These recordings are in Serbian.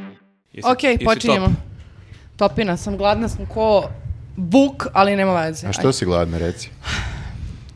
si- ti si Ok, top. počinjemo. Topina sam, gladna sam ko buk, ali nema veze. A što si gladna, reci?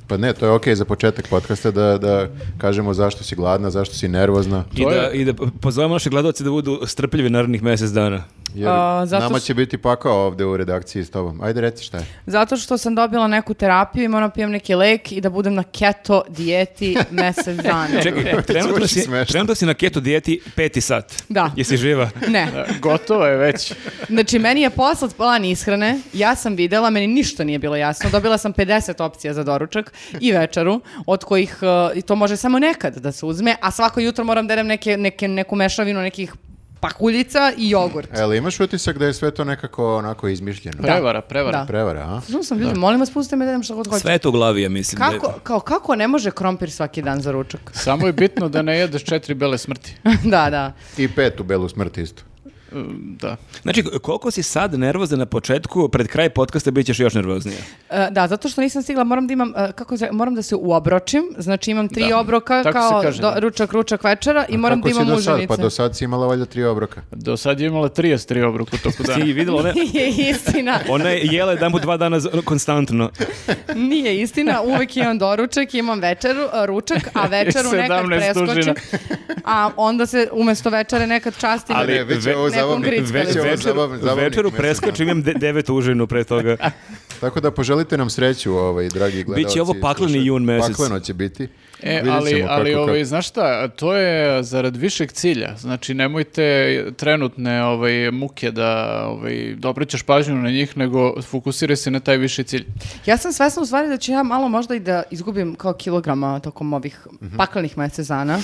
Pa ne, to je okej za početak podcasta da, da kažemo zašto si gladna, zašto si nervozna. I To je- da, I da pozovemo naše gledalce da budu strpljivi narednih mjesec dana. Jer A, zato nama s- će biti pakao ovde u redakciji s tobom. Ajde, reci šta je. Zato što sam dobila neku terapiju i moram pijem neki lek i da budem na keto dijeti mesec dana. Čekaj, trenutno Zvuči si, smešno. trenutno si na keto dijeti peti sat. Da. Jesi živa? Ne, Gotovo je već. znači meni je poslat plan ishrane, ja sam videla, meni ništa nije bilo jasno, dobila sam 50 opcija za doručak i večeru, od kojih, uh, i to može samo nekad da se uzme, a svako jutro moram da jedem neke, neke, neku mešavinu nekih pakuljica i jogurt. E, ali imaš utisak da je sve to nekako onako izmišljeno? Prevara, prevara. Da. Prevara, a? Znači sam, ljudi, molim vas, pustite me da jedem šta god hoću. Sve je to u glavi, ja mislim. da je- Kako, kao, kako ne može krompir svaki dan za ručak? Samo je bitno da ne jedeš četiri bele smrti. da, da. I pet u belu smrt isto. Da. Znači, koliko si sad nervozan na početku, pred kraj podcasta bit ćeš još nervoznije. E, da, zato što nisam stigla, moram da imam, e, kako se, moram da se uobročim, znači imam tri Da, obroka tako se kao kaže, do- da. ručak, ručak, večera i moram Kako da si imam do sad? uženice. Pa do sad si imala valjda tri obroka. Do sad je imala 33 obruku toku dana. Ti vidjela one... Nije istina, Ona je jela jedan put dva dana za- konstantno. nije istina, uvek imam doručak, imam večeru, e, ručak, a večeru nekad 17 preskočim, dužina. a onda se umesto večere nekad častim. Ali Ne, već je ve- ovo nekom zabavnik. grickali. već je ovo večer, zabav- zabavnik večeru mjesec preskočim, dana. imam de, devet užinu pre toga. Tako da poželite nam sreću, ovaj, dragi gledalci. ovo i pakleni slušatelji. jun mesec. Pakleno će biti. E, Vidjet ali, ćemo ali kako- ovaj, znaš šta, to je zarad višeg cilja. Znači, nemojte trenutne ovaj, muke da ovaj, da obraćaš pažnju na njih, nego fokusiraj se na taj viši cilj. Ja sam svesna u stvari da ću ja malo možda i da izgubim kao kilograma tokom ovih Mhm. paklenih mjesec dana.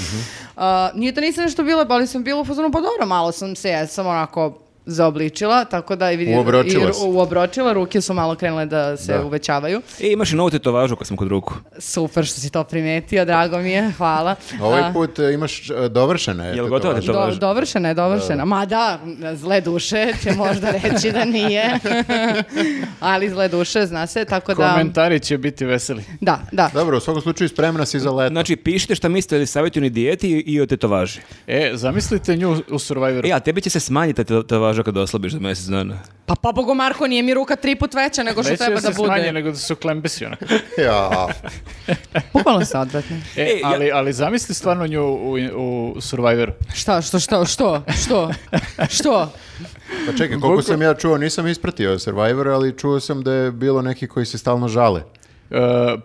A, nije da nisam nešto bila, ali sam bila u fazonu, pa dobro, malo sam se, ja sam onako zaobličila, tako da i vidim, Uobročila i, si. uobročila, ruke su malo krenule da se Da. uvećavaju. E, imaš i novu tetovažu kad smo kod ruku. Super što si to primetio, drago mi je, hvala. Ovaj A, put e, imaš e, dovršene. Jel eto, gotova to- ti do- tetovaža? dovršena je, dovršena. Ma da, zle duše će možda reći da nije, ali zle duše, zna se, tako da... Komentari će biti veseli. Da, da. Dobro, u svakom slučaju spremna si za leto. Znači, pišite šta mislite o savjetujni dijeti i o tetovaži. E, zamislite nju u Survivoru. E, a tebi će se smanjiti ta tetovaža kad oslabiš za mjesec dana. Pa pobogu Marko, nije mi ruka tri put veća nego što Veće treba da se smanje bude. nego da su klembesi onako. Ja, Bukvalno se odvratno. E, E, ja- ali, ali zamisli stvarno nju u, u Survivoru. Šta, što, što, što, što, što? pa čekaj, koliko sam ja čuo, nisam ispratio Survivor, ali čuo sam da je bilo neki koji se stalno žale. E,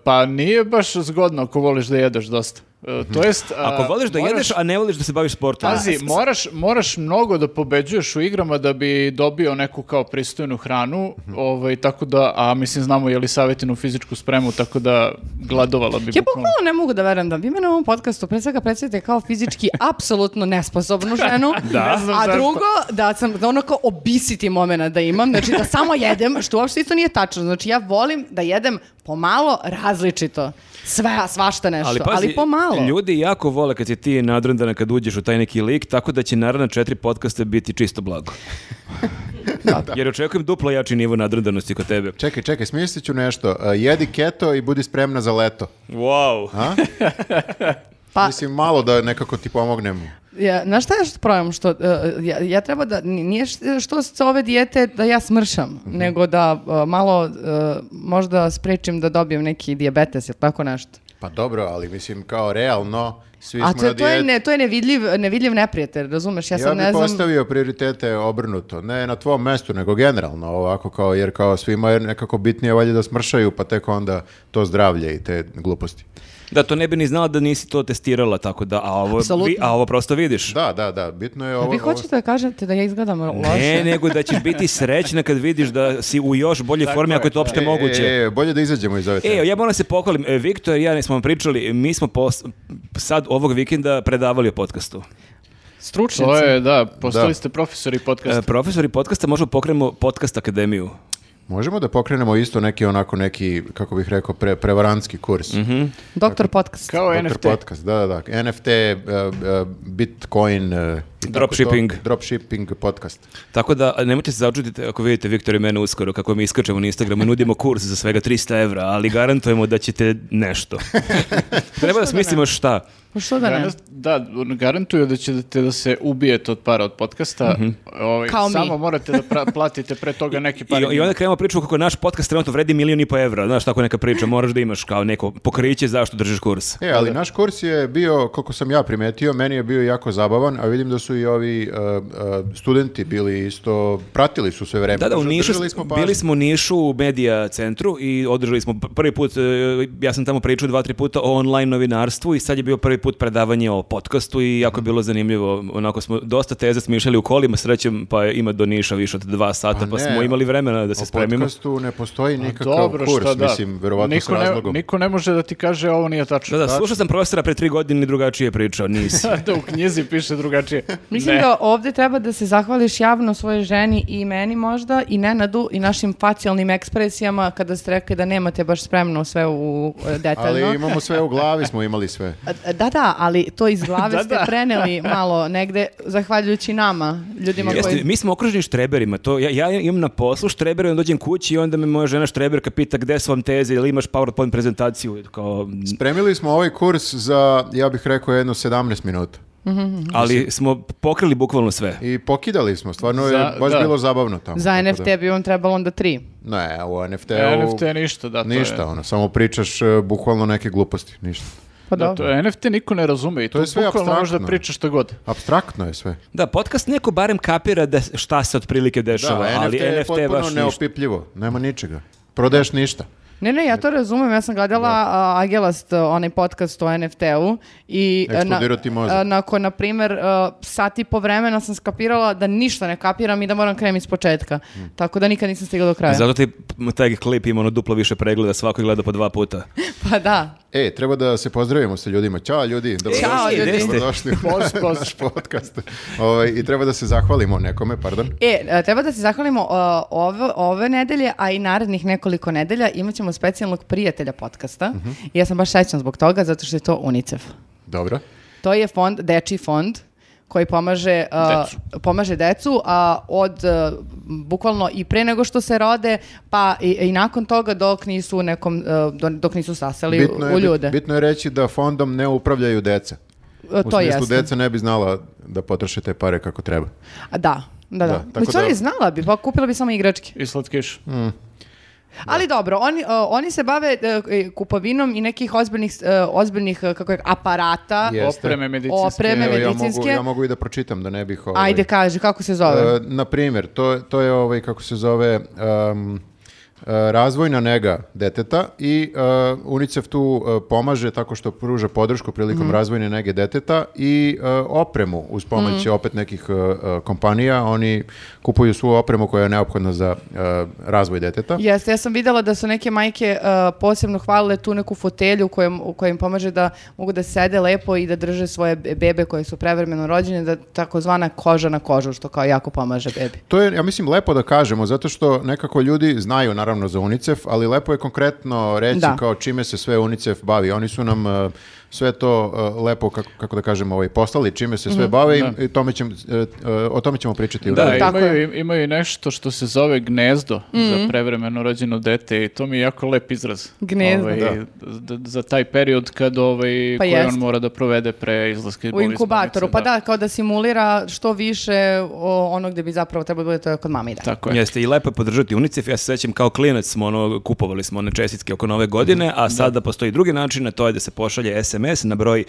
pa nije baš zgodno ako voliš da jedeš dosta. E, to jest... a, Mhm. Ako voliš da moraš- jedeš, a Pa, ne voliš da se baviš sportom. Pazi, moraš, moraš mnogo da pobeđuješ u igrama da bi dobio neku kao pristojnu hranu, Mhm. ovaj, tako da, a mislim znamo je li savjetinu fizičku spremu, tako da gladovala bi Ja bukvalno. bukvalno ne mogu da verujem da vi mene u ovom podcastu pre svega predstavite kao fizički apsolutno nesposobnu ženu, Da. Ne znam a zašto. drugo da sam da ono kao obisiti momena da imam, znači da samo jedem, što uopšte isto nije tačno. Znači ja volim da jedem pomalo različito. Sve, svašta nešto, ali, pomalo. Ljudi jako vole kad si ti nadrndana kad uđeš u taj neki lik, tako da će naravno četiri podcasta biti čisto blago. Jer očekujem duplo jači nivo nadrndanosti kod tebe. Čekaj, čekaj, smislit ću nešto. E, Jedi keto i budi spremna za leto. Wow. A? Pa- Mislim, malo da nekako ti pomognem. Ja, znaš šta je što problem? Što, uh, ja, ja treba da, n- nije š- što sa ove dijete da ja smršam, nego da uh, malo uh, možda sprečim da dobijem neki dijabetes ili tako nešto. Pa dobro, ali mislim, kao realno, svi A smo to, na je- to je, dijeti. ne, to je nevidljiv, nevidljiv neprijatelj, razumeš? Ja, Ja sad bih ne znam... postavio prioritete obrnuto, ne na tvom mestu, nego generalno ovako kao, jer kao svima je nekako bitnije valjda da smršaju, pa tek onda to zdravlje i te gluposti. Da, to ne bi ni znala da nisi to testirala, tako da, a ovo, Apsolutno. vi- a ovo prosto vidiš. Da, da, da, bitno je ovo... Vi ovo- hoćete da kažete da ja izgledam loše? Ne, nego da ćeš biti srećna kad vidiš da si u još boljoj formi, ako je to uopšte E, moguće. E, e, bolje da izađemo iz ove teme. E, ja moram da se pokolim. E, Viktor i ja smo vam pričali, mi smo pos- sad ovog vikenda predavali o podcastu. Stručnjaci. To je, da, postali Da. ste profesori E, podcasta. profesori podcasta možemo pokrenemo podcast akademiju. Možemo da pokrenemo isto neki onako neki, kako bih rekao, pre, prevarantski kurs. Mhm. Doktor podcast. Kao Doktor NFT. Podcast, da, da, da. NFT, e, e, Bitcoin, e, Dropshipping. Dropshipping podcast. Tako da a, nemojte se začuditi ako vidite Viktor i mene uskoro kako mi iskačemo na Instagramu i nudimo kurs za svega 300 evra, ali garantujemo da ćete nešto. Treba da smislimo šta. Pa što da ne? Danas- da, garantuju da ćete da se ubijete od para od podcasta. Ovaj, Kao mi. Samo morate da pra- platite pre toga neki par. Mhm. I, I onda krenemo priču kako naš podcast trenutno vredi milion i po evra. Znaš tako neka priča, moraš da imaš kao neko pokriće zašto držiš kurs. E, ali naš kurs je bio, koliko sam ja primetio, meni je bio jako zabavan, a vidim da su i ovi e, e, studenti bili isto, pratili su sve vreme. Da, da, u Drž- Nišu, držali smo pažnju. bili smo u Nišu u medija centru i održali smo pr- prvi put, e, ja sam tamo pričao dva, tri puta o online novinarstvu i sad je bio prvi put predavanje o podcastu i Mhm. jako je bilo zanimljivo. Onako smo dosta teze smišljali u kolima, srećem pa je- ima do Niša više od dva sata, pa, ne, smo imali vremena da se O spremimo. podcastu ne postoji nikakav Pa Dobro, kurs, šta da. mislim, verovatno s niko ne, razlogom. niko ne može da ti kaže ovo nije tačno. Da, da, slušao sam profesora pre tri godine i drugačije je pričao, nisi. da, u knjizi piše drugačije. Mislim Ne. da ovdje treba da se zahvališ javno svojoj ženi i meni možda i Nenadu i našim facijalnim ekspresijama kada ste rekli da nemate baš spremno sve u e, detaljno. Ali imamo sve u glavi, smo imali sve. Da, da, ali to iz glave Da, ste da. preneli malo negde, zahvaljujući nama, ljudima Jeste, koji... mi smo okruženi štreberima, to, ja, ja imam na poslu štrebere, onda dođem kući i onda me moja žena štreberka pita gde su vam teze ili imaš PowerPoint prezentaciju, kao, Spremili smo ovaj kurs za, ja bih rekao, jedno 17 minuta. ali smo pokrili bukvalno sve. I pokidali smo, stvarno je Za- baš da. bilo zabavno tamo. Za tako da- NFT bi vam trebalo onda tri. Ne, u E, NFT-u... NFT ništa, da, to Ništa, je. ono, samo pričaš e, bukvalno neke gluposti, ništa. Pa Da, dobro. to je, NFT niko ne razume i to, je sve bukvalno možeš da apstraktno. pričaš što god. Abstraktno je sve. Da, podcast neko barem kapira da šta se otprilike Da, dešava, ali NFT je NFT je potpuno baš ništa. neopipljivo, nema ničega. Prodaješ ništa. Ne, ne, ja to razumem, ja sam gledala a, Agelast, a, onaj podcast o NFT-u i a, Eksplodirao ti mozak. a, nakon, na primjer, a, sat i po vremena sam skapirala da ništa ne kapiram i da moram krenuti iz početka. Mm. Tako da nikad nisam stigla do E. kraja. Zato ti taj klip ima ono duplo više pregleda, svako gleda po dva puta. Pa da. E, treba da se pozdravimo sa ljudima. Ćao ljudi, dobrodošli. Ćao, ljudi. Dobrodošli u Poz, poz. naš podcast. Ovaj, I treba da se zahvalimo nekome, pardon. E, a, treba da se zahvalimo a, ove, ove nedelje, a i narednih nekoliko nedelja imat ćemo specijalnog prijatelja podcasta. Mhm. I ja sam baš srećna zbog toga, zato što je to UNICEF. Dobro. To je fond, deči fond koji pomaže a, pomaže decu a od a, bukvalno i pre nego što se rode pa i, i nakon toga dok nisu u nekom a, do- dok nisu saseli u- Bitno je, u bit- ljude. bitno je reći da fondom ne upravljaju deca. A, U to smislu, jeste. deca ne bi znala da potroše te pare kako treba. A, Da. Da, da. Da, tako Mislim, da- oni znala bi, pa kupila bi samo igračke. I slatkiš. Mm. Ali dobro, oni, a, oni se bave e, kupovinom i nekih ozbiljnih, e, ozbiljnih e, kako je, aparata, Jeste. Opreme medicinske. Opreme, Evo, ja, mogu, medicinske. ja mogu i da pročitam da ne bih... Ovaj, Ajde, kaži, kako se zove? E, na primjer, to, to je ovaj, kako se zove, em, e, razvojna nega deteta i e, UNICEF tu e, pomaže tako što pruža podršku prilikom Mhm. razvojne nege deteta i e, opremu uz pomoć Mhm. opet nekih e, e, kompanija. Oni kupuju svu opremu koja je neophodna za e, razvoj deteta. Jeste, ja sam vidjela da su neke majke uh, posebno hvalile tu neku fotelju kojem, u kojoj im pomaže da mogu da sede lepo i da drže svoje be- bebe koje su prevremeno rođene, da takozvana koža na kožu, što kao jako pomaže bebi. To je, ja mislim, lepo da kažemo, zato što nekako ljudi znaju naravno za UNICEF, ali lepo je konkretno reći Da. kao čime se sve UNICEF bavi. Oni su nam e, sve to e, lepo, kako, kako da kažem, ovaj, poslali čime se sve bave i- i tome ćemo, e, e, o tome ćemo pričati. u Da, Da, narednom. tako Mm-hmm. imaju, im- imaju i nešto što se zove gnezdo za prevremeno rođeno dete i to mi je jako lep izraz. Gnezdo. Ovaj, d- d- za taj period kad ovaj, Pa koji jeste. on mora da provede pre izlaska iz U bolnice, inkubatoru, pa da. da, kao da simulira što više o, ono gdje bi zapravo trebalo da bude to je kod mame i da. Tako je. Jeste, i lepo je podržati UNICEF, ja se sećam kao klinac smo ono, kupovali smo one čestitke oko nove godine, a sada postoji drugi način, a to je da se pošalje SMS na broj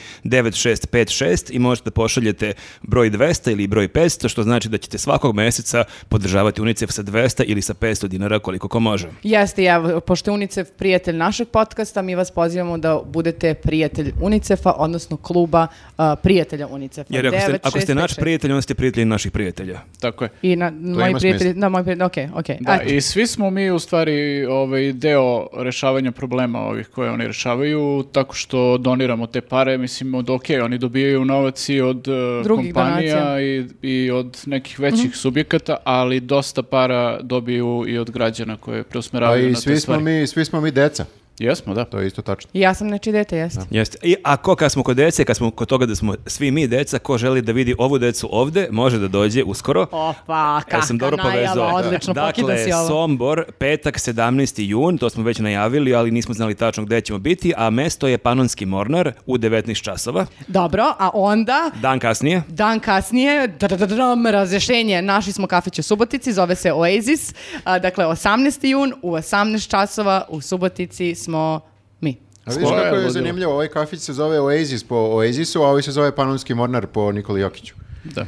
9656 i možete da pošaljete broj 200 ili broj 500, što znači da ćete svakog meseca podržavati UNICEF sa 200 ili sa 500 dinara koliko ko može. Jeste, ja, pošto je UNICEF prijatelj našeg podcasta, mi vas pozivamo da budete prijatelj UNICEF-a, odnosno kluba a, prijatelja UNICEF-a. Jer ako ste, 9, ako ste 6, naš 5, 6. prijatelj, onda ste prijatelji naših prijatelja. Tako je. I na, moji ima prijatelji, smisla. da, moji prijatelji, okej, okej. Da, Ajde. i svi smo mi u stvari ovaj, deo rešavanja problema ovih koje oni rešavaju tako što doniramo te pare, mislim od ok, oni dobijaju novac i od eh, Drugih kompanija donacija. Mhm. i, i od nekih većih subjekata, ali dosta para dobiju i od građana koje A preusmeravaju Pa i na te svi smo, stvari. mi, svi smo mi deca. Jesmo, da. To je isto tačno. I ja sam nečije dete, jeste. Jeste. I, a ko, kad smo kod dece, kad smo kod toga da smo svi mi deca, ko želi da vidi ovu decu ovde, može da dođe uskoro. Opa, Ja kakva sam dobro najava, povezao. odlično, pokida dakle, si ovo. Sombor, petak 17. jun, to smo već najavili, ali nismo znali tačno gde ćemo biti, a mesto je Panonski Mornar u 19 časova, Dobro, a onda... dan kasnije. Dan kasnije, dram, razrešenje, našli smo kafić u Subotici, zove se Oasis, a, dakle 18. jun u 18 časova u Subotici smo mi. A vidiš Skoro je kako je ludilo. zanimljivo, ovaj kafić se zove Oasis po Oasisu, a ovaj se zove Panonski Mornar po Nikoli Jokiću.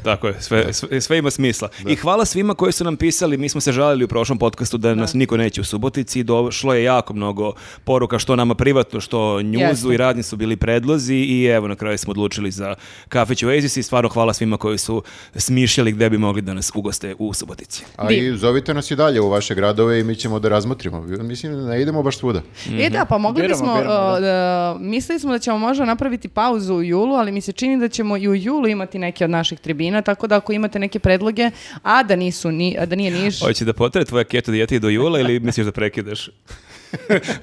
Tako je, sve, sve, sve ima smisla. I hvala svima koji su nam pisali, mi smo se žalili u prošlom podcastu da nas niko neće u Subotici, došlo je jako mnogo poruka što nama privatno, što njuzu Jeste. i radni su bili predlozi i evo na kraju smo odlučili za kafić u Oasis i stvarno hvala svima koji su smišljali gde bi mogli da nas ugoste u Subotici. A Div. i zovite nas i dalje u vaše gradove i mi ćemo da razmotrimo. Mislim, ne idemo baš svuda. E da, pa mogli Biramo, bismo, biramo, uh, da, mislili smo da ćemo možda napraviti pauzu u julu, ali mi se čini da ćemo i u julu imati neke od naših tribina, tako da ako imate neke predloge, a da, nisu, ni, a da nije niš, Hoće da potere tvoja keto dijeta i do jula ili misliš da prekidaš?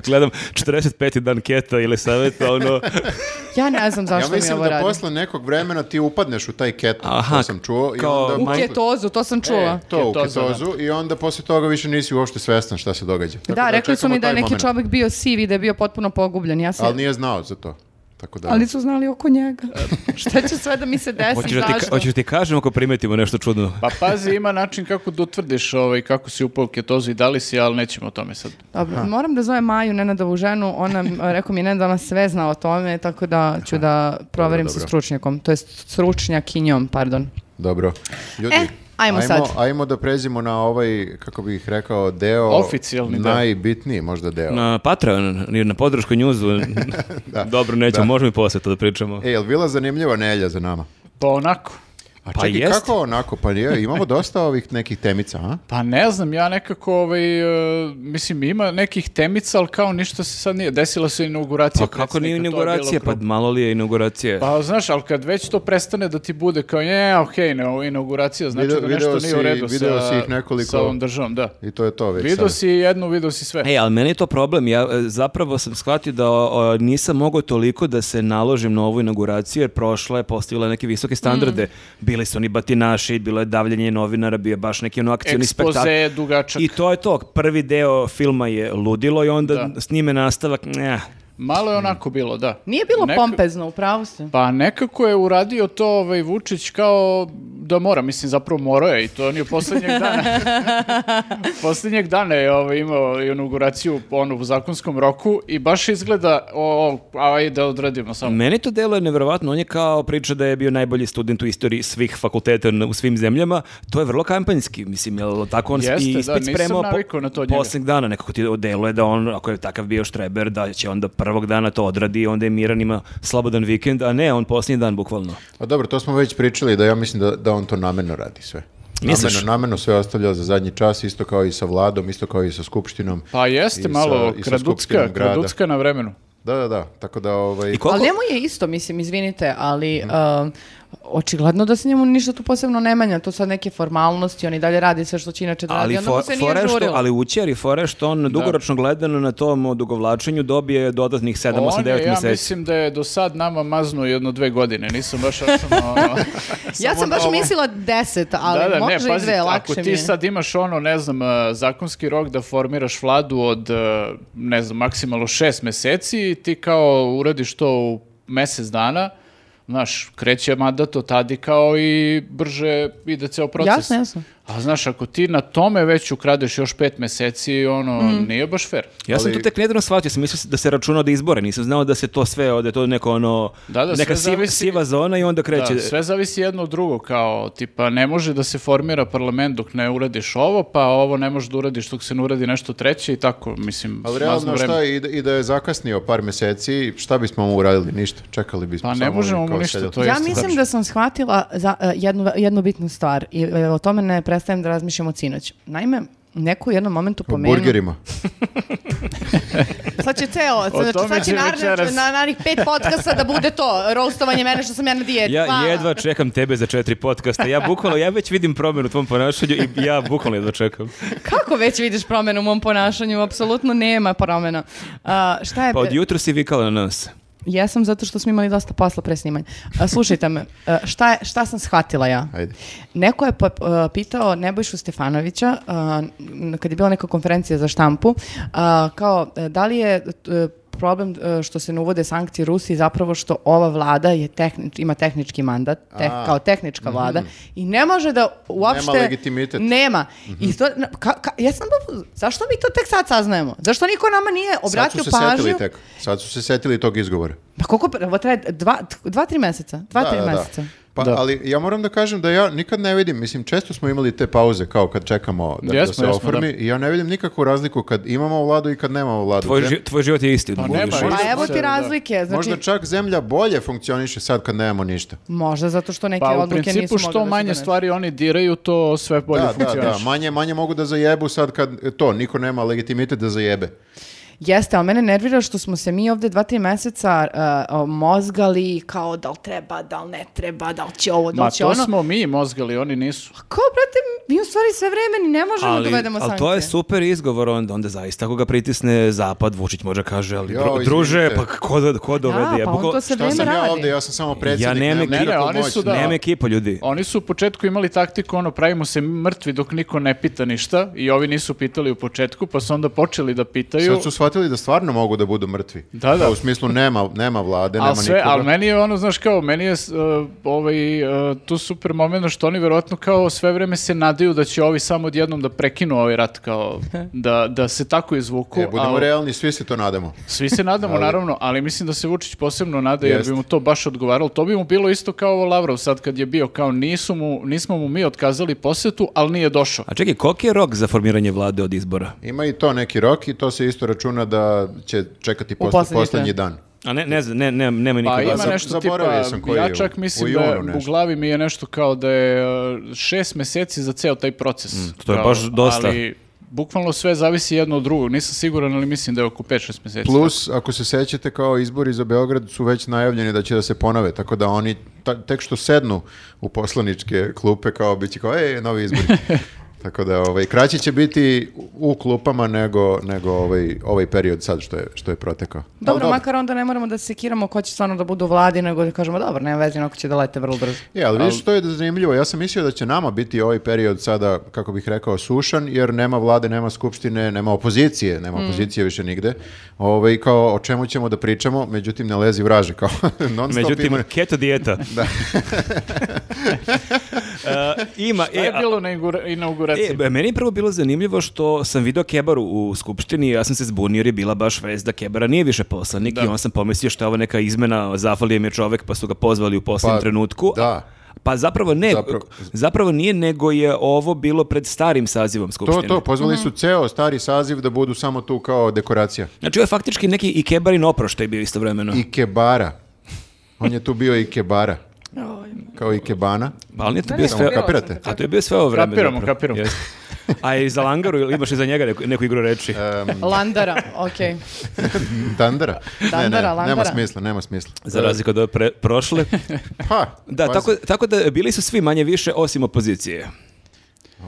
Gledam 45. dan keto ili savjeta, ono... ja ne znam Ja zašto mi mislim ovo da radi. posle nekog vremena ti upadneš u taj keto, Aha, to sam čuo. kao i U onda ketozu, to E, sam čula. To u Ketoza, da. ketozu i onda posle toga više nisi uopšte svestan šta se događa. Tako da, rekli su čekamo mi da je taj neki moment. čovjek bio siv i da je bio potpuno pogubljen. Ja se, Ali nije znao za to. Tako da... ali su znali oko njega. Šta će sve da mi se desi, Hoćeš da, ti, zašto? hoćeš da ti kažem ako primetimo nešto čudno? Pa pazi, ima način kako da utvrdiš ovaj, kako si upao u ketozu i da li si, ali nećemo o tome sad. Dobro, moram da zovem Maju, Nenadovu ženu. Ona, m, rekao mi je Nenad, ona sve zna o tome, tako da ću da proverim sa dobro. stručnjakom. To je stručnjakinjom, pardon. Dobro. Ljudi, E, ajmo sad. Ajmo da pređemo na ovaj, kako bih rekao, deo... Oficijalni deo. Najbitniji možda deo. Na Patreon, ili na podršku njuzu. Dobro, nećemo, da. možemo i posle to da pričamo. E, jel bila zanimljiva nelja za nama? Pa onako. Pa A čekaj, jest. kako onako? Pa nije, imamo dosta ovih nekih temica, a? Pa ne znam, ja nekako, ovaj, e, mislim, ima nekih temica, ali kao ništa se sad nije. Desila se inauguracija. Pa kako nije predsjednika, to je bilo inauguracija? Pa kruto. malo li je inauguracija? Pa znaš, ali kad već to prestane da ti bude kao je, okej, ne, inauguracija, znači Video- da video nešto nije u si- redu video sa, si ih nekoliko- sa ovom državom, da. I to je to već Video sada. si jednu, video si sve. E, ali meni je to problem. Ja e, zapravo sam shvatio da o, nisam mogao toliko da se naložim na ovu inauguraciju, jer prošla je postavila neke visoke standarde. Mm. Bili su oni batinaši, bilo je davljenje novinara, bio je baš neki ono akcijni Ekspoze spektakl. dugačak. I to je to. Prvi deo filma je ludilo i onda Da. snime nastavak. Ne, Malo je onako bilo, da. Nije bilo Neka- pompezno, upravo ste. Pa nekako je uradio to ovaj Vučić kao da mora, mislim zapravo morao je i to on je poslednjeg dana. poslednjeg dana je ovaj, imao inauguraciju ono, u zakonskom roku i baš izgleda o, o, aj da odradimo samo. Meni to delo je nevjerovatno. On je kao priča da je bio najbolji student u istoriji svih fakulteta na- u svim zemljama. To je vrlo kampanjski. Mislim, jel tako on Jeste, i da, ispit nisam spremao navikao na to od njega. poslednjeg dana. Nekako ti deluje da on, ako je takav bio štreber, da će onda prvog dana to odradi, onda je miran, ima slobodan vikend, a ne, on posljednji dan bukvalno. A Pa dobro, to smo već pričali da ja mislim da, da on to namjerno radi sve. Misliš? Namjerno, namjerno sve ostavlja za zadnji čas, isto kao i sa vladom, isto kao i sa skupštinom. Pa i jeste sa- malo i sa kraducka, Skupštinom grada. kraducka na vremenu. Da, da, da. Tako da, ovaj... I koliko- Ali njemu je isto, mislim, izvinite, ali um, očigledno da se njemu ništa tu posebno ne manja, to sad neke formalnosti, on i dalje radi sve što će inače da radi, Ali, onda mu se fo- nije fora je što, žurilo. ali učer i fora je što on dugoročno gledano na tom odugovlačenju dobije dodatnih 7, 8, On je, 9 ja mjeseci. mislim da je do sad nama maznuo jedno dve godine, nisam baš računao, ono, Ja samo sam baš na ovo. mislila deset, ali da, da, može ne, pazi, i dve, ako lakše mi ti je. sad imaš ono, ne znam, e, zakonski rok da formiraš vladu od, e, ne znam, maksimalno šest meseci i ti kao uradiš to u mesec dana, znaš, kreće mandat od tada i kao i brže ide ceo proces. Jasno, jasno. A znaš, ako ti na tome već ukradeš još pet meseci, ono, Mhm. nije baš fair. Ja sam Ali- to tek nedavno shvatio, sam mislio da se računa od izbora, nisam znao da se to sve, ode to neko ono, Da, da, neka sve siva, zavisi- siva zona i onda kreće. Da, sve zavisi jedno od drugo, kao, tipa, ne može da se formira parlament dok ne uradiš ovo, pa ovo ne možeš da uradiš dok se ne uradi nešto treće i tako, mislim, Ali mazno realno vreme. šta i, da- i da je zakasnio par meseci, šta bismo mu uradili? Ništa. Čekali bismo. Pa ne samo možemo mu kao ništa, sedeli. to je- Ja isto mislim tačno. da sam shvatila za, e, jednu, ve- jednu bitnu stvar i e, o tome ne prestajem da razmišljam od sinoć. Naime, Neko u jednom momentu O pomenuo. burgerima. Sad će ceo, sad, tome sad će će narednih večeras. na, narednih pet podcasta da bude to, roastovanje mene što sam ja na dijeti. Ja Hvala. jedva čekam tebe za četiri podcasta. Ja bukvalno, ja već vidim promjenu u tvom ponašanju i ja bukvalno jedva čekam. Kako već vidiš promenu u mom ponašanju? Apsolutno nema promena. A, šta je... Pa od pe- jutro si vikala na nas. Jesam zato što smo imali dosta posla pre snimanja. A, slušajte me, a, šta, je- šta sam shvatila ja? Ajde. Neko je pa, a, pitao Nebojšu Stefanovića, a, n- kad je bila neka konferencija za štampu, a, kao e, da li je e, problem e, što se ne uvode sankcije Rusiji zapravo što ova vlada je tehnič, ima tehnički mandat, teh- A. Mhm. kao tehnička vlada i ne može da uopšte... legitimitet. Mhm. Nema. I to, na- ka, ka- ja sam, bila- zašto mi to tek sad saznajemo? Zašto niko nama nije Sad obratio su se pažnju? setili tek. Sad su se setili tog izgovora. Pa koliko, ovo traje dva, dva, tri meseca? Dva, tri meseca. Pa, Da. ali ja moram da kažem da ja nikad ne vidim, mislim, često smo imali te pauze kao kad čekamo da, da Jesmo, se jesmo, oformi i ja ne vidim nikakvu razliku kad imamo vladu i kad nemamo vladu. Tvoj, Zem- ži- tvoj život je isti. nema, Budeš- Pa Pa evo možda ti da. razlike. Znači, Možda možda, čak zemlja bolje funkcioniše sad kad nemamo ništa. zato što neke Pa u odluke nisu mogle principu da što se manje donesu. stvari oni diraju, to sve bolje Da, da, funkcioniše. da, manje, manje mogu da zajebu sad kad e, to, niko nema legitimitet da zajebe. Pa Jeste, ali mene nervira što smo se mi ovde dva, tri meseca uh, uh, mozgali kao da li treba, da li ne treba, da li će ovo, da Ma li će to ono. smo mi mozgali, oni nisu. Pa Kao, brate, mi u stvari sve vreme ni ne možemo da dovedemo ali sankcije. to je super izgovor, onda, onda zaista ako ga pritisne zapad, Vučić može kaže, ali Jo, dru- izvinite. druže, pa ko, do- ko dovede? Da, Ja pa on bukval- to se Šta vreme sam radi. ja ovde, ja sam samo predsjednik. Ja nemam nemam ekip- nikakvu Ne, oni su moć. da- Nema ekipa ljudi. Oni su u početku imali taktiku, ono, pravimo se mrtvi dok niko ne pita ništa i ovi nisu pitali u početku, pa su onda počeli da pitaju. Sad su shvatili da stvarno mogu da budu mrtvi. Da, da. u smislu nema, nema vlade, nema Ali sve, nikoga. ali meni je ono, znaš kao, meni je s- uh, ovaj, uh, tu super moment što oni verovatno kao sve vreme se nadaju da će ovi samo odjednom da prekinu ovaj rat, kao da, da se tako izvuku. E, budemo ali- realni, svi se to nadamo. Svi se nadamo, naravno, ali mislim da se Vučić posebno nada jer Jeste. bi mu to baš odgovaralo. To bi mu bilo isto kao ovo Lavrov sad kad je bio, kao nisu mu, nismo mu mi otkazali posetu, ali nije došao. A čekaj, koliki je rok za formiranje vlade od izbora? Ima i to neki rok i to se isto računa da će čekati posle, poslednji poslednji, dan. dan. A ne, ne znam, ne, ne, nema Pa nikoga. ima zab- nešto zaboravio tipa, sam koji je ja u- čak mislim u da junu u nešto. glavi mi je nešto kao da je e, šest meseci za ceo taj proces. Mm, to je Kao, baš dosta. Ali bukvalno sve zavisi jedno od drugog. Nisam siguran, ali mislim da je oko 5-6 meseci. Plus, ako se sećate, kao izbori za Beograd su već najavljeni da će da se ponove, tako da oni ta- tek što sednu u poslaničke klupe, kao bit će kao, ej, novi izbori. tako da, ovaj, kraće će biti u- u klupama nego, nego ovaj, ovaj period sad što je, što je protekao. Dobro, Ali dobro. makar onda ne moramo da se sekiramo ko će stvarno da budu u vladi, nego da kažemo, dobro, nema veze, onako će da lete vrlo brzo. Je, E, ali vidiš što je zanimljivo, ja sam mislio da će nama biti ovaj period sada, kako bih rekao, sušan, jer nema vlade, nema skupštine, nema opozicije, nema opozicije više nigde. Ovaj, kao, o čemu ćemo da pričamo, međutim, ne lezi vraže, kao non stop Međutim, ima- keto dijeta. da. E, ima, Šta E, je a- bilo na ingura- inauguraciji? E, be- meni je prvo bilo zanimljivo što sam video Kebaru u Skupštini i ja sam se zbunio jer je bila baš vez da Kebara nije više poslanik i onda sam pomislio što je ovo neka izmena, zafalio im je čovek pa su ga pozvali u posljednjem Pa, trenutku. da. Pa zapravo ne, zapravo, Zapravo- nije, nego je ovo bilo pred starim sazivom To, Skupštine. to, pozvali Mhm. su ceo stari saziv da budu samo tu kao dekoracija. Znači ovo je faktički neki i Kebarin oproštaj bio istovremeno. Ikebara. On je tu bio Ikebara. Kao Ikebana. Pa ali nije to Da, bio ne, sve... kapirala kapirate? sam, A to je bio sve ovo vreme. Kapiramo, zapravo. kapiramo. Jeste. A i za Langaru ili imaš i za njega neku, neku igru reči? E, Mm. Landara, okej. Dandara. Ne, ne, Dandara, Nema landara. smisla, nema smisla. za razliku od ove pre- prošle. Pa, Da, pazi, tako, tako da bili su svi manje više osim opozicije.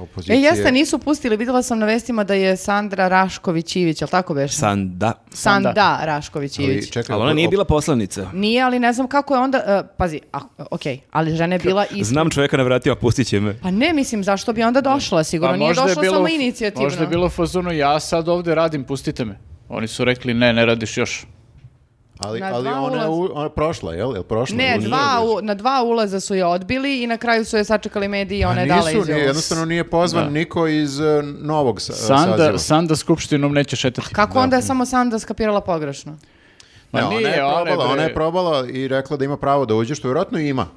opozicije. E, jeste, nisu pustili, videla sam na vestima da je Sandra Rašković-Ivić, jel tako beš? Sanda. Sanda, Sanda. Rašković-Ivić. Ali, čekaj, Ali ona nije op- bila poslanica. Nije, ali ne znam kako je onda, uh, pazi, a, ok, ali žena je bila i... Znam čovjeka na vratima, pustit će me. Pa ne, mislim, zašto bi onda došla Pa sigurno? Nije došla samo inicijativno. Možda je bilo u fazonu, ja sad ovde radim, pustite me. Oni su rekli, ne, ne radiš još. E, Ali, Na ali dva ona je ulaza. u- ona je prošla, jel? Jel prošla? Ne, Nije dva, bila. u- na dva ulaza su je odbili i na kraju su je sačekali mediji i A ona je dala Pa nisu, izjavu. nije, jednostavno nije pozvan Da. niko iz e, novog sa, Sanda, saziva. Sanda skupštinom neće šetati. Kako onda je samo Sanda skapirala pogrešno? Ma Ne, ona je nije, ona je, probala, ona je bre- probala i rekla da ima pravo da uđe, što vjerojatno i ima.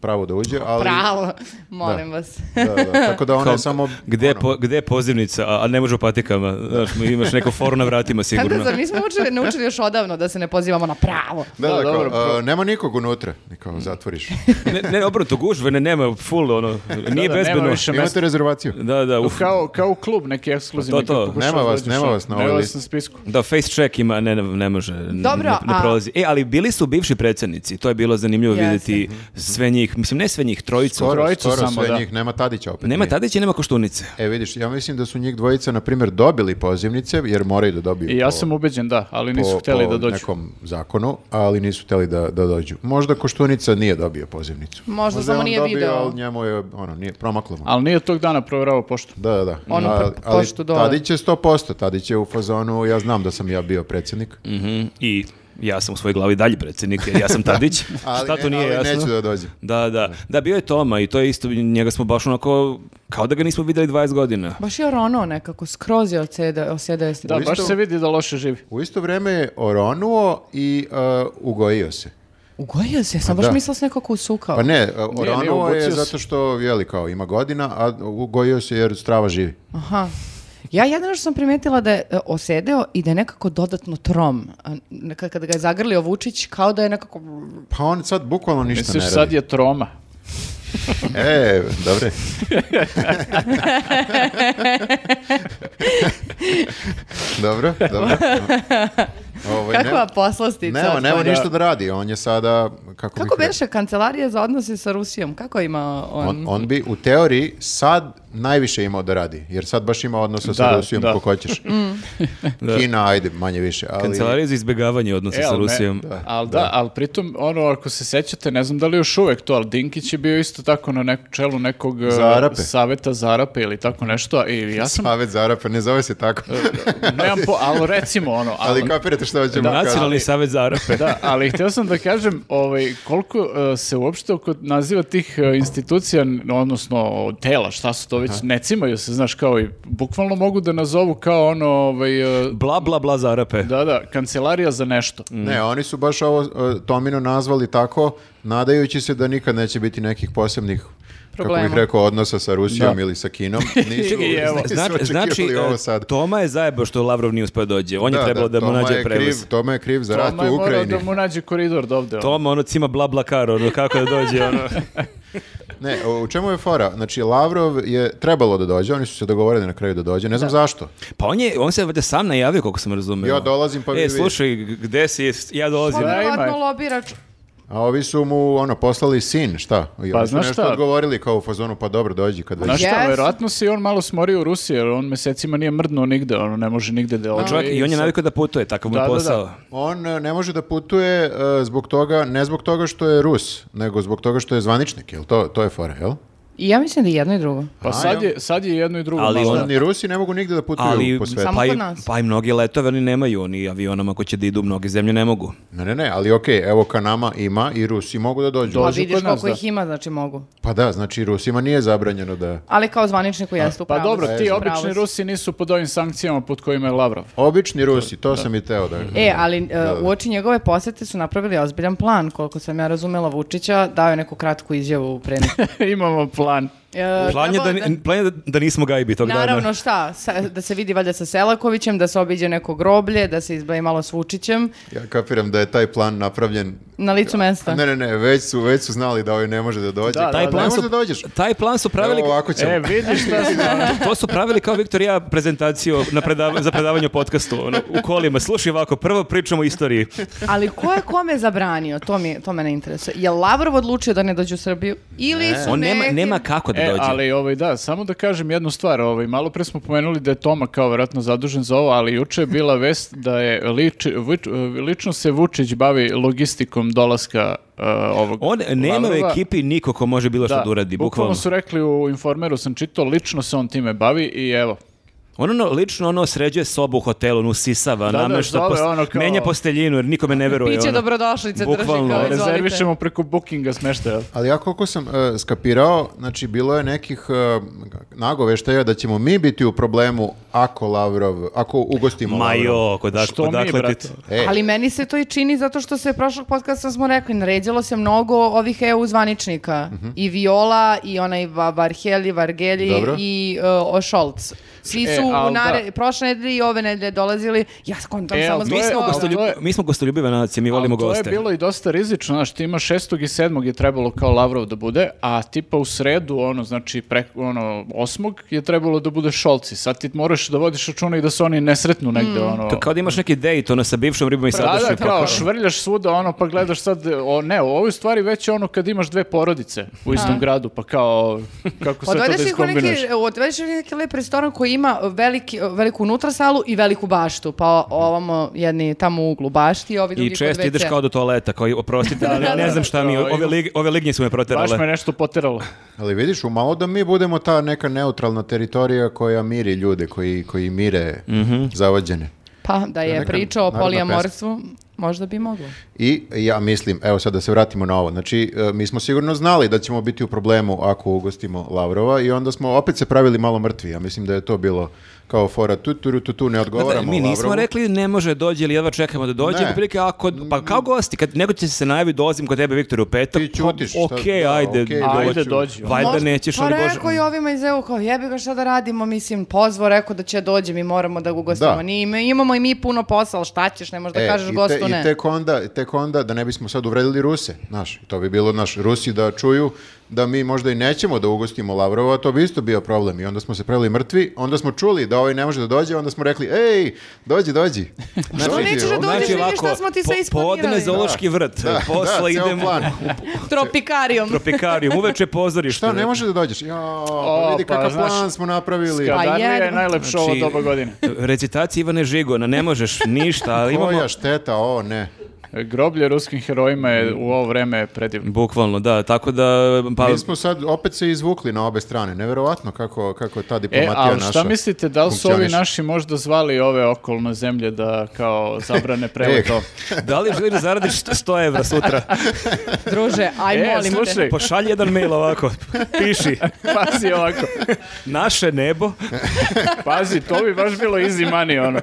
pravo da Pa uđe, ali... Pravo, molim vas. Da, da, tako da ona Kao, je samo... Gde, je ono, po- gde je pozivnica, a, a ne može u patikama. Znaš, imaš neko foru na vratima Tako sigurno. da zar nismo učili, naučili još odavno da se ne pozivamo na pravo. Da, Da, da, kao, dobro, pro- a, nema nikog unutra. I kao, zatvoriš. Ne, ne obrnuto, gužve, ne, nema, full, ono, nije da, nema bezbedno. više mesta. Imate rezervaciju. Da, da, uf. Kao, kao klub neki ekskluzivni. To, to. kad pokušaš Pa Nema da vas- uđeš, nema ono, vas na nema ovoj vas listi. spisku. Da, face check ima, ne, ne, ne može, n- Dobro, ne, ne a- prolazi. E, ali bili su bivši predsednici, to je bilo zanimljivo Jeste. vidjeti sve njih, mislim, ne sve njih, trojicu. Skoro, trojicu skoro samo, sve da. njih. Nema Tadića opet. Nema nije. Tadića, nema Koštunice. E, vidiš, ja mislim da su njih dvojica, na primjer, dobili pozivnice, jer moraju da dobiju I ja po- sam ubeđen, da, ali po- nisu hteli po da dođu. nekom zakonu, ali nisu hteli da, da dođu. Možda Koštunica nije dobio pozivnicu. Možda je samo on nije dobio, video. Ali njemu je, ono, nije promaklo mu. Ali nije tog dana provjeravao poštu. Da, da, da. Ono A- po- ali poštu dole. Tadić je 100%, Tadić je u fazonu, ja znam da sam ja bio predsjednik. Mhm, I ja sam u svojoj glavi dalje predsjednik, jer ja sam Tadić. Ali, Šta to ne- nije ali jasno? neću da dođem. Da, da. Da, bio je Toma i to je isto, njega smo baš onako, kao da ga nismo vidjeli 20 godina. Baš je oronuo nekako, skroz je odseda, osjedao je Da, Da. baš isto- se vidi da loše živi. U isto vrijeme je oronuo i uh, ugojio se. Ugojio se, ja sam Pa baš da. mislila da se nekako usukao. Pa ne, uh, nije, oronuo je obucio se. zato što, jeli, kao ima godina, a ugojio se jer strava živi. Aha. Ja jedino što sam primetila da je e, osedeo i da je nekako dodatno trom. A n- kad- Kada ga je zagrlio Vučić, kao da je nekako... Pa on sad bukvalno ništa Misliš, ne radi. sad je troma. E, dobre. dobro, dobro. Ovaj, Kakva poslastica. Nema, nema otvorena. ništa da radi, on je sada... Kako, Kako bih beše kancelarija za odnose sa Rusijom? Kako ima rekao, on? On, on bi u teoriji sad najviše imao da radi, jer sad baš ima odnose sa Da, Rusijom da. Mm. kako hoćeš. Kina, ajde, manje više. Ali, Kancelarija za izbjegavanje odnosa E, sa al ne- Rusijom. ali da, ali pritom, ono, ako se sećate, ne znam da li još uvek to, ali Dinkić je bio isto tako na neku čelu nekog e, Zarape. saveta Zarape ili tako nešto. a I ja sam, Savet za Arape, ne zove se tako. nemam po, ali recimo, ono, ali ali, kapirate što hoćemo kažem. Nacionalni savjet za Arape. da, ali htio sam da kažem ovaj, koliko e, se uopšte oko naziva tih e, institucija, n- odnosno tela, šta su to već, ne cimaju se, znaš, kao i bukvalno mogu da nazovu kao ono, ovaj, e, Bla, bla, bla za Arape. da, da, kancelarija za nešto. Ne, oni su baš ovo e, Tomino nazvali tako, nadajući se da nikad neće biti nekih posebnih kako bih Problema. rekao, odnosa sa Rusijom Da. ili sa Kinom. Nisu, I evo, nisu Znači, očekivali znači ovo e, sad. Toma je zajebao što Lavrov nije uspio dođe. On je trebalo da, mu Toma nađe je prevoz. Kriv, Toma je kriv za rat Toma je u morao Ukrajini. da mu nađe koridor do ovde. ono. Toma ono cima bla bla kar, ono kako da dođe, ono. Ne, u čemu je fora? Znači, Lavrov je trebalo da dođe, oni su se dogovorili na kraju da dođe, ne znam zašto. Pa on, je, on se valjda sam najavio, koliko sam razumio. Ja dolazim, pa vi E, vidite. slušaj, gde si, ja dolazim. On Da, ima. verovatno Pa lobira č- A ovi su mu, ono, poslali sin, šta? I Pa, oni su znaš nešto šta? odgovorili kao u fazonu, pa dobro, dođi kad Znaš već. šta, Jesu. verovatno se i on malo smorio u Rusiji, jer on mesecima nije mrdnuo nigde, ono ne može nigde da ode. Pa Čovjek, i on je sad- navikao da putuje, takav mu Da, je da, da. posao. On e, ne može da putuje e, zbog toga, ne zbog toga što je Rus, nego zbog toga što je zvaničnik, jel to, to je fora, jel? I ja mislim da je jedno i drugo. Pa sad je, sad je jedno i drugo. Ali malo. on- Onda ni Rusi ne mogu nigde da putuju Ali, po svetu. Samo pa, i, kod nas. pa i mnogi letove oni nemaju, oni avionama ko će da idu u mnoge zemlje ne mogu. Ne, ne, ne, ali okej, evo ka nama ima i Rusi mogu da dođu. Pa Dođu vidiš kod nas, koliko da. ih ima, znači mogu. Pa da, znači Rusima nije zabranjeno da... Ali kao zvaničniku jesu. Pa upravo dobro, si, ti upravo obični si. Rusi nisu pod ovim sankcijama pod kojima je Lavrov. Obični Rusi, to sam i teo da... E, ali e, Da, da. u oči njegove posete su napravili ozbiljan plan, koliko sam ja razumela Vučića, dao je neku kratku izjavu pre neki- Imamo plan. E, Plan je da, trebalo je ni- plan je da, da nismo gajbi tog Naravno dana. šta, sa- da se vidi valjda sa Selakovićem, da se obiđe neko groblje, da se izbavi malo s Vučićem Ja kapiram da je taj plan napravljen... na licu mesta. Ne, ne, ne, već su, već su znali da ovaj ne može da dođe. Da, Taj da, plan, ne su, može da dođeš. taj plan su pravili... Evo ovako ćemo. E, vidiš šta si... To su pravili kao Viktor i ja prezentaciju na predava- za predavanje o podcastu. Ono, u kolima, slušaj ovako, prvo pričamo o istoriji. Ali ko je kome zabranio, to, mi, to mene interesuje. Je Lavrov odlučio da ne dođe u Srbiju? Ili su On nema, neki- nema kako da E, dođe. ali ovaj, da, samo da kažem jednu stvar, ovaj, malo pre smo pomenuli da je Toma kao vjerojatno zadužen za ovo, ali juče je bila vest da je lič, Vuč- lično se Vučić bavi logistikom dolaska eh, ovog On nema u Lavrova. ekipi niko ko može bilo što da, uradi, bukvalno. su rekli u Informeru, sam čitao, lično se on time bavi i evo, On ono, lično ono sređuje sobu u hotelu, ono usisava, Da, da, namešta, zove post- ono kao- menja posteljinu jer nikome ne veruje. Piće ono. dobrodošlice drži kao Bukvalno, izvolite. Rezervišemo preko bookinga smeštaja. Ali ja koliko sam e, skapirao, znači bilo je nekih e, nagoveštaja da ćemo mi biti u problemu ako Lavrov, ako ugostimo Ma Lavrova. jo, kodak, ono, Što mi, odakle ti brate? to? E, Ali meni se to i čini zato što se prošlog podcasta smo rekli, naređalo se mnogo ovih EU zvaničnika. Mhm. I Viola, i onaj Va- Varhelji, Vargelji, Dobro. i uh, o- Šolc. Svi E, su u al da. nare, prošle nedelje i ove nedelje dolazili. Ja skontam E, al samo zbog mi smo toga. gostoljub- Gostoljub- to je- Mi smo gostoljubive nacije, mi volimo Ali to goste. je bilo i dosta rizično, znaš, ti imaš 6. i 7. je trebalo kao Lavrov da bude, a tipa u sredu, ono, znači, pre, ono, 8. je trebalo da bude Šolci. Sad ti moraš da vodiš računa i da se oni ne sretnu negde, Hmm. ono... To kao da imaš neki dejt, ono, sa bivšom ribom i Da, da, sadašnjom. kao švrljaš svuda, ono, pa gledaš sad, o, ne, u ovoj stvari već je ono kad imaš dve porodice u istom gradu, pa kao, kako sve to da Odvedeš Pa ih u iskombinuješ? neki, odvedeš ih e, u neki lep restoran koji ima veliki, veliku unutrasalu i veliku baštu. Pa ovamo jedni tamo u uglu bašti i ovi drugi I često ideš WC-a. kao do toaleta, kao, oprostite, ali ja ne znam šta mi, je, ove, lig, ove lignje su me Baš me proterale. nešto poteralo. ali vidiš, umalo da mi budemo ta neka neutralna teritorija koja miri ljude, koji, koji mire Mhm. zavađene. Pa da je Neka pričao o narodna polijamorstvu, možda bi moglo. I ja mislim, evo sad da se vratimo na ovo, znači e, mi smo sigurno znali da ćemo biti u problemu ako ugostimo Lavrova i onda smo opet se pravili malo mrtvi, ja mislim da je to bilo kao fora tu tu tu, tu ne Da, odgovaramo mi nismo Lavrovu. rekli ne može dođe ili jedva čekamo da dođe, Ne. otprilike ako, pa kao gosti, kad nego će se najavi dolazim kod tebe Viktor u petak, Ti ćutiš, šta- pa, okej, da, ajde, okej, dođi. Ajde, dođi. Valjda Možda- nećeš, ono, pa ali bože. rekao i ovima iz EU, kao jebi ga šta da radimo, mislim, pozvo, rekao da će dođe, mi moramo da ga ugostimo. Da. Ni- mi- imamo i mi puno posla, ali šta ćeš, ne možeš da E, kažeš i te- gostu ne. I tek onda, tek onda, da ne bismo sad uvredili Ruse, znaš, to bi bilo, naš Rusi da čuju da mi možda i nećemo da ugostimo Lavrova, to bi isto bio problem i onda smo se pravili mrtvi, onda smo čuli da ovaj ne može da dođe, onda smo rekli, ej, dođi, dođi. Što Znači, nećeš da onda- dođeš? Znači, vidiš šta ovako, smo ti po- sve isplanirali. Podne zoološki vrt, Da, posle da, ceo idemo plan. Tropikarijom. tropikarijum, uveče pozorište. Šta, ne može da dođeš? Ja, pa vidi pa, kakav znaš, plan smo Pa napravili. skapa- Skadarija je jedno. najlepše Znači- ovo doba godine. Recitacija Ivane Žigona, ne možeš ništa, ali Pa, imamo... Koja šteta, o ne. Groblje ruskim herojima je u ovo vreme predivno. Bukvalno, da, tako da... Pa, Mi smo sad opet se izvukli na obe strane. Neverovatno kako, kako je ta E, diplomatija ali naša. šta mislite, da li su ovi funkcioniše. naši možda zvali ove okolne zemlje da kao zabrane prelet E, ovo? Da li želiš da zaradiš 100 evra sutra? Druže, aj E, molim te. slušaj, Pošalji jedan mail ovako, piši, pazi ovako, naše nebo, pazi, to bi baš bilo easy money, ono.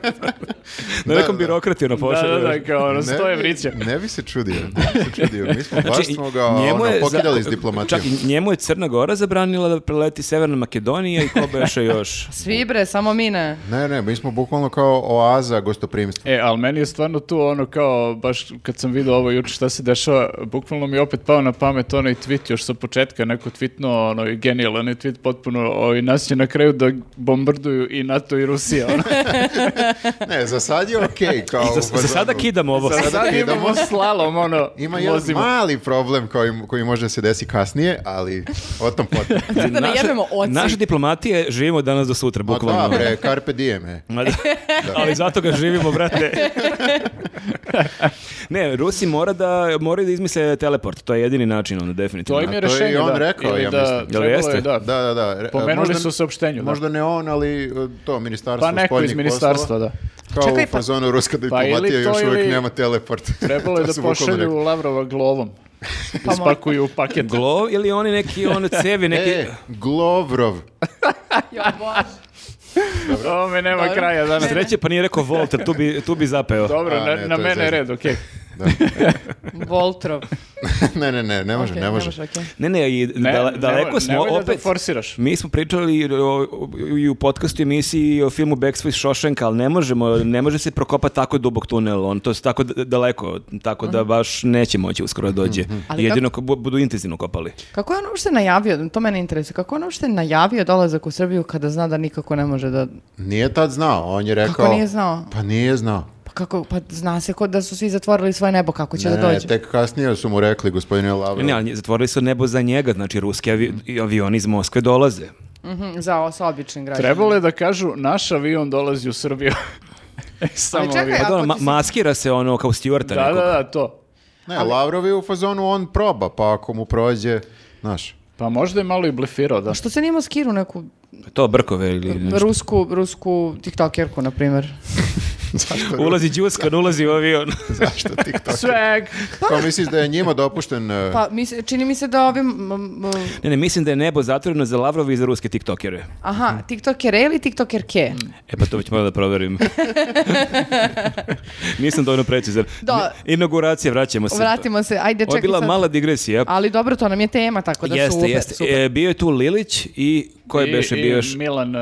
na nekom birokrati ono Da, pošalje. da, da, kao ono, Ne stoje bi- vrića. Ne bi se čudio, ne bi se čudio. Mi smo baš smo ga ono, Znači, je za- pokidali s diplomatijom. Čak i njemu je Crna Gora zabranila da preleti Severna Makedonija i ko beše još. Svi bre, samo mi ne. Ne, ne, mi smo bukvalno kao oaza gostoprimstva. E, ali meni je stvarno tu ono kao, baš kad sam vidio ovo juče šta se dešava, bukvalno mi je opet pao na pamet onaj tweet još sa početka, neko tweetno, ono, genijalan je tweet potpuno, o, i nas će na kraju da bombarduju i NATO i Rusija, ono. Ne, za sad je okej. kao Za, za u fazonu. sada kidamo ovo. Za sad idemo. imamo slalom, ono, Ima jedan vozimo. mali problem koji, koji može da se desi kasnije, ali o tom potom. da ne jebemo oci. Znači, naše diplomatije živimo danas do sutra, Ma bukvalno. da, pa, bre, carpe diem, e. Ma da. Ali zato ga živimo, brate. ne, Rusi mora da, moraju da izmisle teleport. To je jedini način, onda, definitivno. To im je to je i rešenje, on da. rekao, Ili ja da, mislim. Jel trebalo je, jeste? da. Da, da, da. Re- Pomenuli možda- su u saopštenju, da. Možda ne on, ali e, to, ministarstvo Pa neko iz spoljnih ministarstva, poslova, da. Kao Čekaj, u pa- fazonu ruska diplomatija ili to, još uvijek ili- nema teleport. Trebalo je To da su Pa bukvalno pošalju rekli. Lavrova glovom. Da spakuju u paket. Glo ili oni neki ono cevi, neki... E, Glovrov. Jo, bože. Ome nema Dobro. kraja danas. Sreće pa nije rekao Volter, tu bi, tu bi zapeo. Dobro, A, na, ne, na to je mene je zezno. red, okej. Voltrov. ne, ne, ne, ne može, Ok, ne može. okej. Ne, ne, i Ne, dale- nemoj- daleko smo nemoj da opet... forsiraš. Mi smo pričali o- o- i u podcastu i emisiji i o filmu Backstreet Shawshank, ali ne možemo, ne može se prokopati tako dubok tunel, on to je tako d- daleko, tako da baš neće moći uskoro da dođe. Mhm. Mhm. Ali Jedino ko bu- budu intenzivno kopali. Kako je on uopšte najavio, to mene interesuje, kako je on uopšte najavio dolazak u Srbiju kada zna da nikako ne može da... Nije tad znao, on je rekao... nije znao? Pa nije znao. Pa kako, pa zna se kod da su svi zatvorili svoje nebo, kako će Ne, da dođe. ne, tek kasnije su mu rekli, gospodine Lavrov. Ne, ali zatvorili su nebo za njega, znači ruski avi- i avioni iz Moskve dolaze. Mhm, za os- običnim građanima. Trebalo je da kažu, naš avion dolazi u Srbiju. E, Samo čekaj, avion. a- Pa Ako dobro, ma- ti se- maskira se ono kao Stewarta Da, nekog. da, da, to. Ne, Lavrov je u fazonu, on proba, pa ako mu prođe, znaš. Pa možda je malo i blefirao, da. Što se nije maskiru neku To brkove ili nešto. rusku, rusku tiktokerku, na primjer. Zašto, Ulazi džuskan, ulazi u avion. zašto TikTok? Sveg. Kao misliš da je njima dopušten... e, Pa, mi, se- čini mi se da ovim... m, m, ne, ne, mislim da je nebo zatvoreno za Lavrov i za ruske tiktokere. Hmm. aha, tiktokere ili tiktokerke? E pa to već moram da proverim. Nisam dovoljno precizan. Da. Ne, Inauguracija, vraćamo se. Vratimo se, ajde Ovo je čekaj bila sad. mala digresija. Ali dobro, to nam je tema, tako da jeste, super, jeste. super. E, bio je tu Lilić i ko je I- beše i bio još? Milan e,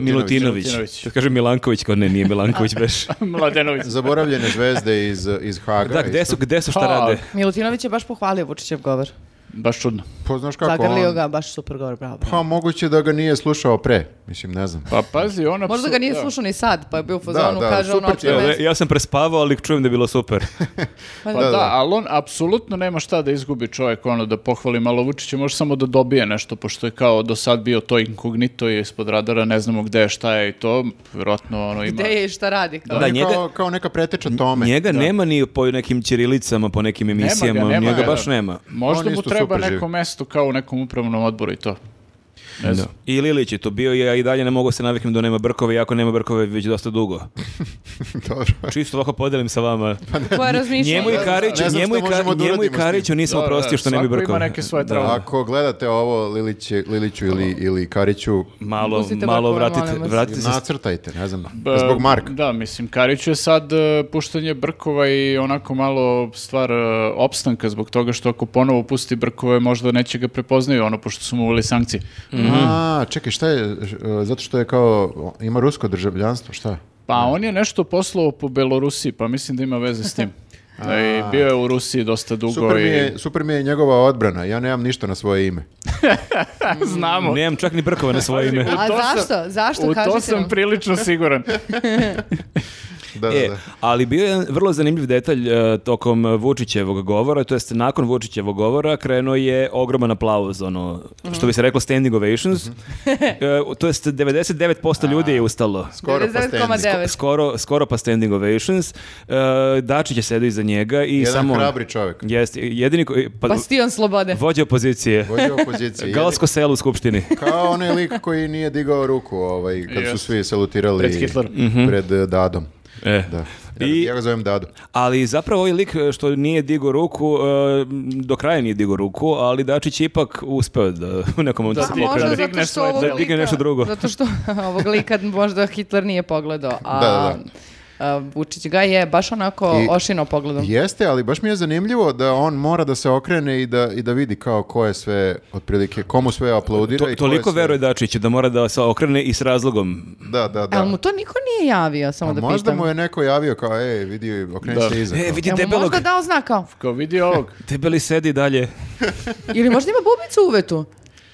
Milutinović. Milutinović. Kad kažem Milanković, kao ne, nije Milanković beš. Mladenović. Zaboravljene zvezde iz, iz Haga. Da, gde isto. su, gde su šta Ha. rade? Milutinović je baš pohvalio Vučićev govor. Baš čudno. Pa znaš kako Zagrlio on... ga, baš super govor, bravo. bravo. Pa moguće da ga nije slušao pre. Mislim, ne znam. Pa pazi, on... Možda apsu- ga nije da. slušao ni sad, pa je bio u fazonu, Da, da, kaže ono super opšte ti je, vest. E, Ja sam prespavao, ali čujem da je bilo super. Pa Pa da. da, da. ali on apsolutno nema šta da izgubi čovjek, ono, da pohvali malo Vučića, može samo da dobije nešto, pošto je kao do sad bio to inkognito i ispod radara, ne znamo gde je, šta je i to, vjerojatno ono ima... Gde je i šta radi? Kao. Da, On je njega- kao, kao neka preteča tome. Njega nema ni po nekim čirilicama, po nekim emisijama, njega baš nema. Možda On mu isto treba super neko živi. mesto kao u nekom upravnom odboru i to. Ne znam. I Lilić je to bio, ja i dalje ne mogu se naviknem da nema brkove, iako nema brkove već dosta dugo. Dobro. Čisto ovako podelim sa vama. Koje razmišljanje. Njemu i Kariću, Pa Ne znam njemu i, šta možemo Kar- da njemu i uradimo s tim. Kariću nisam Da, da, oprostio što nema svako ima brkove. neke svoje Da. traume. Ako gledate ovo Liliće, Liliću ili, ili Kariću, Malo, Pustite malo brkove, vratite, molim vas. vratite se. nacrtajte, ne znam. Ba, E, Zbog Marka. E, Da, mislim, Kariću je sad e, puštanje brkova i onako malo stvar e, opstanka zbog toga što ako ponovo pusti brkove možda neće ga prepoznaju, ono, pošto su mu uveli sankcije. Mhm. A, čekaj, šta je, š- e, zato što je kao, ima rusko državljanstvo, šta? Pa on je nešto poslao po Belorusiji, pa mislim da ima veze s tim. Da, i bio je u Rusiji dosta dugo Super mi, i... je, super mi je njegova odbrana, ja nemam ništa na svoje ime. Znamo. Nemam čak ni brkove na svoje ime. A to sam- zašto? Zašto? U to Kažite sam nam. prilično siguran. Da, da, E, da. ali bio je jedan vrlo zanimljiv detalj e, tokom e, Vučićevog govora, to jest nakon Vučićevog govora krenuo je ogroman aplauz, ono, što bi se reklo standing ovations, Mhm. E, to jest 99% ljudi je ustalo. Skoro pa standing. 99,9. Skoro, skoro pa standing ovations. E, Dačić je sedio iza njega i Jedan samo... on. hrabri čovjek. Jeste, jedini koji... Pa, Bastion slobode. vođa opozicije. Vođe opozicije. Galsko selo u skupštini. Kao onaj lik koji nije digao ruku ovaj, kad su Jest. svi salutirali Pred Hitlerom. Mhm. pred, e, Dadom. E. Da. Ja, I- ja ga zovem Dado. Ali zapravo ovaj lik e, što nije digo ruku, e, do kraja nije digo ruku, ali Dačić je ipak uspeo da u nekom momentu Da, se A ti popravi. Pa možda da zato digneš što svoje ovog telo. Da digne lika- nešto drugo. Zato što ovog lika možda Hitler nije pogledao, a, Da, a Vučić ga je baš onako I- ošino pogledom. Jeste, ali baš mi je zanimljivo da on mora da se okrene i da, i da vidi kao ko je sve, otprilike, komu sve aplaudira. To, i ko je toliko sve- veruje Dačiću da mora da se okrene i s razlogom. Da, da, da. Ali mu to niko nije javio, samo A da možda pitam. mu je neko javio kao, ej, vidi, okreni Da. se iza. E, kao. vidi Jel mu debelog. možda dao znak kao? Kao vidi ovog. Debeli sedi dalje. Ili možda ima bubicu u uvetu?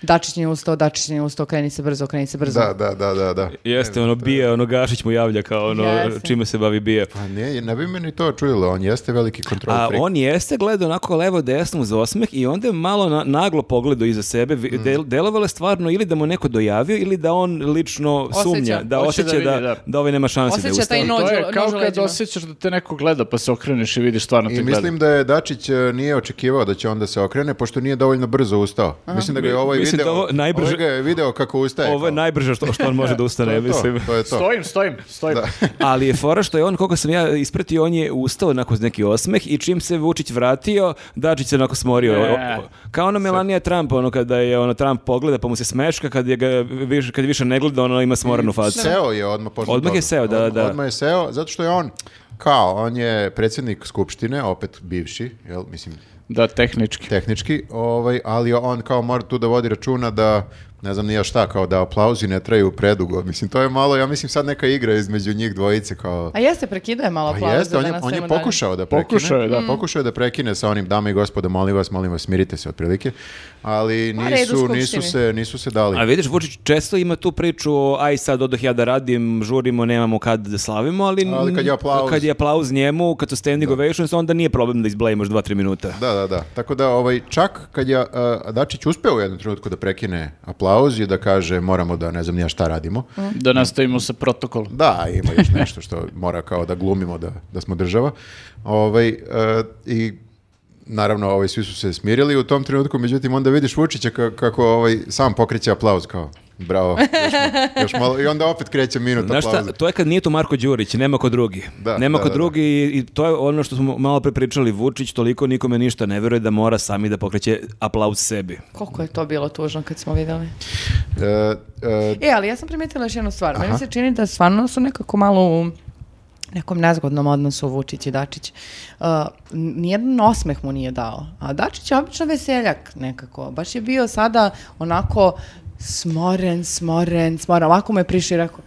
Dačić nije ustao, Dačić nije ustao, kreni se brzo, kreni se brzo. Da, da, da, da, da. Jeste, ono bije, ono Gašić mu javlja kao ono Jeste. čime se bavi bije. Pa ne, ne bi me ni to čudilo, on jeste veliki kontrol A freak. on jeste gledao onako levo desno uz osmeh i onda je malo na- naglo pogledao iza sebe. Vi- del- delovalo je stvarno ili da mu neko dojavio ili da on lično Osjeća. sumnja, da Hoće osjeća da da, vidi, da, da. ovaj nema šanse da Osjeća taj ustane. nož To je Nož kao u kad leđima. osjećaš da te neko gleda pa se okreneš i vidiš stvarno te I gleda. mislim da je Dačić e, nije očekivao da će on da se okrene, pošto nije dovoljno brzo ustao. Mislim da ga je ovaj Mislim da video, ovo najbrže- ovaj ga je video kako ustaje. Ovo je kao. najbrže što, što on može da To ustane, je to, mislim. to je to. Stojim, stojim, stojim. Ali je fora što je on, koliko sam ja ispratio, on je ustao onako uz neki osmeh i čim se Vučić vratio, Dačić se onako smorio. E. O- o- Kao ono Melania Trump, ono kada je ono Trump pogleda pa mu se smeška, kad, je ga, više, kad više ne gleda, ono ima smoranu facu. Pa Seo je odmah posle Odmah toga. je seo, da, Odmah- da. Odmah je seo, zato što je on kao, on je predsjednik skupštine, opet bivši, jel, mislim, Da, tehnički. tehnički, ovaj, ali on kao mora tu da vodi računa da, ne znam nija šta, kao da aplauzi ne traju predugo. Mislim, to je malo, ja mislim, sad neka igra između njih dvojice kao... A jeste, prekidao je malo Pa aplauz jeste, da on je, nas on je nema dalje. Mm. pokušao da prekine. Pokušao je, da. Pokušao je da prekine sa onim, dame i gospodo, molim vas, molim vas, smirite se otprilike. Ali Pa, red u nisu, nisu, skupštini. se, nisu se A dali. vidiš, Vučić često ima tu priču o aj sad odoh ja da radim, žurimo, nemamo kad da slavimo, ali, Ali kad je aplauz. kad je aplauz njemu, kad su standing ovations, onda nije problem da izblejimoš 2-3 minuta. Da, da, da. Tako da, ovaj, čak kad je a, Dačić uspeo u jednom trenutku da prekine aplauz i da kaže moramo da ne znam nija šta radimo, Da nastavimo sa protokolom. Da, ima još nešto što mora kao da glumimo da, da smo država. Ovaj, e, I naravno, ovaj, svi su se smirili u tom trenutku, međutim, onda vidiš Vučića ka- kako ovaj, sam pokreće aplauz, kao, bravo, još, ma- još malo, i onda opet kreće minut Znaš šta, aplauza. to je kad nije tu Marko Đurić, nema ko drugi. Da, nema da, ko da, drugi i, i to je ono što smo malo pre pričali, Vučić toliko nikome ništa ne veruje da mora sami da pokreće aplauz sebi. Koliko je to bilo tužno kad smo videli. E, e, E, ali ja sam primetila još jednu stvar. Meni se čini da stvarno su nekako malo u nekom nezgodnom odnosu Vučić i Dačić. Uh, n- nijedan osmeh mu nije dao. A Dačić je obično veseljak nekako. Baš je bio sada onako smoren, smoren, smoren. Ovako mu je prišao i rekao,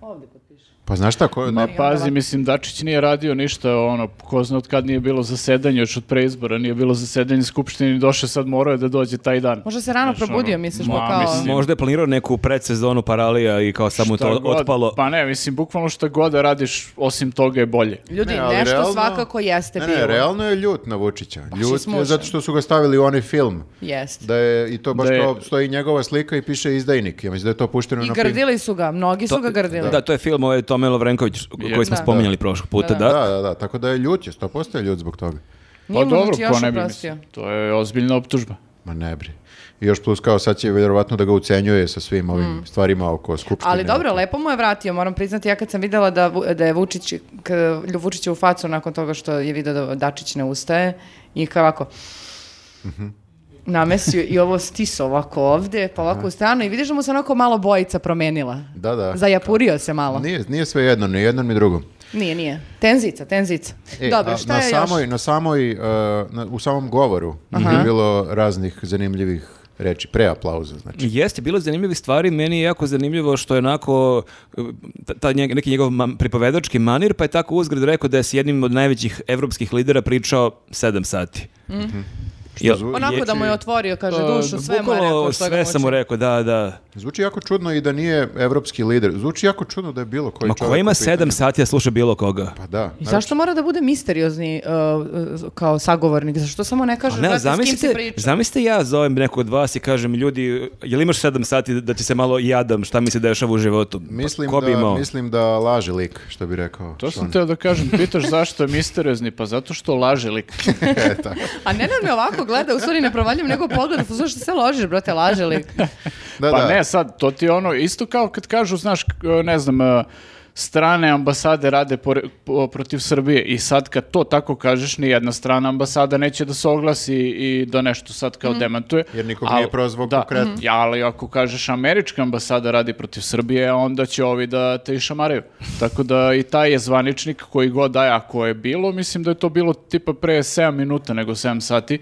ovdje potpiši. pa znaš šta, ko, Ma onda pazi, ovako. mislim, Dačić nije radio ništa, ono, ko zna od kad nije bilo zasedanje, još od preizbora nije bilo zasedanje skupštine, došao sad morao je da dođe taj dan. Možda se rano Znaš, ono, probudio, misliš, ma, pa kao... mislim, Možda je planirao neku predsezonu paralija i kao samo šta to god- otpalo. Pa ne, mislim, bukvalno šta god da radiš, osim toga je bolje. Ljudi, Ne, ali nešto realno- svakako jeste ne, bilo. ne, realno je ljut na Vučića. je Ljut je smušan. zato što su ga stavili u onaj film. Jeste. Da je, i to baš Da je- kao, stoji njegova slika i piše izdajnik. Ja mislim da je to pušteno I na prim- grdili su ga, mnogi su ga grdili. Da, to je film ovaj Tome Lovrenković koji smo Da. spominjali prošlog puta, da. Da, da, da, tako da je ljut, je 100% je ljut zbog toga. Pa Nije mu dobro, znači još ko ne bi, oprostio. mislim. To je ozbiljna optužba. Ma ne bri. I još plus kao sad će vjerovatno da ga ucenjuje sa svim ovim stvarima oko skupštine. Mm. Ali dobro, lepo mu je vratio, moram priznati, ja kad sam videla da, Vu- da je Vučić, k, lju- Vučić je u facu nakon toga što je vidio da Dačić ne ustaje i kao ovako, Mhm. namesio i ovo stiso ovako ovdje, pa ovako u stranu i vidiš da mu se onako malo bojica promenila. Da, da. Zajapurio se malo. Nije, nije sve jedno, ni jednom ni drugom. Nije, nije. Tenzica, tenzica. E, Dobro, a šta na je samoj, još? Na samoj, e, na- u samom govoru je bilo raznih zanimljivih reči, pre aplauza, znači. Jeste, bilo je zanimljivih stvari, meni je jako zanimljivo što je onako eh, ta, ta njeg- neki njegov man- pripovedački manir, pa je tako uzgred rekao da je s jednim od najvećih evropskih lidera pričao 7 sati. Mhm. Jel- zvu- Onako Mhm. da mu je otvorio, kaže, Eh, dušu, sve mu je bukvalno rekao što ga sve sam mu muči. rekao, da, da. Zvuči jako čudno i da nije evropski lider. Zvuči jako čudno da je bilo koji Ma Pa čovjek. ko u ima pitanju. 7 sati, a sluša bilo koga? Pa da. I zašto mora da bude misteriozni uh, kao sagovornik? Zašto samo ne kaže A Pa Ne, brate, s kim si zamislite, pričao? zamislite ja zovem nekog od vas i kažem, ljudi, jel imaš 7 sati da ti se malo jadam šta mi se dešava u životu? Pa Mislim ko bi da, imao? mislim da laže lik, što bi rekao. To Sean. sam teo da kažem, pitaš zašto je misteriozni, pa zato što laže lik. A Nenad me ovako gleda, u stvari ne provaljujem nego pogled, zašto se ložiš, brate, laže lik. Da, pa da. ne, sad, to ti je ono, isto kao kad kažu, znaš, k- ne znam, e, strane ambasade rade pore- po- protiv Srbije i sad kad to tako kažeš, ni jedna strana ambasada neće da se oglasi i da nešto sad kao demantuje. Jer nikog Al- nije prozvao da, konkretno. Ja, ali ako kažeš američka ambasada radi protiv Srbije, onda će ovi da te išamaraju. Tako da i taj je zvaničnik koji god daje, ako je bilo, mislim da je to bilo tipa pre 7 minuta nego 7 sati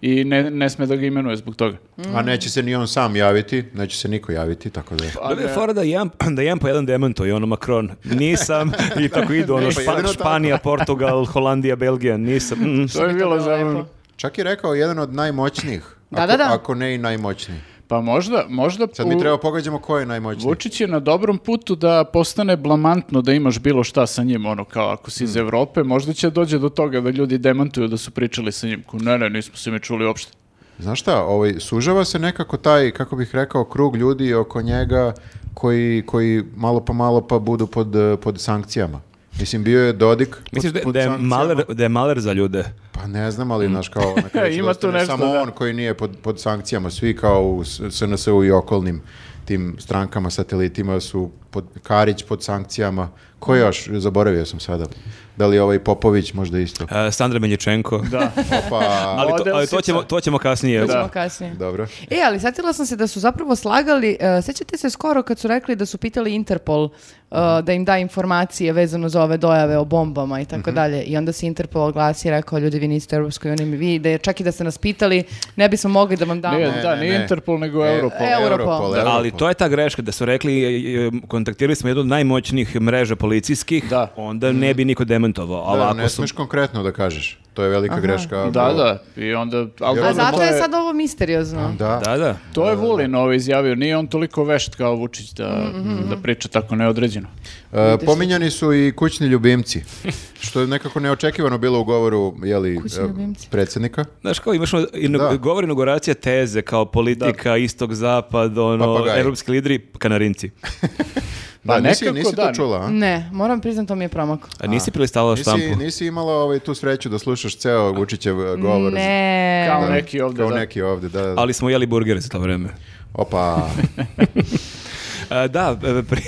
i ne, ne sme da ga imenuje zbog toga. Mm. A neće se ni on sam javiti, neće se niko javiti, tako da je. Dobro je fora da jedan, da jedan po jedan demantuje, ono Macron. Nisam, i tako idu, ono Ne, pa Špa- jedino tako. Španija, Portugal, Holandija, Belgija, nisam. mm. To je bilo zabavno. Čak je rekao jedan od najmoćnijih. Da, ako, da, da. Ako ne i najmoćniji. Pa možda, možda Sad mi u- treba pogađamo ko je najmoćniji. Vučić je na dobrom putu da postane blamantno da imaš bilo šta sa njim, ono kao ako si Hmm. iz Evrope, možda će dođe do toga da ljudi demantuju da su pričali sa njim. Ko, Ne, ne, nismo se mi čuli uopšte. Znaš šta, ovaj, sužava se nekako taj, kako bih rekao, krug ljudi oko njega koji, koji malo pa malo pa budu pod, eh, pod sankcijama. Mislim, bio je Dodik pod- Misliš da, pod da, je sankcijama. maler, da je maler za ljude? Pa ne znam, ali znaš kao... na kraju će Mm. Ima da ostane tu nešto, Samo da. on koji nije pod, pod sankcijama, svi kao u S- SNS-u i okolnim tim strankama, satelitima su pod, Karić pod sankcijama. Ko još? Zaboravio sam sada. Da li je ovaj Popović možda isto? E, Sandra Miljičenko. Da. Opa, Ali, to, Odel ali si to, ćemo, sad. to ćemo kasnije. To ćemo Da. kasnije. dobro. E, ali setila sam se da su zapravo slagali, uh, sećate se skoro kad su rekli da su pitali Interpol uh, da im da informacije vezano za ove dojave o bombama i Mhm. tako dalje. I onda se Interpol oglasio i rekao, ljudi, vi niste u Europskoj uniji, vi, da je, čak i da ste nas pitali, ne bismo mogli da vam damo. Nije, da, ne, nije ne. E, Interpol, nego Europol. Europol. Ali to je ta greška da su rekli, e, e, kontaktirali smo jednu od najmoćnijih mreža policijskih, Da. onda ne bi niko demantovao. Ali Da, ako ne su... smeš konkretno da kažeš. To je velika greška. ako- Da, da. I onda... ali A dobro, zato to je sad ovo misteriozno. Da. Da, da. To je Vulin ovo izjavio, nije on toliko vešt kao Vučić da, da priča tako neodređeno. E, pominjani su i kućni ljubimci, što je nekako neočekivano bilo u govoru jeli, Kućni e, ljubimci. predsjednika. Znaš kao imaš ono, ino- Da. govor inauguracija teze kao politika, istok, zapad, ono, Papagaj. evropski lideri, kanarinci. Da, Pa nisi, nekako nisi to da. čula, a? Ne, moram priznat, to mi je promaklo. A nisi prelistala Nisi, štampu? nisi imala ovaj, tu sreću da slušaš ceo Vučićev eh, govor. Ne. Kao Da, neki ovde, Kao da. neki ovde, da. da. Ali smo jeli burgere za to vreme. Opa, A, da, e, pri-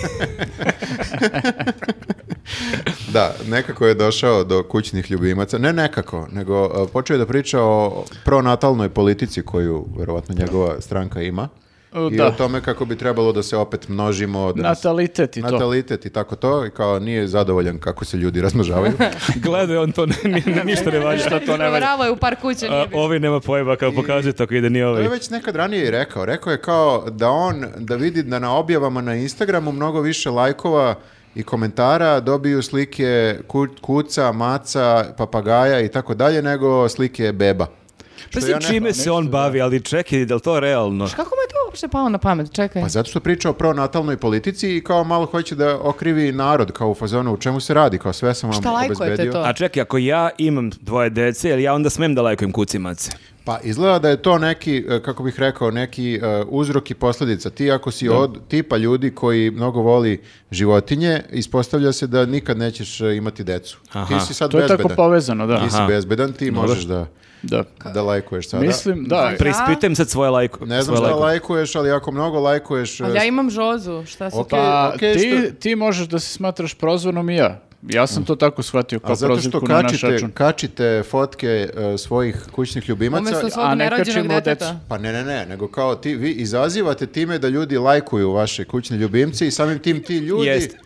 da, nekako je došao do kućnih ljubimaca. Ne nekako, nego eh, počeo je da priča o pronatalnoj politici koju verovatno njegova stranka ima. O, I da. o tome kako bi trebalo da se opet množimo. Da nas- Natalitet i to. natalitet i tako to. I kao nije zadovoljan kako se ljudi razmnožavaju. gledaj, on to ne, ni- ništa ne valja. Ništa to ne E, valja. Provjerava je u par kuće, A, nije bilo. ovi nema pojma kao pokazuje tako ide ni To ovaj. je već nekad ranije i rekao. Rekao je kao da on, da vidi da na objavama na Instagramu mnogo više lajkova i komentara dobiju slike ku- kuca, maca, papagaja i tako dalje nego slike beba. Pa Što si ja ne- čime se on bavi, ali čekaj, je li to realno? Kako mu je to uopšte palo na pamet? Čekaj. Pa zato što priča o pronatalnoj politici i kao malo hoće da okrivi narod kao u fazonu u čemu se radi, kao sve sam vam Šta lajkujete obezbedio. to? A čekaj, ako ja imam dvoje dece, jel ja onda smem da lajkujem kucimace? Pa izgleda da je to neki, e, kako bih rekao, neki e, uzrok i posljedica. Ti ako si od tipa ljudi koji mnogo voli životinje, ispostavlja se da nikad nećeš e, imati decu. Aha. Ti si sad To je bezbedan. tako povezano, da. Ti si Aha. bezbedan, ti možeš da, da. da lajkuješ sada. Mislim, da. Preispitujem sad svoje lajku. ne znam svoje šta lajkove. lajkuješ, ali ako mnogo lajkuješ... e, Ali ja imam žozu, šta se Ok. to... Pa okej, ti, ti možeš da se smatraš prozvanom i ja. Ja sam to tako shvatio A kao zato što prozivku na naš kačite, račun. kačite fotke e, svojih kućnih ljubimaca, Umesto svog ne nerođenog kačimo deteta. decu. Pa ne, ne, ne, nego kao ti, vi izazivate time da ljudi lajkuju vaše kućne ljubimce i samim tim ti ljudi Jeste.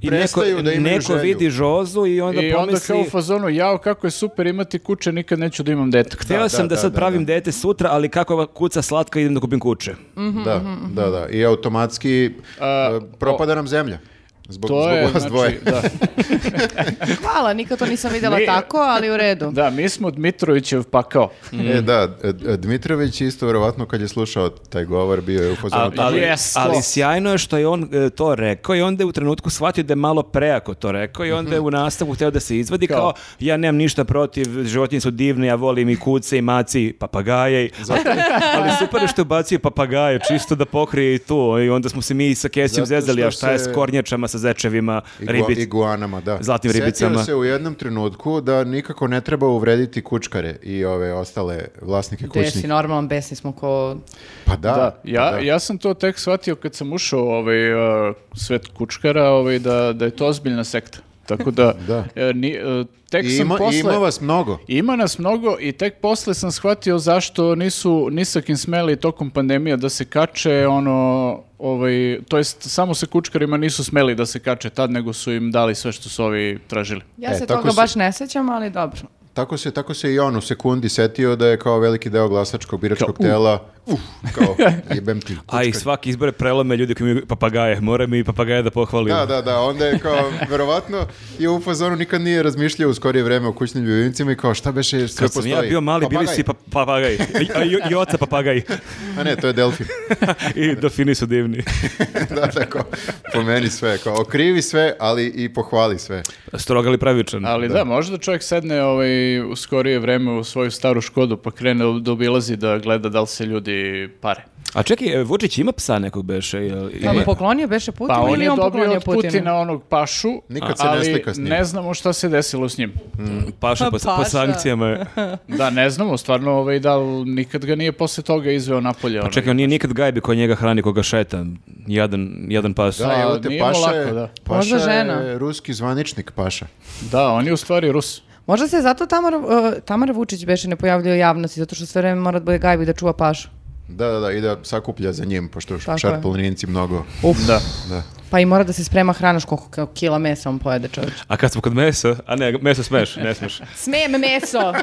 I neko, prestaju da imaju neko želju. vidi žozu i onda I onda pomisli... kao u fazonu, jao, kako je super imati kuće, nikad neću da imam dete. Htio sam da, da, sad da, pravim dete sutra, ali kako je ova kuca slatka, idem da kupim kuće. Da, mhm, da, da. I automatski A, e, propada nam zemlja. Zbog, To zbog je, vas znači, dvoje. da. Hvala, nikad to nisam vidjela Mi- tako, ali u redu. Da, mi smo Dmitrovićev pakao. E, da, e, e, Dmitrović isto verovatno kad je slušao taj govor bio je u fazonu A- tako. ali, Yes, to. ali sjajno je što je on e, to rekao i onda je u trenutku shvatio da je malo preako to rekao i Mhm. onda je u nastavku hteo da se izvadi kao, Kao? ja nemam ništa protiv, životinje su divne, ja volim i kuce i maci i papagaje. i-" ali super je što je bacio papagaje, čisto da pokrije i to. I onda smo se mi sa Kesijom Zato zezali, što a šta je se- s kornjačama, sa zečevima, Igua- ribic... Iguanama, da. Zlatnim ribicama. Sjetio se u jednom trenutku da nikako ne treba uvrediti kučkare i ove ostale vlasnike Te si kućnih. normalan, besni smo ko... Pa da. Da, ja, pa da. ja sam to tek shvatio kad sam ušao u ovaj, uh, svet kučkara, ovaj, da, da je to ozbiljna sekta. Tako da, Da. e, ni- e, tek I sam ima, posle... ima vas mnogo. Ima nas mnogo i tek posle sam shvatio zašto nisu ni sa kim smeli tokom pandemija da se kače ono ovaj to jest samo sa kučkarima nisu smeli da se kače tad nego su im dali sve što su ovi tražili. Ja E, se tako toga si- baš ne sećam, ali dobro. Tako se, tako se i on u sekundi setio da je kao veliki deo glasačkog biračkog tela, uf, kao jebem ti. A i kućka. svaki izbore prelome ljudi koji imaju papagaje. Moram i papagaje da pohvalim. Da, da, da, onda je kao, verovatno je u fazonu nikad nije razmišljao u skorije vreme o kućnim ljubimcima i kao šta beše sve Kad sam postoji. ja bio mali, bili Papagaj. si pa- papagaj. A, i, i oca papagaj. A ne, to je Delfi. I dofini su divni. da, tako, po meni sve, kao okrivi sve, ali i pohvali sve. Stroga li pravičan? Ali da, možda čovjek sedne ovaj, u skorije vreme u svoju staru škodu pa krene da obilazi da gleda da li se ljudi pare. A čekaj, e, Vučić ima psa nekog beše? jel- Pa mu ima? poklonio beše Pa Putinu on ili je on dobio poklonio od Putinu? Putina onog pašu, Nikad se ne ali slika s njim. ne znamo šta se desilo s njim. Paša Pa Mm, po, po paša. sankcijama. je. Da, ne znamo, stvarno ovaj, da li nikad ga nije posle toga izveo napolje. ono, onaj. Pa Čekaj, on nije nikad gajbi koji njega hrani, koga šeta. Jadan, jadan pas. Da, A, evo te, nije mu Paša, je, lako, da. Paša Možda žena. je ruski zvaničnik Paša. Da, on je u stvari Rus. Možda se zato Tamara, uh, Tamara Vučić beše ne pojavljuje u javnosti, zato što sve vreme mora da bude gajbi da čuva pašu. Da, da, da, i da sakuplja za njim, pošto Tako je. šarplaninci mnogo. Uf. Da. Pa i mora da se sprema hrana, što koliko kao kila mesa on pojede čovječ. A kad smo kod mesa, a ne, meso smeš, ne smeš. Smem meso,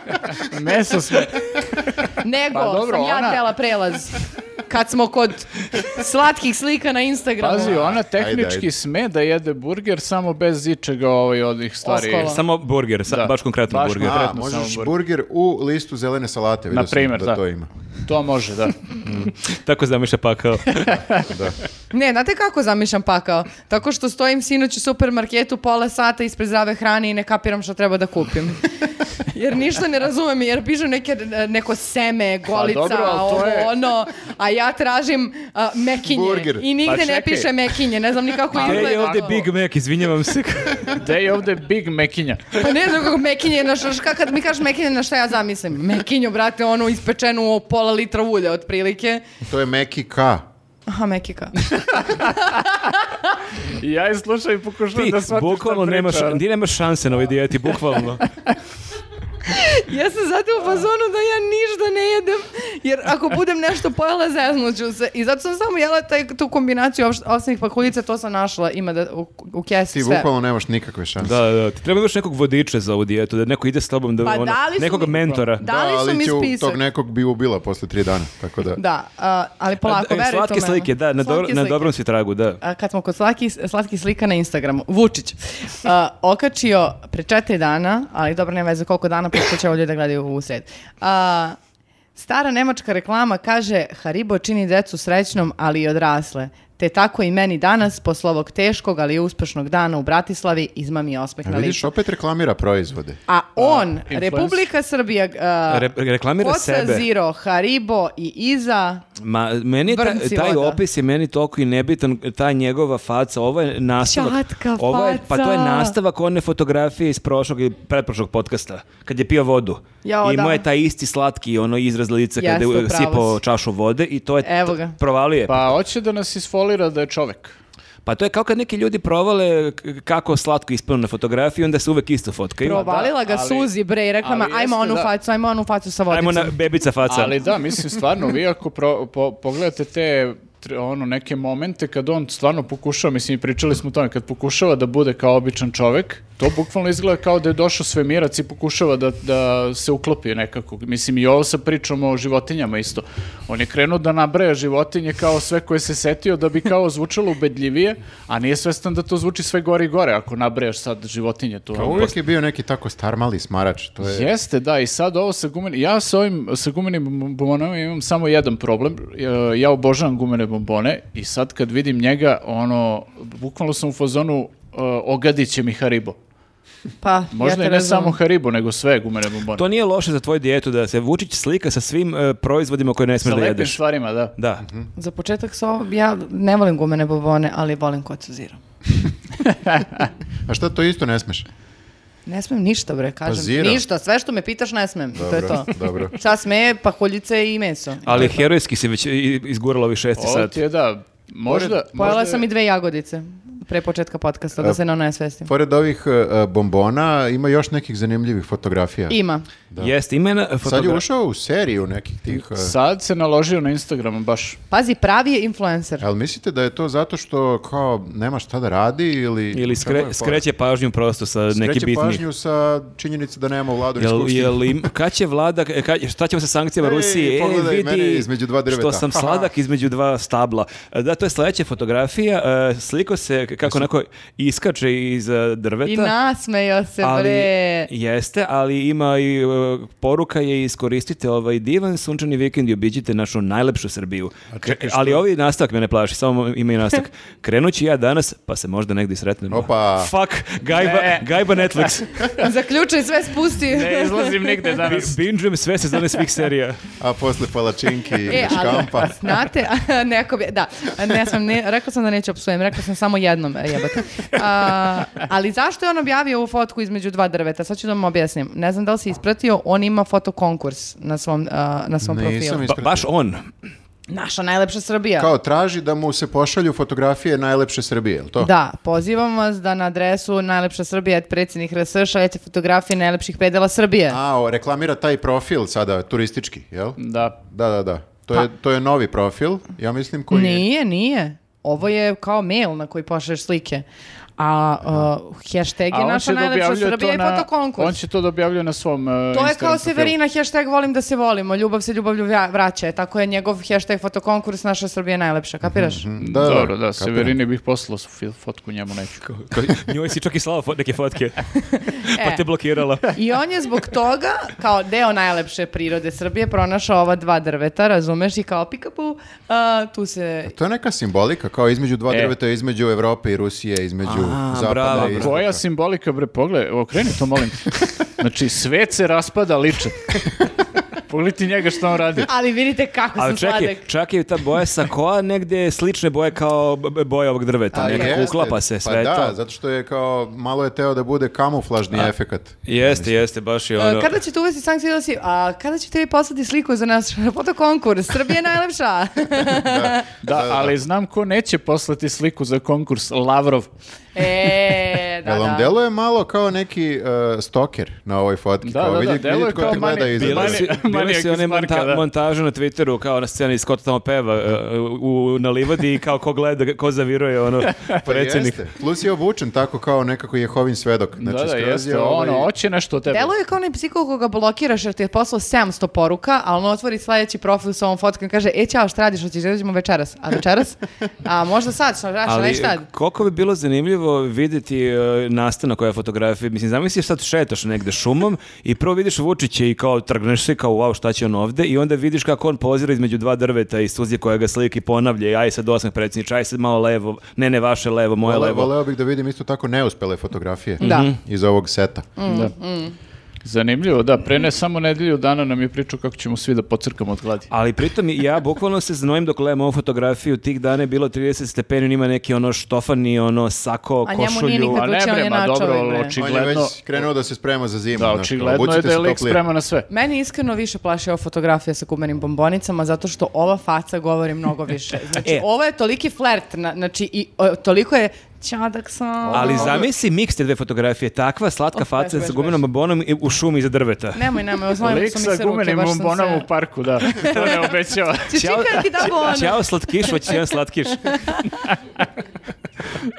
Meso sme. nego Pa dobro, sam ja ona- tela prelaz. Kad smo kod slatkih slika na Instagramu. Pazi, ona tehnički ajde. sme da jede burger samo bez ičega ovaj, od ih stvari. Oskola. Samo burger, sa- Da. baš konkretno Baš burger. A, Konkretno možeš samo burger u listu zelene salate, vidio sam Naprimer, da, da. to ima. To može, da. Tako zamišlja pakao. Ne, znate kako zamišljam pakao? Tako što stojim sinoć u supermarketu pola sata ispred zdrave hrane i ne kapiram što treba da kupim. jer ništa ne razumem, jer pišu neke, neko seme, golica, Pa dobro, ali to ovo, je- ono, a ja tražim a, mekinje Burger. i nigde Pa ne čekaj. piše mekinje, ne znam ni kako Gde izgleda. E, je ovde tako. Big Mac, izvinjavam se. Gde je ovde Big Mekinja? Pa ne znam kako mekinje, na šta, šta- kad mi kažeš mekinje, na šta ja zamislim? Mekinjo, brate, ono ispečeno u pola litra ulja, otprilike. To je Meki K. Aha, mekika. I ja je slušam i pokušam Ti, da shvatim šta bukvalno priča. nemaš, ti nemaš šanse na ovoj dijeti, bukvalno. Ja sam zato u fazonu da ja ništa ne jedem, jer ako budem nešto pojela, zeznuću se. I zato sam samo jela taj, tu kombinaciju opš- osnovnih pakuljica, to sam našla, ima da, u, u kesi Ti sve. bukvalno nemaš nikakve šanse. Da, da, ti treba još nekog vodiča za ovu dijetu, da neko ide s tobom, da, Pa ono, dali su nekog mi- mentora. Da li su ali mi ću spisak? tog nekog bi ubila posle tri dana, tako da... Da, a, ali polako, E, verujte u Slatke mene. slike, da, na, dobro- Slatke na slike. dobrom si tragu, da. a, kad smo kod slatkih, slatkih slika na Instagramu, Vučić, a, okačio pre četiri dana, ali dobro nema veze koliko dana, pošto će ovo ljudi da gledaju u sred. A, stara nemačka reklama kaže Haribo čini decu srećnom, ali i odrasle. Te tako i meni danas, posle ovog teškog, ali uspešnog dana u Bratislavi, izmami je osmeh A na E, vidiš, licu. opet reklamira proizvode. A on, influencer. Republika Srbija, a, Re- reklamira Coca sebe. Zero, Haribo i Iza, Ma, meni je ta- Brnci taj voda. opis je meni toliko i nebitan, ta njegova faca, ovo je nastavak. Ćatka ovo je, pa to je faca. nastavak one fotografije iz prošlog ili pretprošlog podcasta, kad je pio vodu. Jao, I Imao da. je taj isti slatki ono izraz lica kada Jeste, je upravo sipao si. čašu vode i to je Evo t- ga. provalio. je. Pa. Pa hoće da nas isfolira da je čovek. to je kao kad neki ljudi provale k- kako slatko ispadnu na fotografiji, onda se uvek isto fotkaju. provalila ga ali- Suzi, bre, i rekla ali ma, ajmo jeste, onu da. facu, ajmo onu facu sa vodicom. Ajmo na bebica faca. Ali da, mislim stvarno, vi ako pro- po- pogledate te tr- ono neke momente kad on stvarno pokušava, mislim i pričali smo o tome, kad pokušava da bude kao običan čovek, to bukvalno izgleda kao da je došao svemirac i pokušava da, da se uklopi nekako. Mislim i ovo sa pričom o životinjama isto. On je krenuo da nabraja životinje kao sve koje se setio da bi kao zvučalo ubedljivije, a nije svestan da to zvuči sve gore i gore ako nabrajaš sad životinje. To Pa uvijek je bio neki tako starmali smarač. To je... Jeste, da, i sad ovo sa gumenim, ja sa ovim, sa gumenim bombonama imam samo jedan problem, E, ja obožavam gumene bombone i sad kad vidim njega, ono, bukvalno sam u fazonu, e, ogadit će mi Haribo. Pa, Možda ja i ne samo Haribo, nego sve gumene bombone. To nije loše za tvoju dijetu da se Vučić slika sa svim e, proizvodima koje ne Sa smiješ da lepim jedeš. stvarima, da. Da. Za početak so, ja ne volim gumene bobone, ali volim kocu zira. A šta to isto ne smeš? Ne smem ništa, bre, Pa kažem. ti, zira. Ništa, sve što me pitaš ne smem. To je to. dobro. Šta sme, paholjice i meso. Ali herojski si već i- izgurala ovih šesti Ovo sat. ti je, da, možda... možda E, Pojela je- sam i dve jagodice pre početka podcasta, da se ne onesvestim. Pored ovih e, e, bombona ima još nekih zanimljivih fotografija. Ima. Jeste, ima jedna Sad je fotografija. ušao u seriju nekih tih... e, Sad se naložio na Instagramu baš. Pazi, pravi je influencer. jel mislite da je to zato što kao nema šta da radi ili... Ili kako je skre, fora? skreće pažnju prosto sa neki Skreće bitni. pažnju sa činjenice da nema vladu ni Jel, skupštinu. jel im, kad će vlada, e, kad, šta ćemo sa sankcijama Ej, Rusije? E, pogledaj vidi, mene između dva drveta. Što sam Haha. sladak između dva stabla. E, Da, to je sledeća fotografija. e, Sliko se kako onako iskače iz e, drveta. I nasmejo se, Ali, bre. jeste, ali ima i e, poruka je iskoristite ovaj divan sunčani vikend i obiđite našu najlepšu Srbiju. Kre- ali ovi nastavak me ne plaši, samo ima i nastavak. Krenući ja danas, pa se možda negdje sretnemo. Opa. Fuck, gajba, gajba Netflix. Zaključaj, sve spusti. Ne E, izlazim nigde danas. Binžujem sve sezone svih serija. A posle palačinki i E, ali, škampa. znate, neko bi, da, ne sam, ne, rekla sam da neću opsujem, rekla sam samo jednom, e, jebote. A, ali zašto je on objavio ovu fotku između dva drveta? Sad ću da vam objasnim. Ne znam da li si ispratio, on ima fotokonkurs na svom, a, na svom profilu. Nisam Ba- ispratio. baš on. Naša najlepša Srbija. Kao traži da mu se pošalju fotografije najlepše Srbije, jel to? Da, pozivam vas da na adresu najlepša Srbija et predsjednik RS šaljete fotografije najlepših predela Srbije. A, o, reklamira taj profil sada, turistički, jel? Mm. Da. Da, da, da. To, Pa- je, to je novi profil, ja mislim, koji je... Nije, nije. Ovo je kao mail na koji pošalješ slike. A uh, hashtag je on naša će da najlepša objavljuje Srbija i to na- fotokonkurs. On će to da objavljuje na svom e, To je Instagram kao profilu. Severina, hashtag volim da se volimo, ljubav se ljubavlju vra- vraća, tako je njegov hashtag fotokonkurs naša Srbija je najlepša, kapiraš? Da, da, Dobro, da, kapiram. Severini bih poslao fil- fotku njemu neću. Njoj si čak i slava fo- neke fotke. pa E. te blokirala. I on je zbog toga, kao deo najlepše prirode Srbije, pronašao ova dva drveta, razumeš, i kao pikapu, tu se... To je neka simbolika, kao između dva E. drveta, između Evrope i Rusije, između zapada bravo, i bravo. istoka. Koja simbolika, bre, pogledaj, okreni to, molim te. Znači, svet se raspada liče. Pogledaj ti njega što on radi. Ali vidite kako Ali sam čekaj, sladak. čak je i ta boja sakoa negdje je slične boje kao b- b- boja ovog drveta. Pa nekako jeste, uklapa se sve Pa da, to. zato što je kao, malo je teo da bude kamuflažni efekat. Jeste, jeste, baš je ono. E, Kada ćete uvesti sankcije da si, a kada ćete vi poslati sliku za naš fotokonkurs? Srbija je najlepša. Da, ali znam ko neće poslati sliku za konkurs, Lavrov. e, da, Jel vam da. deluje malo kao neki uh, stoker na ovoj fotki? Da, da, da, deluje vidite ko kao te gleda mani- iza Bile Mani- tebe. su, bile manijak su iz one parka, monta- da. montaže na Twitteru kao na sceni Scott tamo peva e, u, na livadi i kao ko gleda, ko zaviruje ono Pa predsjednik. jeste. Plus je obučen tako kao nekako Jehovin svedok. Znači, da, da, skroz jeste, je ovaj- ono, hoće nešto od tebe. Deluje kao onaj psiko koga blokiraš jer ti je poslao 700 poruka, a on otvori sledeći profil sa ovom fotkom i kaže, e, ćao, šta radiš, hoćeš, izađemo večeras. A večeras? A možda sad, šta radiš, Ali već tad? koliko bi bilo zanimljivo vidjeti e, nastanak ove fotografije. Mislim, zamisli sad šetaš negde šumom i prvo vidiš Vučića i kao trgneš se kao wow šta će on ovde i onda vidiš kako on pozira između dva drveta i suzi koja ga sliki ponavlja i aj sad osmeh predsjednič, aj sad malo levo, ne ne vaše levo, moje Vole, levo. voleo bih da vidim isto tako neuspele fotografije Mhm. Da. Mm. iz ovog seta. Da. Zanimljivo, da, pre ne samo nedelju dana nam je pričao kako ćemo svi da pocrkamo od gladi. Ali pritom ja bukvalno se znojim dok gledam ovu fotografiju, tih dana je bilo 30 stepeni, on ima neki ono štofani, ono sako, A njemu nije košulju. nikad- Pa ne Odlučio on bre, je ma dobro, načovek, bre. On je očigledno, već krenuo da se sprema za zimu. da, znaš, očigledno je obucite da je se lik toplije. spreman na sve. Meni iskreno više plaši ova fotografija sa gumenim bombonicama zato što ova faca govori mnogo više. Znači, E. ovo je toliki flert, na, znači, i, o, toliko je čadak sam. Ali zamisli miks te dve fotografije, takva slatka Oh, faca baš, sa baš, gumenom bonom i u šumi iza drveta. Nemoj, nemoj, oznojili Lik su mi sa se ruke, gumenim baš sam bombonom se... u parku, da, to ne obećava. Ću čikati ti da bono. Ćao slatkiš, hoćeš jedan slatkiš.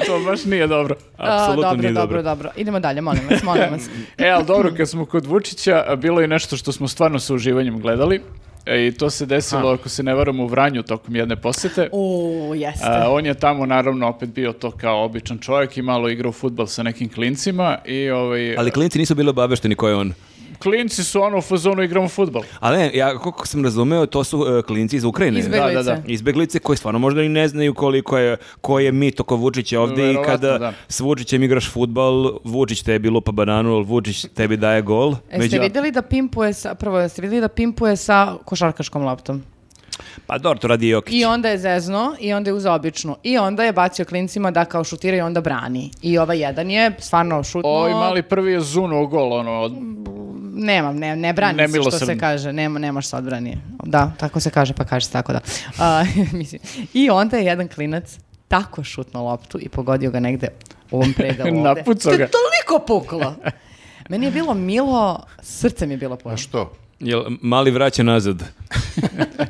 to baš nije dobro. A, Apsolutno dobro, nije dobro. dobro, dobro. Idemo dalje, molim vas, molim vas. E, ali dobro, kad smo kod Vučića, a, bilo je nešto što smo stvarno sa uživanjem gledali. E, I to se desilo, ako se ne varam, u Vranju tokom jedne posete. O, jeste. A, on je tamo naravno opet bio to kao običan čovjek i malo igrao futbal sa nekim klincima i ovaj, Ali klinci nisu bili obavešteni ko je on. klinci su ono u fazonu igramo futbal. Ali ne, ja koliko sam razumeo, to su e, klinci iz Ukrajine. Izbeglice. da, da. Izbeglice koji stvarno možda i ne znaju koliko je, koji je mit oko Vučića ovdje i Verovatno, kada da. s Vučićem igraš futbal, Vučić tebi lupa bananu, ali Vučić tebi daje gol. Jeste vidjeli da pimpuje sa, prvo, jeste vidjeli da pimpuje sa košarkaškom loptom? Pa dobro, to radi Jokić. I onda je zezno, i onda je uz običnu. I onda je bacio klincima da kao šutira i onda brani. I ovaj jedan je stvarno šutno. Ovaj mali prvi je zunuo gol, ono, od- Nemam, ne, ne brani se što Nemilosrdno. se kaže. Nema, nemaš se odbrani. Da, tako se kaže, pa kaže se tako da. A, mislim. I onda je jedan klinac tako šutno loptu i pogodio ga negde u ovom predalu ovde. Napucao To ga. je toliko puklo. Meni je bilo milo, srce mi je bilo puno. A Pa što? Jel, mali vraća nazad.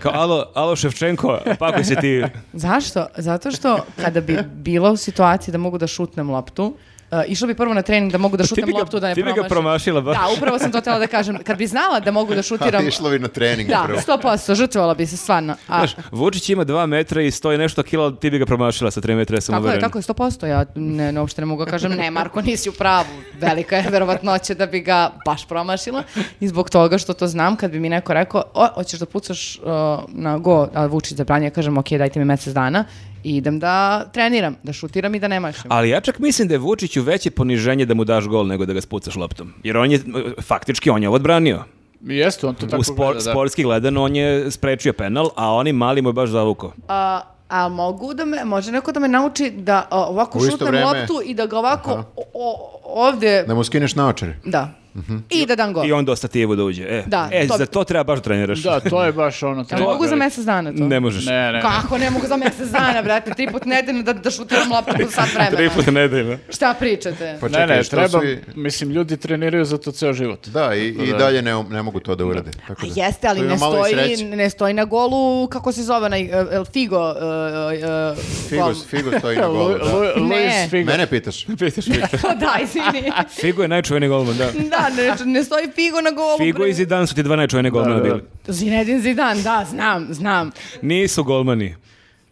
Kao, alo, alo Ševčenko, pakuj se ti. Zašto? Zato što kada bi bila u situaciji da mogu da šutnem loptu, uh, išla bi prvo na trening da mogu da šutnem bi ga- loptu da ne Pa ti bi ga promašim. promašila, ba. Da, upravo sam to htjela da kažem. Kad bi znala da mogu da Ha, šutiram... išlo bi na trening Da, prvo. 100%, žrtvovala bi se stvarno. A, Znaš, Vučić ima dva metra i stoji nešto kila, ti bi ga promašila sa tri metra, ja sam tako je, uveren. tako je, 100%. Ja ne, ne, uopšte ne mogu da kažem, ne Marko, nisi u pravu. Velika je verovatnoća da bi ga baš promašila. I zbog toga što to znam, kad bi mi neko rekao, o, hoćeš da pucaš uh, na go, a Vučić zabranio, ja kažem, ok, dajte mi mjesec dana i idem da treniram, da šutiram i da ne mašim. Ali ja čak mislim da je Vučiću veće poniženje da mu daš gol nego da ga spucaš loptom. Jer on je, faktički, on je ovo odbranio. jeste, on to tako U spor, gleda, da. sportski gledano on je sprečio penal, a oni mali mu je baš zavuko. A, a mogu da me, može neko da me nauči da a, ovako U isto šutnem vreme. loptu i da ga ovako o, o- ovde, Da mu skineš naočare. da, Mhm. i da dam gol. I onda o stativu da uđe. E, Da, e to- za to treba baš da treniraš. Da, to je baš ono. Ja ne to- mogu za mjesec dana to. Ne možeš. Ne, ne. Kako ne mogu za mjesec dana, brate, tri put nedeljno da, da šutiram loptu po sat Tri vremena. puta nedeljno. Šta pričate? Pa Ne, ne, što treba, su i- mislim, ljudi treniraju za to ceo život. Da, i, i dalje ne, ne mogu to da urade. Tako A da, Pa jeste, ali tu ima ne malo i stoji, sreće. ne stoji na golu, kako se zove, onaj, e, El Figo, e, e, gol. Figo, Figo stoji na golu. Lu- Da. Lu- Ne. Luis Figo. Mene pitaš. da, izvini. Figo je najčuveniji golman, da. Da, ne, ne stoji Figo na golu. Figo bre. i Zidane su ti dva najčuvenija golmana da, da. bili. Zinedine Zidane, da, znam, znam. Nisu golmani.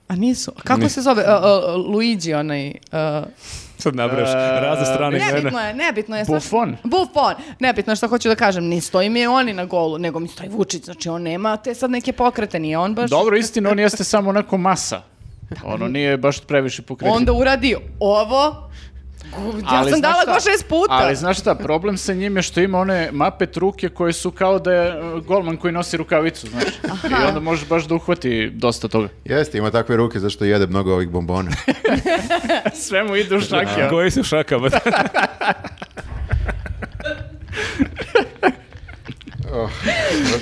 A nisu. A Kako se zove? E, e, Luigi onaj... e, Sad nabraš, razne strane nebitno imena. je, nebitno je. Buffon? Buffon. Nebitno je što hoću da kažem. Ne stoji mi oni na golu, nego mi stoji Vučić. Znači on nema te sad neke pokrete, nije on baš... Dobro, istina, on jeste samo onako masa. Ono nije baš previše pokretljiv. Onda uradi ovo, Ja Ali sam znaš dala šta? go šest puta. Ali znaš šta, problem sa njim je što ima one mapet ruke koje su kao da je e, golman koji nosi rukavicu, znaš. I onda možeš baš da uhvati dosta toga. Jeste, ima takve ruke zašto jede mnogo ovih bombona. Sve mu ide u šake. a? Koji su šakama?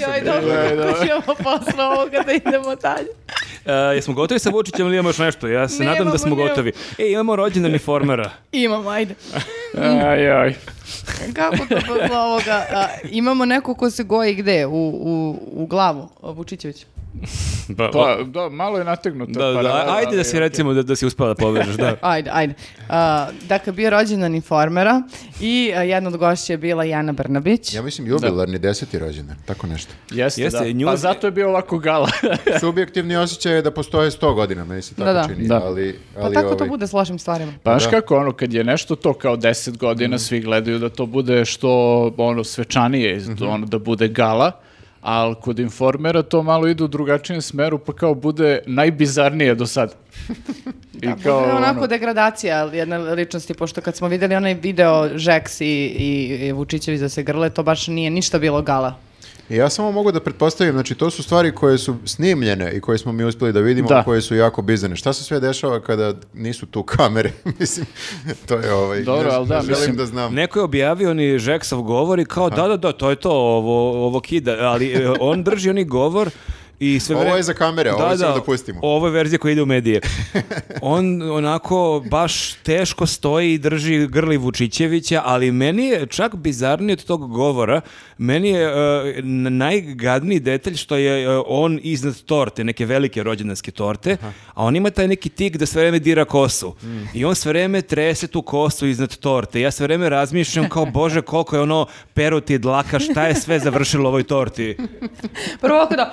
Joj, dobro, Da, da. kako ćemo posle ovoga da idemo dalje. E, jesmo gotovi sa Vučićem ili imamo još nešto? Ja se nadam da Nemamo, smo nemamo. gotovi. E, imamo rođendan uniformera. Imamo, ajde. Aj, aj. Kako to posle ovoga? A, imamo neko ko se goji gde? U, u, u glavu, Vučićević. Ba- Pa, da, malo je nategnuto. da, da, ajde da si recimo da, da si uspala da pobežeš, da. Ajde, ajde. A, dakle, bio je rođendan informera i a, jedna od gošća je bila Jana Brnabić. Ja mislim jubilarni deseti rođendan, tako nešto. Jeste, Jeste, da. nju- Pa zato je bio ovako gala. Subjektivni osjećaj je da postoje 100 godina, meni se Da, tako da. čini, Da. ali Pa ali tako to ovaj- bude s lošim stvarima. Pa znaš kako, ono, kad je nešto to kao 10 Mhm. godina, svi gledaju da to bude što, ono, svečanije, Mhm. ono, da bude gala, ali kod informera to malo ide u drugačijem smeru, pa kao bude najbizarnije do sad. I Kao, kao, Dakle, onako ono, degradacija jedne ličnosti, pošto kad smo videli onaj video Žeks i, i, i Vučićević da se grle, to baš nije ništa bilo gala. I Ja samo mogu da pretpostavim, znači to su stvari koje su snimljene i koje smo mi uspeli da vidimo, Da. koje su jako bizarne. Šta se sve dešava kada nisu tu kamere? mislim, to je ovaj... Dobro, ne- ali da, ne želim mislim- da znam. Neko je objavio ni Žeksov govor i kao da, da, da, to je to, ovo, ovo kida, ali e, on drži oni govor i sve Ovo vreme- je za kamere, ovo samo da pustimo. Ovo je verzija koja ide u medije. On onako baš teško stoji i drži grli Vučićevića, ali meni je čak bizarnije od tog govora, meni je e, n- najgadniji detalj što je e, on iznad torte, neke velike rođendanske torte, a on ima taj neki tik da sve vreme dira kosu. Mm. I on sve vreme trese tu kosu iznad torte. Ja sve vreme razmišljam kao, bože, koliko je ono peruti dlaka, šta je sve završilo u ovoj torti. Prvo ovako da,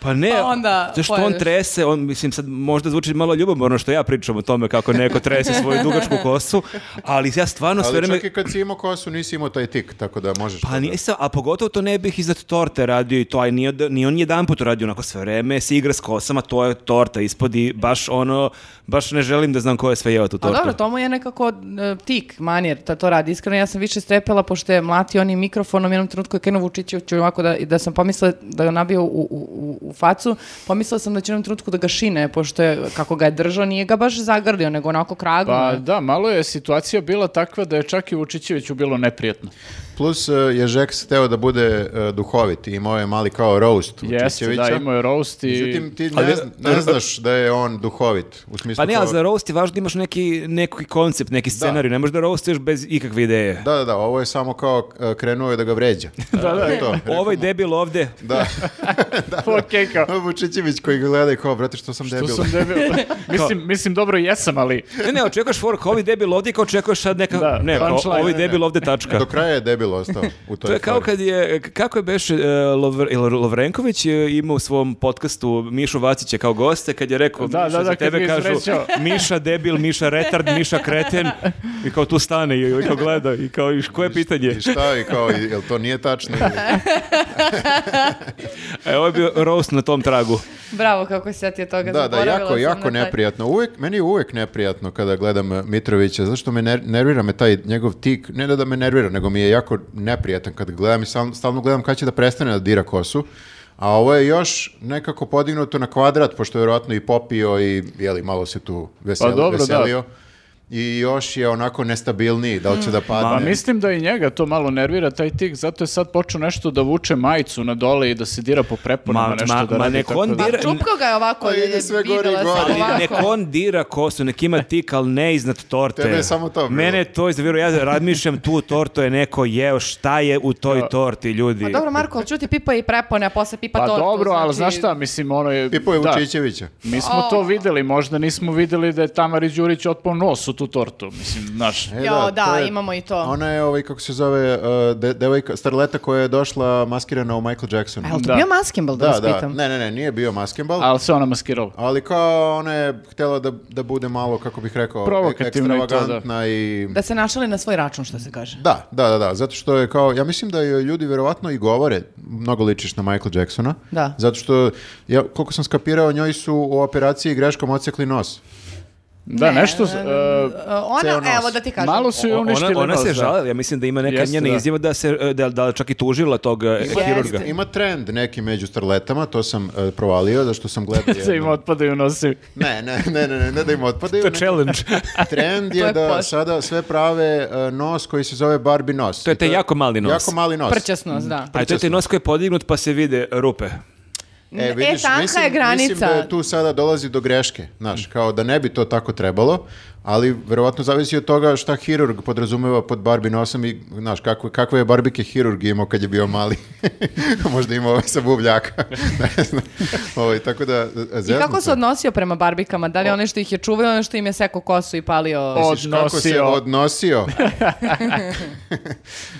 Pa ne, Pa onda zato što on pojedeš. trese, on, mislim, sad možda zvuči malo ljubomorno ono što ja pričam o tome kako neko trese svoju dugačku kosu, ali ja stvarno sve Ali vreme... čak i kad si imao kosu, nisi imao taj tik, tako da možeš... to Pa da- nisam, a pogotovo to ne bih iznad torte radio i to, a ni, od- ni on jedan put radio onako sve vreme, se igra s kosama, to je torta ispod i baš ono, baš ne želim da znam ko je sve jeo tu a tortu. dobro, to mu je nekako e, tik, manjer, da to radi. Iskreno, ja sam više strepela, pošto je mlatio onim mikrofonom, jednom trenutku je krenuo Vučićeviću ovako da, da sam pomislila da ga nabio u, u, u, u facu, pomislila sam da će jednom trenutku da ga šine, pošto je, kako ga je držao, nije ga baš zagrlio, nego onako kragom. pa da, malo je situacija bila takva da je čak i Vučićeviću bilo neprijatno. Plus e, je Žeks hteo da bude e, duhovit i imao je mali kao roast Jeste, da, Vučićevića. imao je roast i... Međutim, ti ne, Ali- zna- ne znaš da je on duhovit. U smislu Pa ne, ali kao- za roast je važno da imaš neki, neki koncept, neki scenarij, ne možeš da roastuješ bez ikakve ideje. Da, da, da, ovo je samo kao e, krenuo je da ga vređa. da, da. To. Ovaj debil ovde, Da. pa Okej, kao, Vučićević koji ga gleda i kao, brate, što sam tu debil. sam debil. mislim, mislim, dobro, jesam, ali... Ne, ne, očekuješ fork, ovi debil ovdje kao očekuješ sad neka... Da, ne, kao, punchline. ovi debil ovdje tačka. Do kraja je debil ostao u toj To je kao fori. kad je, kako je Beš Lovrenković je imao u svom podcastu Mišu Vacića kao goste, kad je rekao, Da, Miša, da, za da, kad tebe ga kažu, izrećao. Miša debil, Miša retard, Miša kreten, i kao tu stane i, i kao gleda, i kao, i koje je pitanje? I šta, i kao, i- jel to nije tačno? E, ovo je bio roast na tom tragu. Bravo, kako se setio toga. da, da, zaboravila jako, sam jako na taj- neprijatno. Uvijek, meni je uvijek neprijatno kada gledam e, Mitrovića, zašto me ner- nervira me taj njegov tik, ne da da me nervira, nego mi je jako neprijatan kad gledam i stalno, stalno gledam kada će da prestane da dira kosu. A ovo je još nekako podignuto na kvadrat, pošto je vjerojatno i popio i jeli, malo se tu veseli, Pa dobro, da. veselio. I još je onako nestabilniji, da li će da padne. Pa mislim da i njega to malo nervira taj tik, zato je sad počeo nešto da vuče majicu na dole i da se dira po preponama Ma- nešto ma- da ma radi. nek tako on da- dira- Čupko ga je ovako, Pa ide je- sve gore i videla sam gore. Ali ovako. nek on dira kosu, nek ima tik, ali ne iznad torte. Tebe je samo to bilo. Mene je to izviro, ja razmišljam tu tortu je neko jeo, šta je u toj torti, ljudi. Pa dobro, Marko, ali čuti pipa i prepone, a posle pipa Pa tortu. dobro, ali znači- znaš šta, mislim, ono je... Pipo je da, Vučićevića. Mi smo to videli, možda nismo videli da je Tamari Đurić otpao nos u tu tortu, mislim, znaš. E, Jo, da, to je- imamo i to. Ona je, ovaj, kako se zove, uh, de, devojka, starleta koja je došla maskirana u Michael Jacksonu. A jel E, to Da. bio maskimbal, da, Da, vas da, pitam? ne, ne, ne, nije bio maskenbal, Ali se ona maskirala. ali kao ona je htjela da, da bude malo, kako bih rekao, ek- Provokativno i to, da. ekstravagantna i... Da se našali na svoj račun, što se kaže. Da, da, da, da, zato što je kao, ja mislim da joj ljudi verovatno i govore, mnogo ličiš na Michael Jacksona, Da. zato što, ja, koliko sam skapirao, njoj su u operaciji greškom ocekli nos. Da, nešto... e, Ona, ceo nos. evo da ti kažem. malo su je O- Ona, uništili ona se nos, da. žalila, ja mislim da ima neka Jeste, njena da. izjava da se e, da, da čak i tužila tog e, Ima- hirurga. Jeste. Ima trend neki među starletama, to sam e, provalio, da što sam gledao Da im jedno. otpadaju nosi. Ne, ne, ne, ne, ne, ne da im otpadaju. To je nego challenge. Trend To je je da pošt. sada sve prave e, nos koji se zove Barbie nos. To je I taj jako mali nos. Jako mali nos. Prčasnost, da. A to je taj nos koji je podignut pa se vide rupe. E, vidiš, tanka mislim, je granica. Mm. Mislim da tu sada dolazi do greške, znaš, kao da ne bi to tako trebalo, ali verovatno zavisi od toga šta hirurg podrazumeva pod Barbie nosom i, znaš, kako, kakve je barbike hirurg imao kad je bio mali. Možda ima ovaj sa buvljaka. ne znam. Ovaj, tako da, I zezno kako se sam. odnosio prema barbikama? Da li one što ih je čuvao ili one što im je seko kosu i palio? Misliš, Kako se Odnosio. odnosio?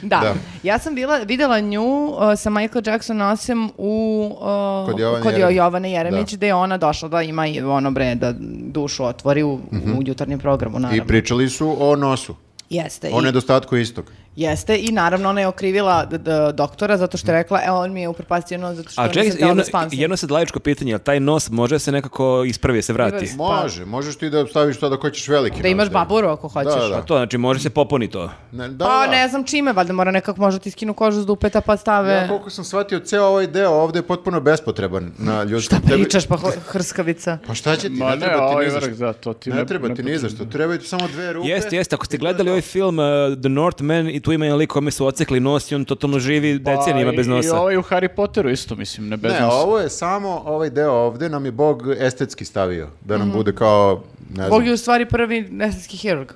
da. da. Ja sam bila, videla nju uh, sa Michael Jackson nosem u, uh, Kod Jovane kod Jeremić. Jovane Jeremić, Da. gde je ona došla da ima i ono bre, da dušu otvori u, u jutarnjem programu, naravno. Mhm. I pričali su o nosu, Jeste. o i- nedostatku istog. Jeste i naravno ona je okrivila d- d- doktora zato Mhm. što je rekla, e on mi je upropastio nos zato što A nisam čekaj, htjela da ono jedno, spavam s njim." jedno sad laičko pitanje, jel taj nos može se nekako ispravi, se vrati? Ispravi. Pa- Može, možeš ti da staviš to da hoćeš veliki Da nos, imaš baburu ako hoćeš. Da, Pa da. to, znači može se popuni to. Ne, da, Pa da. ne znam čime, valjda mora nekako možda ti skinu kožu s dupeta pa stave... Ja koliko sam shvatio, ceo ovaj deo ovde je potpuno bespotreban na ljudskom. Da tebi- pričaš pa ho- hrskavica. Pa šta će ti? Ma ne ne, treba ti ovaj ni za što. vrh, da, to ti ne, treba ti ni za što. Trebaju ti samo dve ruke. Jeste, jeste, ako ste gledali ovaj film uh, The Northman i tu ima jedan lik kome su ocekli nos i on totalno živi decenijima bez Pa, I nosa. ovaj u Harry Potteru isto, mislim, ne bez Ne, nosa. ovo je samo ovaj deo ovde nam je Bog estetski stavio. Da nam bude kao, ne znam, Mhm. Bog je u stvari prvi nesanski hirurg.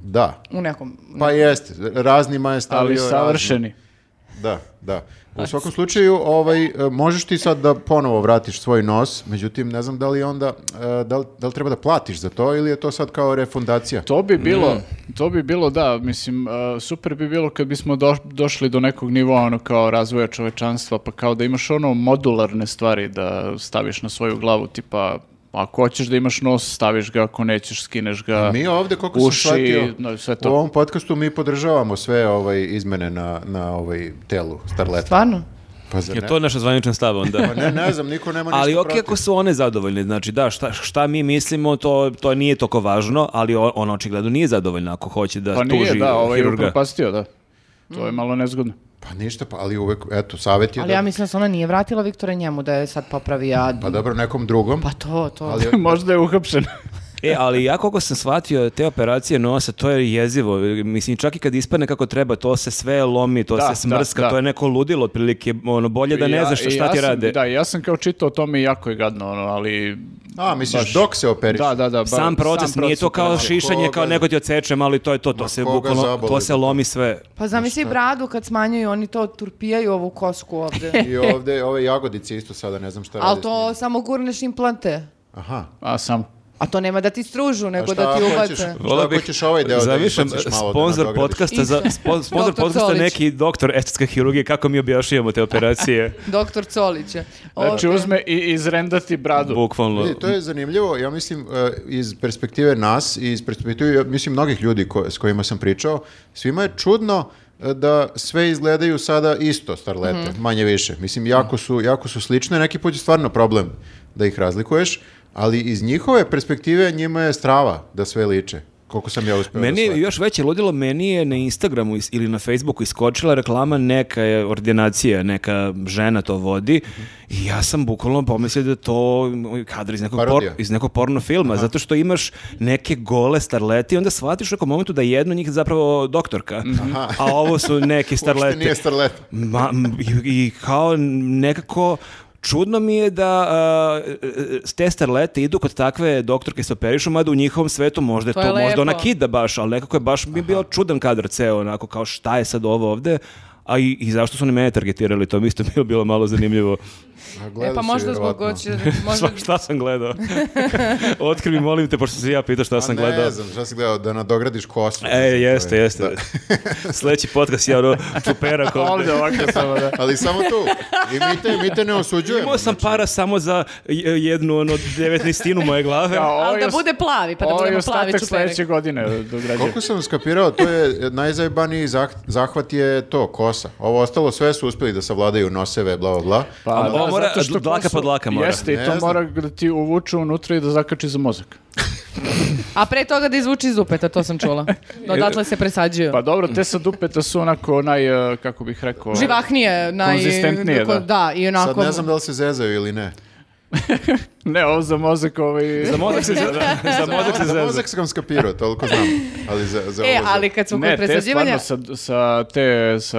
da. U nekom... Pa jeste, raznima je stavio. Ali razni- savršeni. Da, da. U svakom slučaju, ovaj, e, možeš ti sad da ponovo vratiš svoj nos, međutim, ne znam da li onda, e, da li, da li treba da platiš za to ili je to sad kao refundacija? To bi bilo, Mm. to bi bilo, da, mislim, uh, super bi bilo kad bismo doš- došli do nekog nivoa, ono, kao razvoja čovečanstva, pa kao da imaš ono modularne stvari da staviš na svoju glavu, tipa, ako hoćeš da imaš nos, staviš ga, ako nećeš, skineš ga. Mi ovde, koliko uši, sam shvatio, no, sve u to. ovom podcastu mi podržavamo sve ovaj, izmene na, na ovaj telu starleta. Stvarno? Pa zar Je ne? to naša zvanična stava onda? Pa ne, ne znam, niko nema ništa Ali ok, protiv. ako su one zadovoljne, znači da, šta, šta mi mislimo, to, to nije toliko važno, ali o- ona očigledno nije zadovoljna ako hoće da Pa tuži nije, da, ovaj je hirurga. upropastio, da. To je malo nezgodno. Pa ništa, pa, ali uvek, eto, savjet je Ali da... ja mislim da se ona nije vratila Viktora njemu, da je sad popravi ja... Pa dobro, nekom drugom. Pa to, to. Ali, Možda je uhapšen. E, ali ja koliko sam shvatio, te operacije nosa, to je jezivo. Mislim, čak i kad ispadne kako treba, to se sve lomi, to Da, se smrska, da, da. to je neko ludilo, otprilike, ono, bolje da ne Ja- znaš šta, ja ti sam- rade. Da, ja sam kao čitao o tome i jako je gadno, ono, ali... a, misliš, baš- dok se operiš? Da, da, da. ba- sam proces, sam nije to kao operacije. šišanje, kao koga- neko ti oceče, ali to je to, to Ma se koga bukvalno, to zaboli se lomi sve. Pa zamisli bradu kad smanjuju, oni to turpijaju ovu kosku ovde. I ovde, ove jagodice isto sada, ne znam šta radi. Ali s njima. to samo gurneš implante. Aha. A, sam. A to nema da ti stružu, A nego šta da ti ako ubace. hoćeš- Šta ako ćeš ovaj deo da zamišljam izbaciš malo da sponsor nadogradiš? podcasta, za, spo- sponsor Doktor podcasta Colić. neki doktor estetske hirurgije, kako mi objašnjavamo te operacije, Doktor Colić je. Znači, Ovde. uzme i izrendati bradu. bukvalno. Vidi, to je zanimljivo, ja mislim e, iz perspektive nas i iz perspektive ja mislim mnogih ljudi ko- s kojima sam pričao, svima je čudno e, da sve izgledaju sada isto starlete, manje više. Mislim jako su jako su slične, neki put je stvarno problem da ih razlikuješ, ali iz njihove perspektive njima je strava da sve liče. Koliko sam ja uspeo Meni da je shvatim. još veće ludilo, meni je na Instagramu is- ili na Facebooku iskočila reklama neka je ordinacija, neka žena to vodi i ja sam bukvalno pomislio da je to kadar iz nekog, por, Parodija. iz nekog porno filma, zato što imaš neke gole starlete i onda shvatiš u nekom momentu da je jedno od njih zapravo doktorka, a ovo su neki Mhm. Uopšte starlete. nije starleta. Ma, m, i, i kao nekako čudno mi je da a, e, te starlete idu kod takve doktorke se operišu, mada u njihovom svetu možda je to, To je možda lepo. ona kida baš, ali nekako je baš mi je bio čudan kadar ceo, onako kao šta je sad ovo ovde, a i, i zašto su oni mene targetirali, to mi isto bilo, bilo malo zanimljivo. A E gledao pa si možda zbog vjerovatno. hoće, možda... Sva, šta sam gledao? Otkri mi, molim te, pošto si ja pitao šta A sam Pa ne gledao. znam, šta si gledao, da nadogradiš kosu. E, jeste, jeste. Sledeći podcast ja ono čuperak ovde. Ovdje ovako samo, da. Ali samo tu. I mi te, mi te ne osuđujemo. Imao sam para samo za j- jednu ono devetnestinu moje glave. Kao, ovo Ali je da os- bude plavi, pa da ovo je budemo plavi ostatak čuperek. sledeće godine dograđuje. Koliko sam skapirao, to je najzajbaniji zah- zahvat je to, kosa. Ovo ostalo sve su uspeli da savladaju noseve, bla, bla, bla. Pa, A da, Ovo mora, zato što dlaka posao- pod dlaka mora. Jeste, i Ne to znam. mora da ti uvuče unutra i da zakači za mozak. A pre toga da izvuči iz dupeta, to sam čula. Odatle se presađuju. Pa dobro, te sa dupeta su onako onaj, eh, kako bih rekao... Živahnije. Naj... Konzistentnije, da. Da, i onako... Sad ne znam da li se zezaju ili ne. Ne, ovo za mozak, ovaj... Za mozak se za, za mozak se Za zezna. mozak sam skapirao, toliko znam. Ali za, za E, ovo za- ali kad smo kod Ne, te presađivanja... stvarno sa, sa, te, sa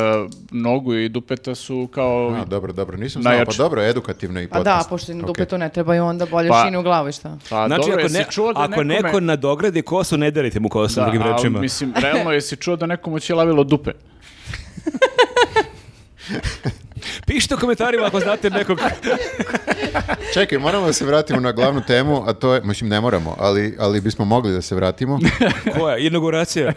nogu i dupeta su kao... A, dobro, dobro, nisam znao. Pa Najjače. dobro, edukativno i A podcast. Pa da, pošto na Okej. dupetu ne trebaju, onda bolje Pa- šine u glavu i šta. Pa Znači, dobro, ako, jesi ne, čuo da ako nekome- neko nadogradi kosu, ne derite mu kosu, Da, drugim ali rečima. mislim, realno jesi čuo da nekomu će lavilo dupe. Pišite u komentarima ako znate nekog... Čekaj, moramo da se vratimo na glavnu temu, a to je, mislim, ne moramo, ali, ali bismo mogli da se vratimo. Koja? Inauguracija?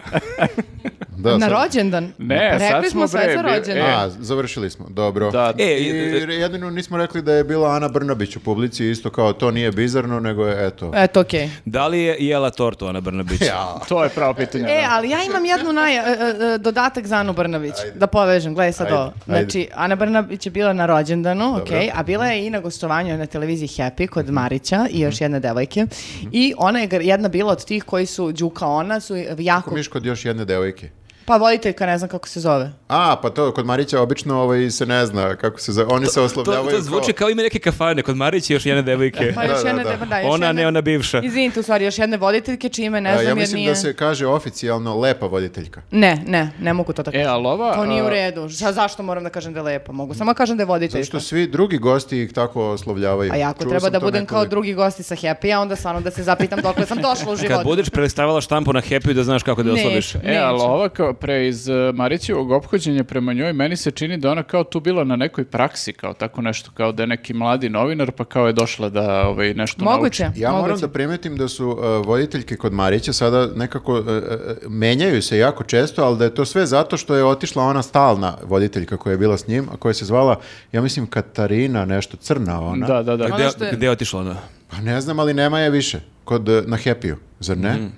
Da, sad- Na rođendan? Pa Ne, Rekli sad smo, sve bre, za bi- rođendan. e. A, završili smo, dobro. Da, E, I jedino nismo rekli da je bila Ana Brnabić u publici, isto kao to nije bizarno, nego je, eto. Eto, okej. da li je jela tortu Ana Brnabić? Ja. to je pravo pitanje. E, da. ali ja imam jednu naj, e, e, e, dodatak za Anu Brnabić, da povežem, gledaj sad Ajde, ovo. ajde. Znači, Ana Brnabić je bila na rođendanu, ok, a bila je i na gostovanju na televiziji Happy kod Mhm. Marića i još jedne devojke. I ona je gar- jedna bila od tih koji su, Đuka ona, su jako, Miš kod još jedne devojke. pa voditeljka, ne znam kako se zove. A, pa to, kod Marića obično ovaj, se ne zna kako se zove, oni se To, oslovljavaju to zvuči kao ime neke kafane, kod Marića i još jedne devojke. Pa još da, jedna da. devojka, da, još Ona, jedna- ne ona bivša. Izvinite, u stvari, još jedne voditeljke, čime ne A, znam E, ja jer mislim nije... da se kaže oficijalno lepa voditeljka. Ne, ne, ne mogu to tako. E, ali ova... to nije u a, redu. Šta, zašto moram da kažem da je lepa? Mogu samo da kažem da je voditeljka. Zato što svi drugi gosti ih tako oslovljavaju. A ja ako Čuo treba sam da to budem kao nekoliko- drugi gosti sa Happy, a onda stvarno da se zapitam dokle sam došla u životu. Kad budeš prelistavala štampu na Happy da znaš kako da je Neću. oslabiš. E, ali Neću. ova kao pre iz e, Marićevog ophođenja prema njoj, meni se čini da ona kao tu bila na nekoj praksi, kao tako nešto, kao da je neki mladi novinar, pa kao je došla da ovaj, nešto Moguće. nauči. Ja moram moguće. da primetim da su uh, voditeljke kod Marića sada nekako uh, uh, menjaju se jako često, ali da je to sve zato što je otišla ona stalna voditeljka koja je bila s njim, a koja se zvala, ja mislim, Katarina, nešto crna ona. Da, da, da. Ona Gde, Ono što je- gde je otišla ona? Pa ne znam, ali nema je više kod, uh, na Happy-u, zar ne?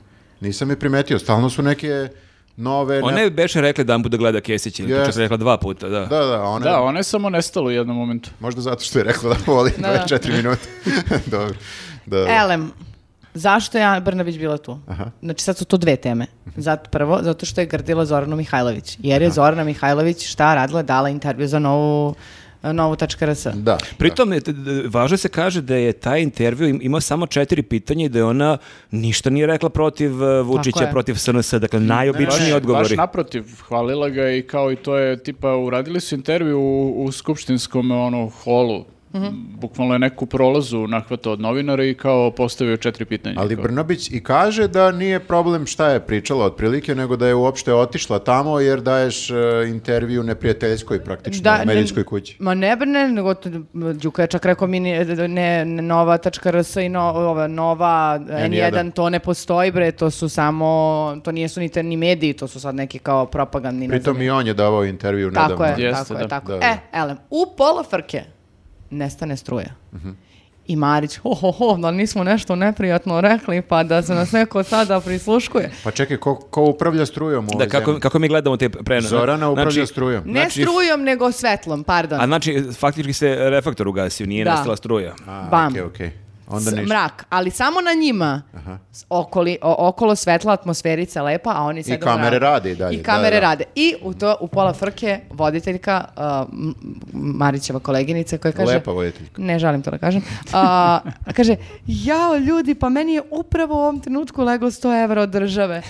Nisam je primetio, stalno su neke nove... Ona ne- je beše rekla jedan put da gleda Kesić ili Jest. čak rekla dva puta, da. Da, da, ona je- Da, ona je samo nestala u jednom momentu. Možda zato što je rekla da voli Da, E, da. 24 minuta. Dobro. Da, da. Elem, zašto je Ana Brnabić bila tu? Znači sad su to dve teme. Zato, prvo, zato što je grdila Zoranu Mihajlović. Jer je Zorana Mihajlović šta radila, dala intervju za novu novu.rs. Da. Pritom, je- t- d- važno se kaže da je taj intervju im- imao samo četiri pitanja i da je ona ništa nije rekla protiv e, Vučića, je. protiv SNS, dakle najobičniji Baš- odgovori. Baš naprotiv, hvalila ga i kao i to je, tipa, uradili su intervju u, u skupštinskom ono, holu. Mhm. Bukvalno je neku prolazu nahvatao od novinara i kao postavio četiri pitanja. Ali Kao- Brnabić i kaže da nije problem šta je pričala otprilike, nego da je uopšte otišla tamo jer daješ e, intervju neprijateljskoj praktično, Da, ne- medijskoj kući. Ma ne brne, nego t- Đuka je čak rekao mi ni- ne, ne, nova.rs i no, ova nova N1. N1, to ne postoji bre, to su samo, to nijesu ni, te- ni mediji, to su sad neki kao propagandni. ne Pritom znam. i on je davao intervju Tako nedavno. je, Jeste, tako da. je, tako Da, je. da. E, elem, u pola frke nestane struja. Mhm. I Marić, ho, ho, ho, da nismo nešto neprijatno rekli, pa da se nas neko sada prisluškuje. Pa čekaj, ko, ko upravlja strujom u ovoj Da, kako, Znači, zemlji? kako mi gledamo te prenose? Zorana upravlja strujom. Ne Znači- strujom, nego svetlom, pardon. A znači, faktički se reflektor ugasio, nije Da. nastala struja. A, Bam. okej, okej. Onda s- ništa. mrak, ali samo na njima. S- Okoli, o- okolo svetla, atmosferica lepa, a oni sede u mraku. kamere rade i dalje, I kamere da, da. rade. I u to u pola frke voditeljka uh, M- M- Marićeva koleginica koja kaže Lepa voditeljka. Ne želim to da kažem. A, kaže, jao ljudi, pa meni je upravo u ovom trenutku leglo 100 evra od države.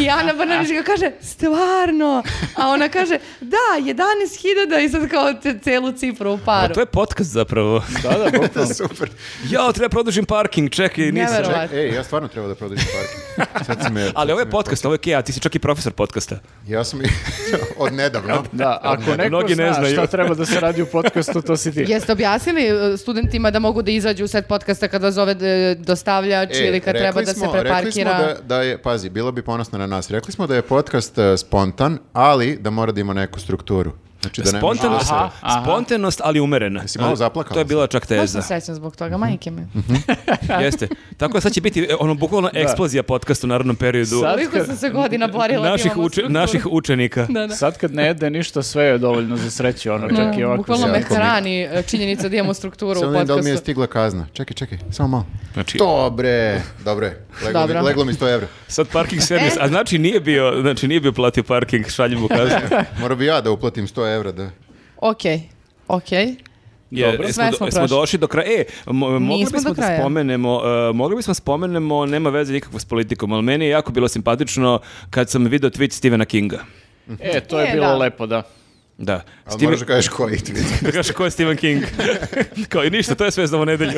I Ana Brnabić ga kaže, stvarno. A ona kaže, da, 11.000 i sad kao te- celu cifru u A paru. to je podcast zapravo. Da, da, bukvalno. Super. Jao, treba produžim parking, čekaj, nisam. Neverovatno. Ček, ej, ja stvarno treba da prodavim parking. Sad si me- sad Ali ovo si je me- podcast, ovo je Kea, ti si čak i profesor podcasta. Ja sam i od nedavno. Da, ako neko Mnogi ne zna znaju. šta treba da se radi u podcastu, to si ti. Jeste objasnili e, studentima da mogu da izađu u set podcasta kada zove e, dostavljač E, ili kad treba rekli da se smo- preparkira? Rekli smo da, da je, pazi, bila bi ponosna na nas. Rekli smo da je podcast e, spontan, ali da mora da ima neku strukturu. Znači da ne Spontanost, Aha, aha. spontanost, ali umerena. Jesi malo zaplakala? To je bila čak Baš teza. sam srećna zbog toga, majke me. Mhm. Jeste. Tako da sad će biti e, ono bukvalno eksplozija podcast u narodnom periodu Sad Koliko sam se godina borila da naših, imamo uče- strukturu. naših učenika. Da, da. Sad kad ne jede ništa, sve je dovoljno za sreću, ono, čak i Da, ovako. Bukvalno sve. me hrani e, činjenica da imamo strukturu u Samo vidim da li mi je podcastu. stigla kazna. Čekaj, čekaj, samo malo. Znači, Dobre, dobre. Leglo, Dobro. Mi, leglo mi 100 evra. sad parking E. servis, a znači nije bio, znači nije bio platio parking, šaljem mu kaznu. Morao bi ja da uplatim 100 evra. Da. Ok, ok. Je, Dobro. jesmo, Sve do- smo jesmo prošli. došli do kraja. E, mo- mogli Nismo bismo do da kraja. spomenemo, e, mogli bismo spomenemo, nema veze nikakvo s politikom, ali meni je jako bilo simpatično kad sam video tweet Stephena Kinga. E, to je E, bilo da. lepo, da. Da. Ali Stephen- moraš da kažeš koji tweet. Da kažeš ko je Stephen King. Kao i ništa, to je sve za ovu nedelju.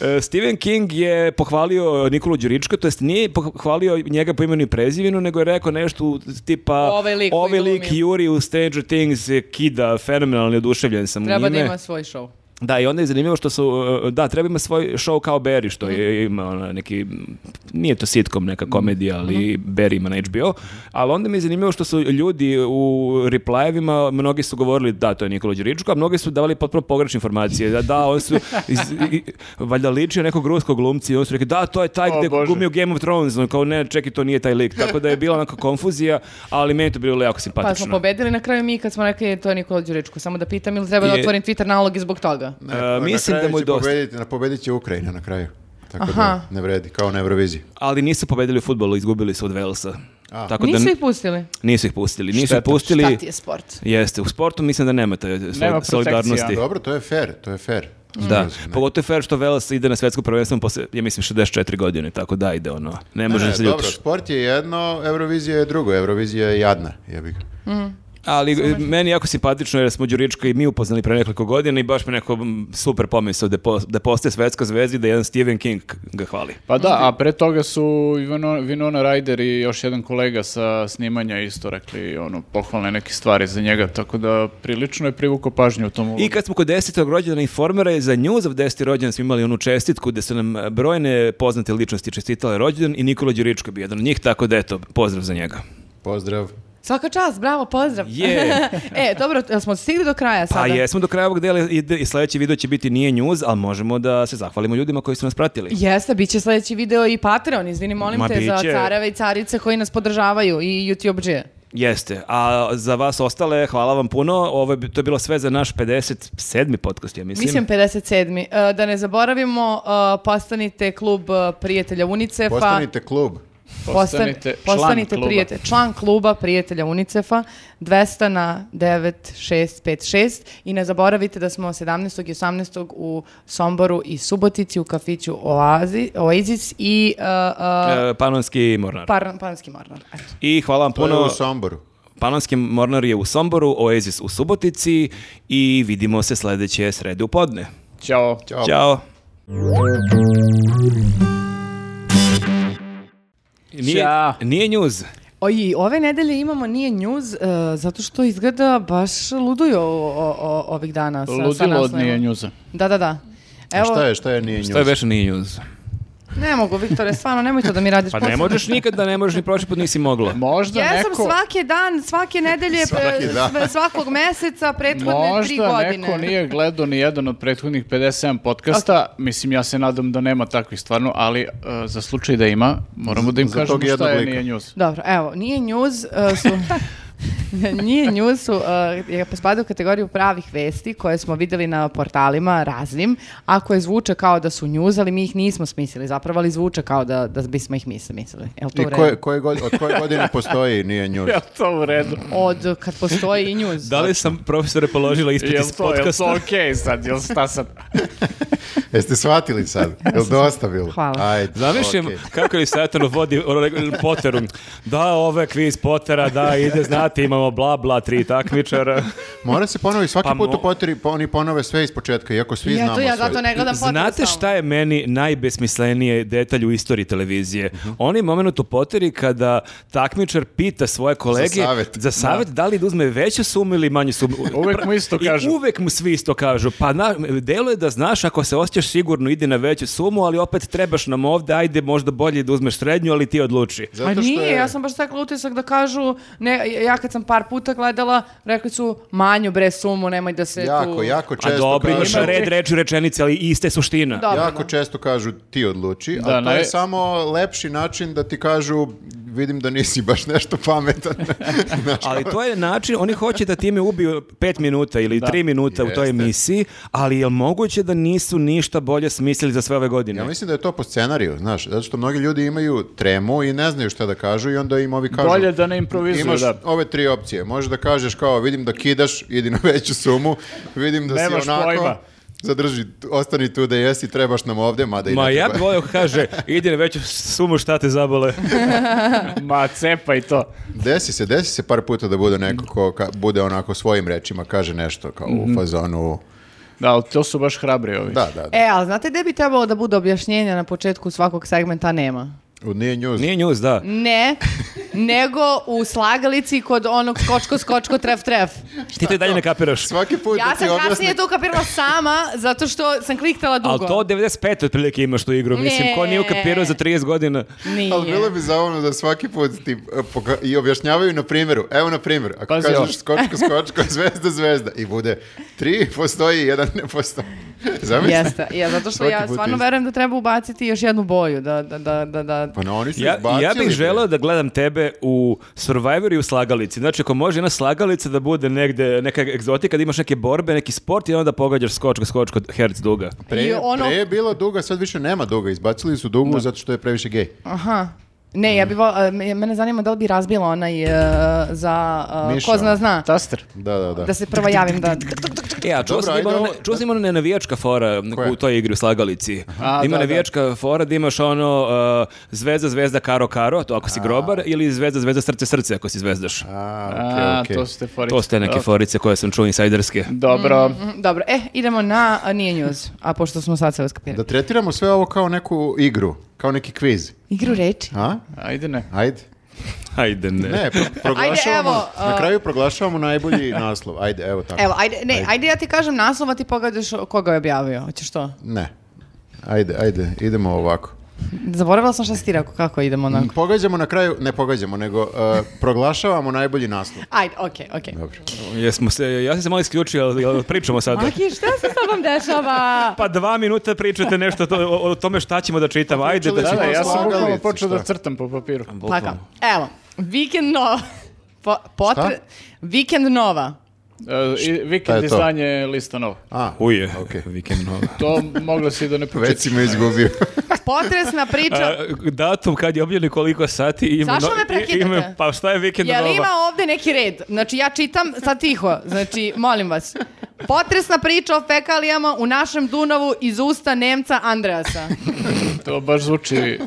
E, Stephen King je pohvalio Nikolu Đurička, to jest nije pohvalio njega po imenu i prezivinu, nego je rekao nešto u- tipa Ovaj lik koji ovaj lik glumi." Juri u Stranger Things e, kida, fenomenalni oduševljen sam Treba njime. da ima svoj show. Da, i onda je zanimljivo što su, e, da, treba ima svoj show kao Barry, što je, ima ona neki, nije to sitcom neka komedija, ali Barry ima na HBO, ali onda mi je zanimljivo što su ljudi u replyevima, mnogi su govorili da, to je Nikola Đuričko, a mnogi su davali potpuno pogrešne informacije, da, da, on su, iz, i- valjda ličio nekog ruskog glumca i on su rekli, da, to je taj O, gde Bože. glumi u Game of Thrones, on kao, ne, čekaj, to nije taj lik, tako da je bila onako konfuzija, ali meni je to bilo jako Pa simpatično. smo pobedili na kraju mi kad smo rekli "E, to je Nikola Đuričko. Samo da pitam ili treba da Je- otvorim Twitter nalog i zbog toga. Ne, E, na mislim kraju da mu je će dosta. Pobediti, na pobedit će Ukrajina na kraju. Tako Aha. da ne vredi, kao na Euroviziji. Ali nisu pobedili u futbolu, izgubili su od Velsa. A. Tako da Nisu ih pustili. Nisu ih pustili. Nisu ih Šteta. pustili. Šta ti je sport? Jeste, u sportu mislim da nema te soli- Nema solidarnosti. protekcija. Dobro, to je fair, to je fair. Da, Skroz, ne. pogotovo je fair što Velas ide na svetsko prvenstvo posle, ja mislim, 64 godine, tako da ide ono. Ne Ne, možeš se dobro, ljutiš. sport je jedno, Eurovizija je drugo, Eurovizija je jadna, jebi ga. Ali e, meni je jako simpatično jer smo Đurička i mi upoznali pre nekoliko godina i baš mi neko mm, super pomisao da, je pos- da postaje svetska zvezda i da jedan Stephen King ga hvali. Pa da, Mhm. a pre toga su i Vino- Winona Ryder i još jedan kolega sa snimanja isto rekli ono, pohvalne neke stvari za njega, tako da prilično je privukao pažnju u tom ulogu. I kad smo kod 10. rođendana informera i za News of 10. rođendan smo imali onu čestitku gde su nam e, brojne poznate ličnosti čestitale rođendan i Nikola Đuričko je bio jedan od njih, tako da eto, pozdrav za njega. Pozdrav. Svaka čast, bravo, pozdrav. Je. e, dobro, jel smo stigli do kraja sada? Pa jesmo do kraja ovog dela i, i sledeći video će biti nije news, ali možemo da se zahvalimo ljudima koji su nas pratili. Jeste, bit će sledeći video i Patreon, izvini, molim Ma, te, za biće. careve i carice koji nas podržavaju i YouTube džije. Jeste. A za vas ostale, hvala vam puno. Ovo je, bi- to je bilo sve za naš 57. podcast, ja mislim. Mislim 57. E, da ne zaboravimo, e, postanite klub e, prijatelja Unicefa. Postanite klub. Postanite Postan- član postanite kluba. prijatelj- član kluba prijatelja Unicefa 200 na 9656 i ne zaboravite da smo 17. i 18. u Somboru i Subotici u kafiću Oazi, Oasis i uh, uh, E, Panonski mornar. Par- Panski Mornar. Eto. I hvala vam To je puno. u Somboru. Panonski mornar je u Somboru, Oasis u Subotici i vidimo se sledeće srede u podne. Ćao. Ćao. Ćao. Nije, Ćao. nije news. Oj, ove nedelje imamo nije njuz e, zato što izgleda baš luduju o- o- o- ovih dana. Sa, sa Ludilo od naslovima. nije njuza. Da, da, da. A Evo, Šta je, šta je nije njuz? Šta je već nije news? ne mogu, Viktore, stvarno, nemoj to da mi radiš Pa ne posao. možeš nikad da ne možeš ni prošli put nisi mogla. Možda Ja sam neko... svaki dan, svake nedelje, Svaki e, dan. sve- svakog meseca, prethodne tri Možda godine. neko nije gledao ni jedan od prethodnih 57 podcasta, mislim ja se nadam da nema takvih stvarno, ali e, za slučaj da ima, moramo da im Za tog kažemo jednog šta je lika. nije njuz. Dobro, evo, nije njuz e, su... nije njuz su, e, je spada u kategoriju pravih vesti koje smo videli na portalima raznim, a koje zvuče kao da su njuz, ali mi ih nismo smislili zapravo, ali zvuče kao da, da bismo ih mi smislili. Jel to I u redu? koje, koje godine, od koje godine postoji nije njuz? Ja to u redu. Od kad postoji i njuz. Da li sam profesore položila ispit Jel iz to, jel to podcasta? okej sad, jel šta sad? Jeste shvatili sad? Jel dosta bilo? Hvala. Ajde, Zamišljam okej. kako je Satanu vodi ono, Potteru. Da, ovo je kviz Pottera, da, ide, znate, imamo bla bla, tri takmičara. Mora se ponovi svaki Pa put mo- u poteri, pa oni ponove sve iz početka, iako svi ja, znamo to, ja sve. zato ne gledam potpuno Znate šta je meni najbesmislenije detalj u istoriji televizije? Mhm. Onaj moment u Potteri kada takmičar pita svoje kolege savet. za savet da. li da uzme veću sumu ili manju sumu. Uvek mu isto I kažu. uvek mu svi isto kažu. Pa na, delo je da znaš ako se osjećaš sigurno ide na veću sumu, ali opet trebaš nam ovde, ajde možda bolje da uzmeš srednju, ali ti odluči. Zato A što Pa nije, je- ja sam baš stekla utisak da kažu, ne, ja kad sam par puta gledala, rekli su manju bre sumu, nemoj da se tu... Jako, jako A često dobro, imaš kažu... red reči u rečenici, ali iste suština. Dobro, Jako da. često kažu ti odluči, Da, a to naj- je samo lepši način da ti kažu vidim da nisi baš nešto pametan. Znaš, Ali to je način, oni hoće da time ubiju pet minuta ili tri minuta u toj Jeste. emisiji, ali je li moguće da nisu ništa bolje smislili za sve ove godine? Ja mislim da je to po scenariju, znaš, zato što mnogi ljudi imaju tremu i ne znaju šta da kažu i onda im ovi kažu... Bolje da ne improvizuju, Imaš da. ove tri opcije. Možeš da kažeš kao vidim da kidaš, idi na veću sumu, vidim da Nemaš si onako... pojma. Zadrži, ostani tu da jesi, trebaš nam ovde, mada i Ma ne ja treba. bi volio kaže, idi na veću sumu šta te zabole. Ma, cepa i to. Desi se, desi se par puta da bude neko ko ka- bude onako svojim rečima, kaže nešto kao u Mhm. fazonu. Da, ali to su baš hrabri ovi. Da, da, da. E, ali znate gde bi trebalo da bude objašnjenja na početku svakog segmenta? Nema. U nije njuz. Nije njuz, da. Ne, nego u slagalici kod onog skočko, skočko, tref, tref. Ti to i dalje ne kapiraš. Svaki put Ja da ti sam objasne... kasnije to ukapirala sama, zato što sam kliktala dugo. Ali to od 95 otprilike imaš tu igru. Mislim, ko nije ukapirao za 30 godina? Nije. Ali bilo bi zabavno da svaki put ti e, poka- i objašnjavaju na primjeru. Evo na primjer, ako Pazi ovo. kažeš skočko, skočko, zvezda, zvezda i bude tri postoji, jedan ne postoji. Zamisli? Jeste, ja, zato što Svaki ja put stvarno isto. verujem da treba ubaciti još jednu boju, da, da, da, da, da. Pa no, oni su Ja, izbacili. ja bih bre. želeo da gledam tebe u Survivoru i u slagalici. Znači, ako može jedna slagalica da bude negde neka egzotika, da imaš neke borbe, neki sport i onda pogađaš skočko, skočko, herc duga. I Pre, ono- pre je bila duga, sad više nema duga. Izbacili su dugu zato što je previše gej. Aha. Ne, ja bi vol, a, me- mene zanima da li bi razbila onaj e, za, e, Miša. ko zna zna, Taster. Da, da, da. da se prva javim da... E, a čuo Dobro, sam ajde ima ona- ovo- čuo sam ima ona nenavijačka fora Koja? u toj igri u slagalici. A, ima da, navijačka fora da imaš ono uh, zvezda, zvezda, karo, karo, to ako si grobar, ili zvezda, zvezda, srce, srce ako si zvezdaš. A, okej, A, okej. to su te forice. To ste neke Dobro. forice koje sam čuo insajderske. Dobro. Mm, Dobro, e, idemo na a, nije njuz, a pošto smo sad sve Da skapirali. tretiramo sve ovo kao neku igru, kao neki kviz. Igru reči. A? Ajde ne. Ajde. E. Ajde, ne. Ne, pro- proglašavamo. evo, a- Na kraju proglašavamo najbolji naslov. Ajde, evo tako. Evo, ajde, ne, ajde ja ti kažem naslov, a ti pogledaš koga je objavio, hoćeš to? Ne. Ajde, ajde, idemo ovako. Zaboravila sam šta si ti rekao, kako idemo Mm. onako. Pogađamo na kraju, ne pogađamo, nego uh, proglašavamo najbolji naslov. Ajde, okej, okej. Dobro. Jesmo se, ja sam se malo isključio, ali ali pričamo sada. Maki, šta se s tobom dešava? Pa dva minuta pričate nešto to, o, o tome šta ćemo da čitamo. Ajde da Pričali Da, ćemo... da, ja sam Slagalice, bukvalno počeo da šta? crtam po papiru. Plaka. Evo, Vikend Nova. Po, potre... Šta? Vikend Nova. E, i Šta vikend je to? izdanje lista nova. A, Uje, Okej. vikend nova. To moglo si da ne već pročitaš. si me izgubio. Potresna priča. A, datum kad je objavljen koliko sati i ime, Zašto me no- i- prekidate? ime- pa šta je vikend Je li ima nova? ovde neki red? Znači ja čitam, sad tiho, znači molim vas. Potresna priča o fekalijama u našem Dunavu iz usta Nemca Andreasa. To baš zvuči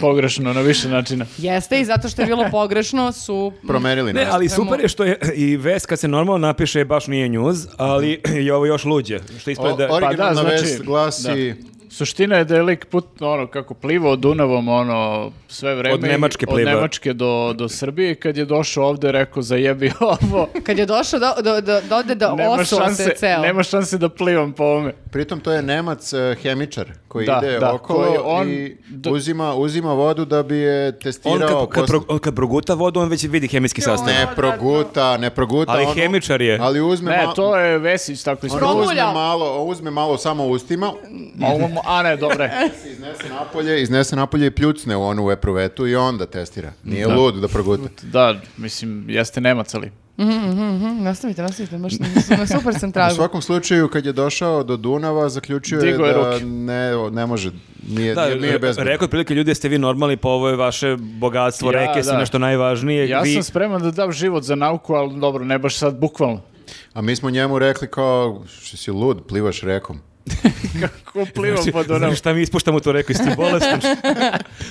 pogrešno na više načina. Jeste i zato što je bilo pogrešno su... Promenili Ne, nas. ali super je što je i vest kad se normalno napiše baš nije njuz, ali je ovo još luđe. Što O, ispada da... originalna znači- vest glasi... Suština je da je lik put, ono, kako plivao Dunavom, ono, sve vreme. Od Nemačke i- od pliva. Nemačke do, do Srbije. Kad je došao ovde, rekao, zajebi ovo. Kad je došao do, do, do, do ovde da Nema osuo šanse, se ceo. nema šanse da plivam po ovome. Pritom to je Nemac eh, hemičar koji Da, ide da, okolo koji on- i do- uzima, uzima vodu da bi je testirao. on kad, kad, posle- pro- on kad proguta vodu, on već vidi hemijski sastav. Ne proguta, ne proguta. Ali hemičar je. Ali uzme Ne, ma- to je Vesić on tako ispravo. uzme Proguljao. malo, uzme malo samo ustima, A ne, dobre. iznese napolje, iznese napolje i pljucne u onu epruvetu i onda testira. Nije lud da proguta. Da, mislim, jeste Nemac, ali Mhm, nastavite, nastavite, baš na- na super sam tragu. U svakom slučaju, kad je došao do Dunava, zaključio je Digao je da ruke. ne, ne može, nije, Da, nije, nije bezbedno. rekao je otprilike ljudi jeste vi normalni, pa ovo je vaše bogatstvo, Ja, reke su da. nešto najvažnije. ja vi... sam spreman da dam život za nauku, ali dobro, ne baš sad bukvalno. A mi smo njemu rekli kao, što si lud, plivaš rekom. Kako plivam po Dunavu? Znači, Znaš šta mi ispuštamo tu reku, jesi ti bolestan?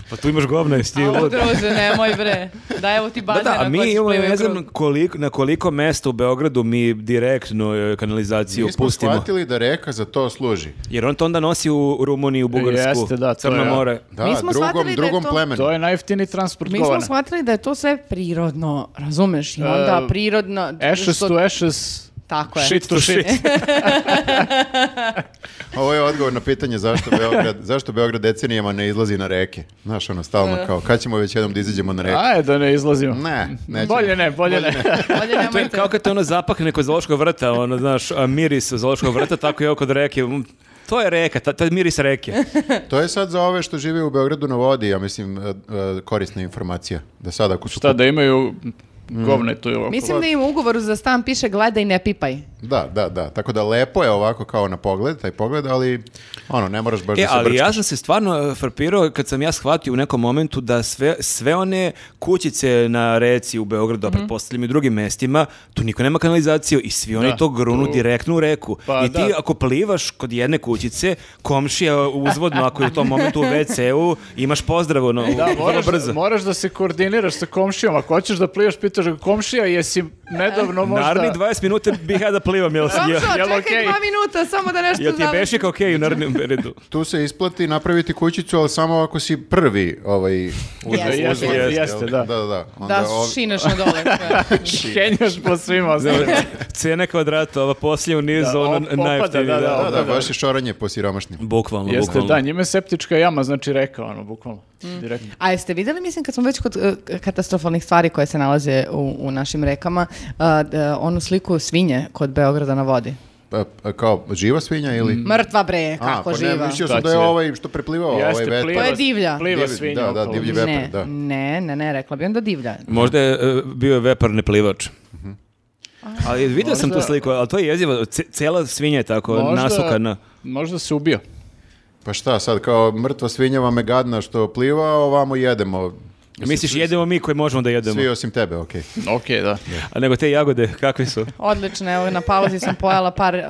pa tu imaš govna, jesi ti Au, lud? druže, nemoj bre. Da, evo ti Da, bazen. da, a ako mi hoćeš imamo, plivaj u ne krug. znam koliko, na koliko mesta u Beogradu mi direktno e, kanalizaciju Mi smo pustimo. shvatili da reka za to služi. Jer on to onda nosi u Rumuniju, u Bugarsku, Jeste, da, to Crno je- more. Da, Mi smo shvatili da drugom, je drugom to- plemenu. To je najjeftini transport Mi govana. smo shvatili da je to sve prirodno, razumeš? I onda E, prirodno... Ashes što- to ashes, Tako je. Shit to shit. Ovo je odgovor na pitanje zašto Beograd, zašto Beograd decenijama ne izlazi na reke. Znaš, ono, stalno kao, kad ćemo već jednom da izađemo na reke? Ajde da ne izlazimo. E. Ne, nećemo. Bolje ne, bolje, ne. Bolje To je nemojte. kao kad te ono zapakne kod zoološkog vrta, ono, znaš, a, miris zoološkog vrta, tako je ovo kod reke. Mm, To je reka, ta, taj miris reke. To je sad za ove što žive u Beogradu na vodi, ja mislim, e, e, korisna informacija. Da sad ako su... Šta da imaju govne tu okolo. Mislim da im u ugovoru za stan piše gledaj ne pipaj. Da, da, da. Tako da lepo je ovako kao na pogled, taj pogled, ali ono, ne moraš baš E, da se ali brčkaš. ja sam se stvarno e, frapirao kad sam ja shvatio u nekom momentu da sve, sve one kućice na reci u Beogradu, a pretpostavljam i drugim mestima, tu niko nema kanalizaciju i svi oni Da. to grunu Tu- direktno u reku. Pa, I ti da. ako plivaš kod jedne kućice, komšija uzvodno, ako je u tom momentu u WC-u, imaš pozdrav, ono, Da, vrlo moraš, brzo. moraš da se koordiniraš sa komšijom. Ako hoćeš da plivaš, pitaš ga komšija, jesi nedavno možda... Naredni 20 minuta bih ja da plivam, jel, Komšo, jel, čekaj jel okej? dva minuta, samo da nešto jel ti je završim. bešik ok u narednom redu? Tu se isplati napraviti kućicu, ali samo ako si prvi ovaj... Jeste, uzla- jeste, jel? jeste, da. Da, da. Onda Da, ovi- šinaš na dole. Kenjaš po svima ostalima. Cena kvadrata, ova poslije u nizu, Da, ono op- opada, najjeftiniji, da, da, Da, da. da, baš je šoranje po siromašnim. Bukvalno, Jeste, bukvalno. da, njime septička jama, znači reka, ono, bukvalno. Mm. Direktno. A jeste videli, mislim, kad smo već kod e, katastrofalnih stvari koje se nalaze u, u našim rekama, a, d- onu sliku svinje kod Beograda na vodi. Pa, pa, kao živa svinja ili... Mrtva bre, A, kako pa Ne, živa. mislio sam Mm. Šta da je će? ovaj što preplivao, ovaj Jeste, vetar. pliva, To je divlja. Pliva Divlji, svinja da, da, okolo. divlji ne, vepar, da. ne, ne, ne, rekla bi onda divlja. Možda je e, bio je veparni plivač. Ali vidio sam tu Mhm. Možda- sliku, ali to je jezivo. Ce- Cela svinja je tako Možda- nasukana. Možda se ubio. Pa šta sad, kao mrtva svinja vam je gadna što pliva, a ovamo jedemo. Misliš, jedemo mi koji možemo da jedemo. Svi osim tebe, okej. Ok, da. A nego te jagode, kakve su? Odlično, evo, na pauzi sam pojela par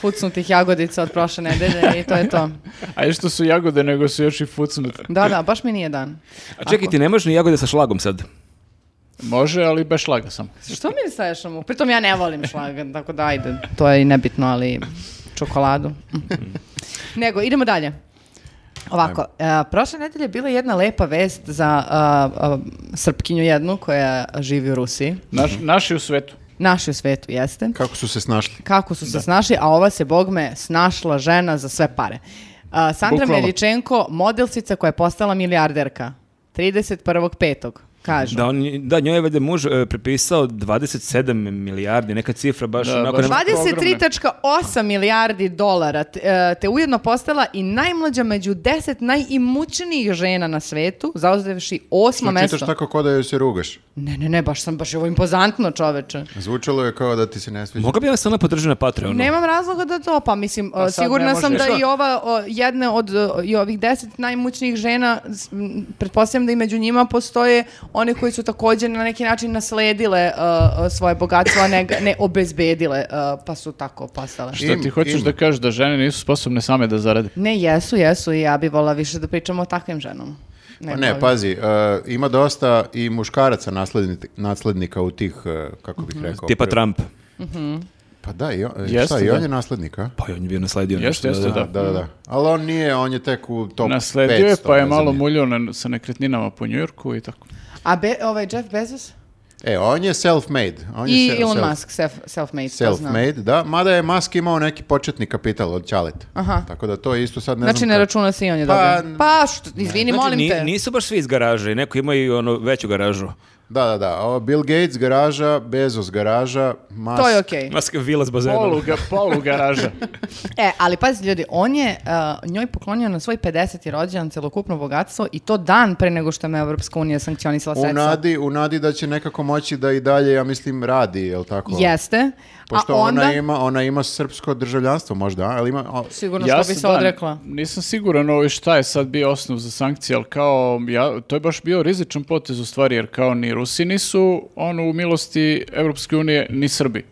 fucnutih jagodica od prošle nedelje i to je to. A i što su jagode, nego su još i fucnute. Da, da, baš mi nije dan. A čekaj, ti ne možeš ni jagode sa šlagom sad. Može, ali bez šlaga samo. Što mi staješ na mu? Pritom ja ne volim šlagan, tako da ajde. To je i nebitno, ali čokoladu. Nego, idemo dalje. Ovako, e, prošle nedelje je bila jedna lepa vest za a, a, Srpkinju jednu koja živi u Rusiji. Naš, naši u svetu. Naši u svetu jeste. Kako su se snašli? Kako su se snašli, a ova se, bogme, snašla žena za sve pare. A, Sandra Bukvalno. Miličenko, modelsica koja je postala milijarderka. 31.5. kažu. Da, on, da njoj je valjda muž e, prepisao 27 milijardi, neka cifra baš Da, onako... baš. ono, nema- 23.8 milijardi dolara, te, e, te ujedno postala i najmlađa među 10 najimućnijih žena na svetu, zauzevši osmo Što mesto. Znači, čitaš tako ko da joj se rugaš? Ne, ne, ne, baš sam, baš je ovo impozantno čoveče. Zvučalo je kao da ti se ne sviđa. Mogla bi nas ona podržati na Ono. Patreonu? Nemam razloga da to, pa mislim, e, sad ne sigurna sam možeš. da i ova, o, jedna od e, i ovih deset najmućnijih žena, s- m, pretpostavljam da i među njima postoje one koji su također na neki način nasledile e, e, svoje bogatstvo, a ne, ga- ne obezbedile, e, pa su tako postale. Što Im, ti hoćeš im. da kažeš da žene nisu sposobne same da zarade? Ne, jesu, jesu i ja bi volila više da pričamo o takvim ženama. Pa Nego- ne, pazi, e, ima dosta i muškaraca nasledni- naslednika u tih, e, kako Mhm. bih rekao... Tipa pre- Trump. Pa da, i on, e, Jeste, šta, i da. on je naslednik, a? Pa on je bio nasledio Jeste, nešto, jeste, da, da. Da, da, da. Ali on nije, on je tek u top 500. Nasledio je, pa je ne znam malo ni- muljao na- sa nekretninama po Njujorku i tako. A be, ovaj Jeff Bezos E, on je self-made. On je i se- Elon self- Musk, self, self-made. to znam. Self-made, da. Mada je Musk imao neki početni kapital od Ćaleta. Aha. Tako da to je isto sad ne Znači, znam... ne kako- računa se i on je Pa, dobio. Pa, što, izvini, Znači, molim ni- te. nisu baš svi iz garaže, neko ima i ono veću garažu. Da, da, da. Ovo, Bill Gates garaža, Bezos garaža, Musk... To je okej. Maske vila s bazenom. Poluga, polu garaža. E, ali pazi ljudi, on je uh, njoj poklonio na svoj 50. rođendan celokupno bogatstvo i to dan pre nego što me Evropska unija sankcionisala U sredstva. nadi, u nadi da će nekako moći da i dalje, ja mislim, radi, jel tako? Jeste. Pošto a onda, ona, ima, ona ima srpsko državljanstvo možda, a? ali ima... o- sigurno Ono što bi sam, se da, odrekla. Nisam siguran ovo šta je sad bio osnov za sankcije, ali kao, ja, to je baš bio rizičan potez u stvari, jer kao ni Rusi nisu ono u milosti Evropske unije, ni Srbi.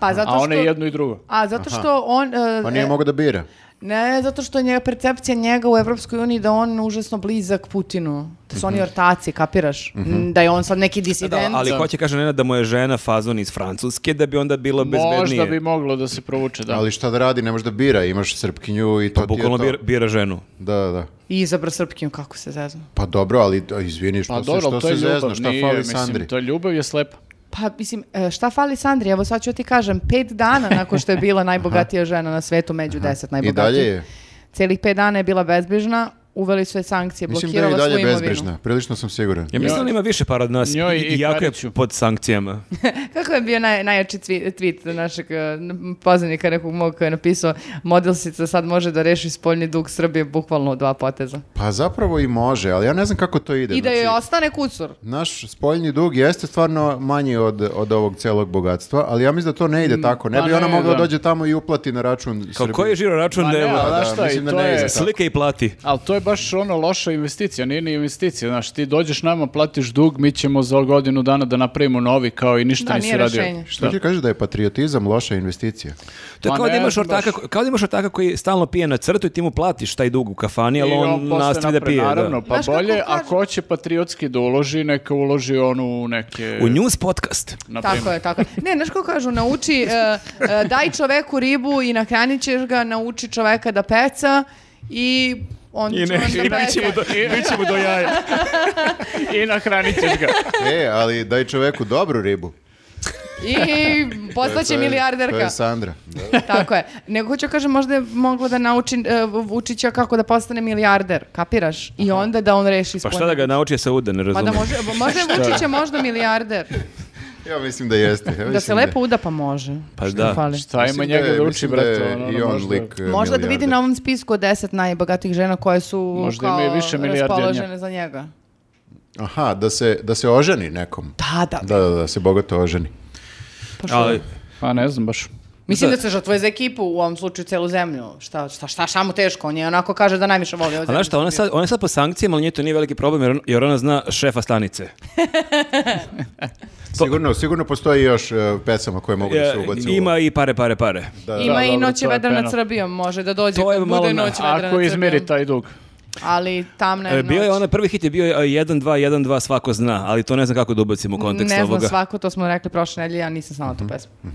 Pa zato A što... one jedno i drugo. A zato što on... e, Pa nije mogao da bira. Ne, zato što je njega percepcija njega u Evropskoj uniji da je on užasno blizak Putinu. Da su Mhm. oni ortaci, kapiraš? Mm, Da je on sad neki Da, disident. da, ali hoće kaže Nena da mu je žena fazon iz Francuske da bi onda bilo bezbednije. Možda bi moglo da se provuče, da. Pa Ali šta da radi, ne može da bira, imaš srpkinju i to ti je Bukvalno to. bira, bira ženu. Da, da, da. I izabra Srpkinju, kako se zezno. Pa dobro, ali to- izvini, što Pa se, dobro, što ali to se je ljubav. zezno, šta nije, fali mislim, Sandri? To je ljubav je slepa. Pa, mislim, e, šta fali Sandri? Evo sad ću ti kažem, pet dana nakon što je bila najbogatija žena na svetu, među deset najbogatijih. dalje je? Celih pet dana je bila bezbrižna, uveli su je sankcije, Mislim da je i blokirala dalje svu imovinu. bezbrižna, prilično sam siguran. Ja mislim da ona ima više para od nas i, Njoj i i jako je Kariću. pod sankcijama. Kako je bio naj, najjači cvi- tweet našeg e, poznanika nekog mog koji je napisao modelsica sad može da reši spoljni dug Srbije bukvalno u dva poteza. Pa zapravo i može, ali ja ne znam kako to ide. I da joj znači, ostane kucur. Naš spoljni dug jeste stvarno manji od, od ovog celog bogatstva, ali ja mislim da to ne Mm, ide tako. Ne pa bi ona ne, mogla da. dođe tamo i uplati na račun Kao Srbije. koji je žiro račun Pa da ne, evo- ali da, znaš šta, mislim i da to ne je... ide. Slika i plati. Ali to je baš ono loša investicija, nije ni investicija, znaš, ti dođeš nama, platiš dug, mi ćemo za godinu dana da napravimo novi kao i ništa Da, nisi nije radio. rešenje. Što ti kažeš da je patriotizam loša investicija? To je Ma kao da, ne imaš znam ortaka, baš. kao da imaš ortaka koji stalno pije na crtu i ti mu platiš taj dug u kafani, ali I on, posle nastavi da napred, pije. da. Naravno, pa Znaš kako bolje, kaže- ako hoće patriotski da uloži, neka uloži onu u neke... U news podcast. na Tako primer. je, tako je. Ne, znaš kako kažu, nauči, e, e, daj čoveku ribu i nahranit ćeš ga, nauči čoveka da peca i on će on da peca. mu do jaja. I nahranit ćeš ga. E, ali daj čoveku dobru ribu. I To postaće je- To milijarderka. je Sandra. Tako je. Nego hoću kažem, možda je mogla da nauči e, Vučića kako da postane milijarder, kapiraš? I onda da on reši Pa šta spoljni da ga dug. nauči sa uda, ne Pa da razumijem. može, možda je Vučić je možda milijarder. Ja mislim da jeste. Ja Da mislim se lepo uda pa može. Pa Šta da. fali? Šta ima mislim njega je- da uči, mislim je brate? Ono, ono, i on možda- lik, e, Možda da vidi milijarder. na ovom spisku 10 najbogatijih žena koje su Možda kao ima i više milijardi od raspoložene njega. za njega. Aha, da se, da se oženi nekom. Da, da. Da, da, da se bogato oženi. Ali, Pa ne znam baš. Mislim Da. da, se žrtvuje za ekipu, u ovom slučaju celu zemlju. Šta, šta, šta, šta mu teško? On je onako kaže da najviše voli ovu a znaš šta, ona je sad, ona je sad po sankcijama, ali nje to nije veliki problem, jer, on- jer ona zna šefa stanice. Sigurno, sigurno postoji još e, pesama koje mogu da se E, ubaci. u- Ima i pare, pare, pare. Da, da. Ima Da, i dobro, noće to je vedra nad pena. Srbijom, može da dođe, To je malo bude na- noć vedra nad Ako izmiri Srbijom. taj dug. Ali tamna E, je Bio je noć. onaj prvi hit je bio e, 1-2-1-2 svako zna, ali to ne znam kako da ubacim u kontekst ne znam ovoga. svako, to smo rekli prošle nedelje, ja nisam znala Mhm. tu pesmu. E,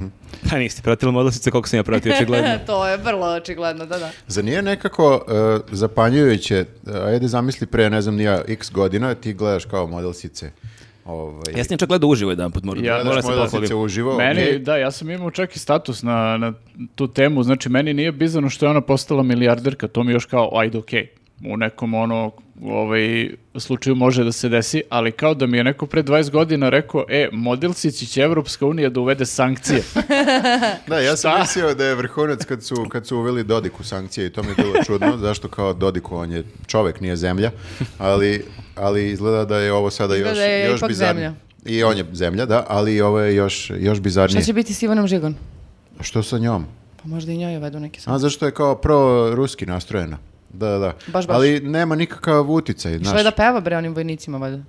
Pa niste pratili modlasice koliko sam ja pratio, očigledno. to je vrlo očigledno, da, da. Za nije nekako e, zapanjujuće, e, ajde zamisli pre, ne znam, nija x godina, ti gledaš kao modelsice. Ovaj, Ja sam je čak gledao uživo jedan put, moram, Ja, moram da gledaš se modelsice pohvalim. uživo. Meni, okej. da, ja sam imao čak i status na, na tu temu, znači meni nije bizano što je ona postala milijarderka, to mi još kao, ajde, okej, u nekom ono, ovaj, slučaju može da se desi, ali kao da mi je neko pre 20 godina rekao, e, modelsići će Evropska unija da uvede sankcije. Da, ja sam mislio da je vrhunac kad su, kad su uveli Dodiku sankcije i to mi je bilo čudno, zašto kao Dodiku, on je čovek, nije zemlja, ali, ali izgleda da je ovo sada još, Izgleda da je još ipak bizarnije. zemlja. I on je zemlja, da, ali ovo je još, još Šta bizarnije. će biti s Ivanom Žigon? Što sa njom? Pa možda i njoj uvedu neki sam. A zašto je kao pro-ruski nastrojena? Da, da, da. Baš, baš. Ali nema nikakav uticaj, Što je znaš. da peva bre onim vojnicima valjda?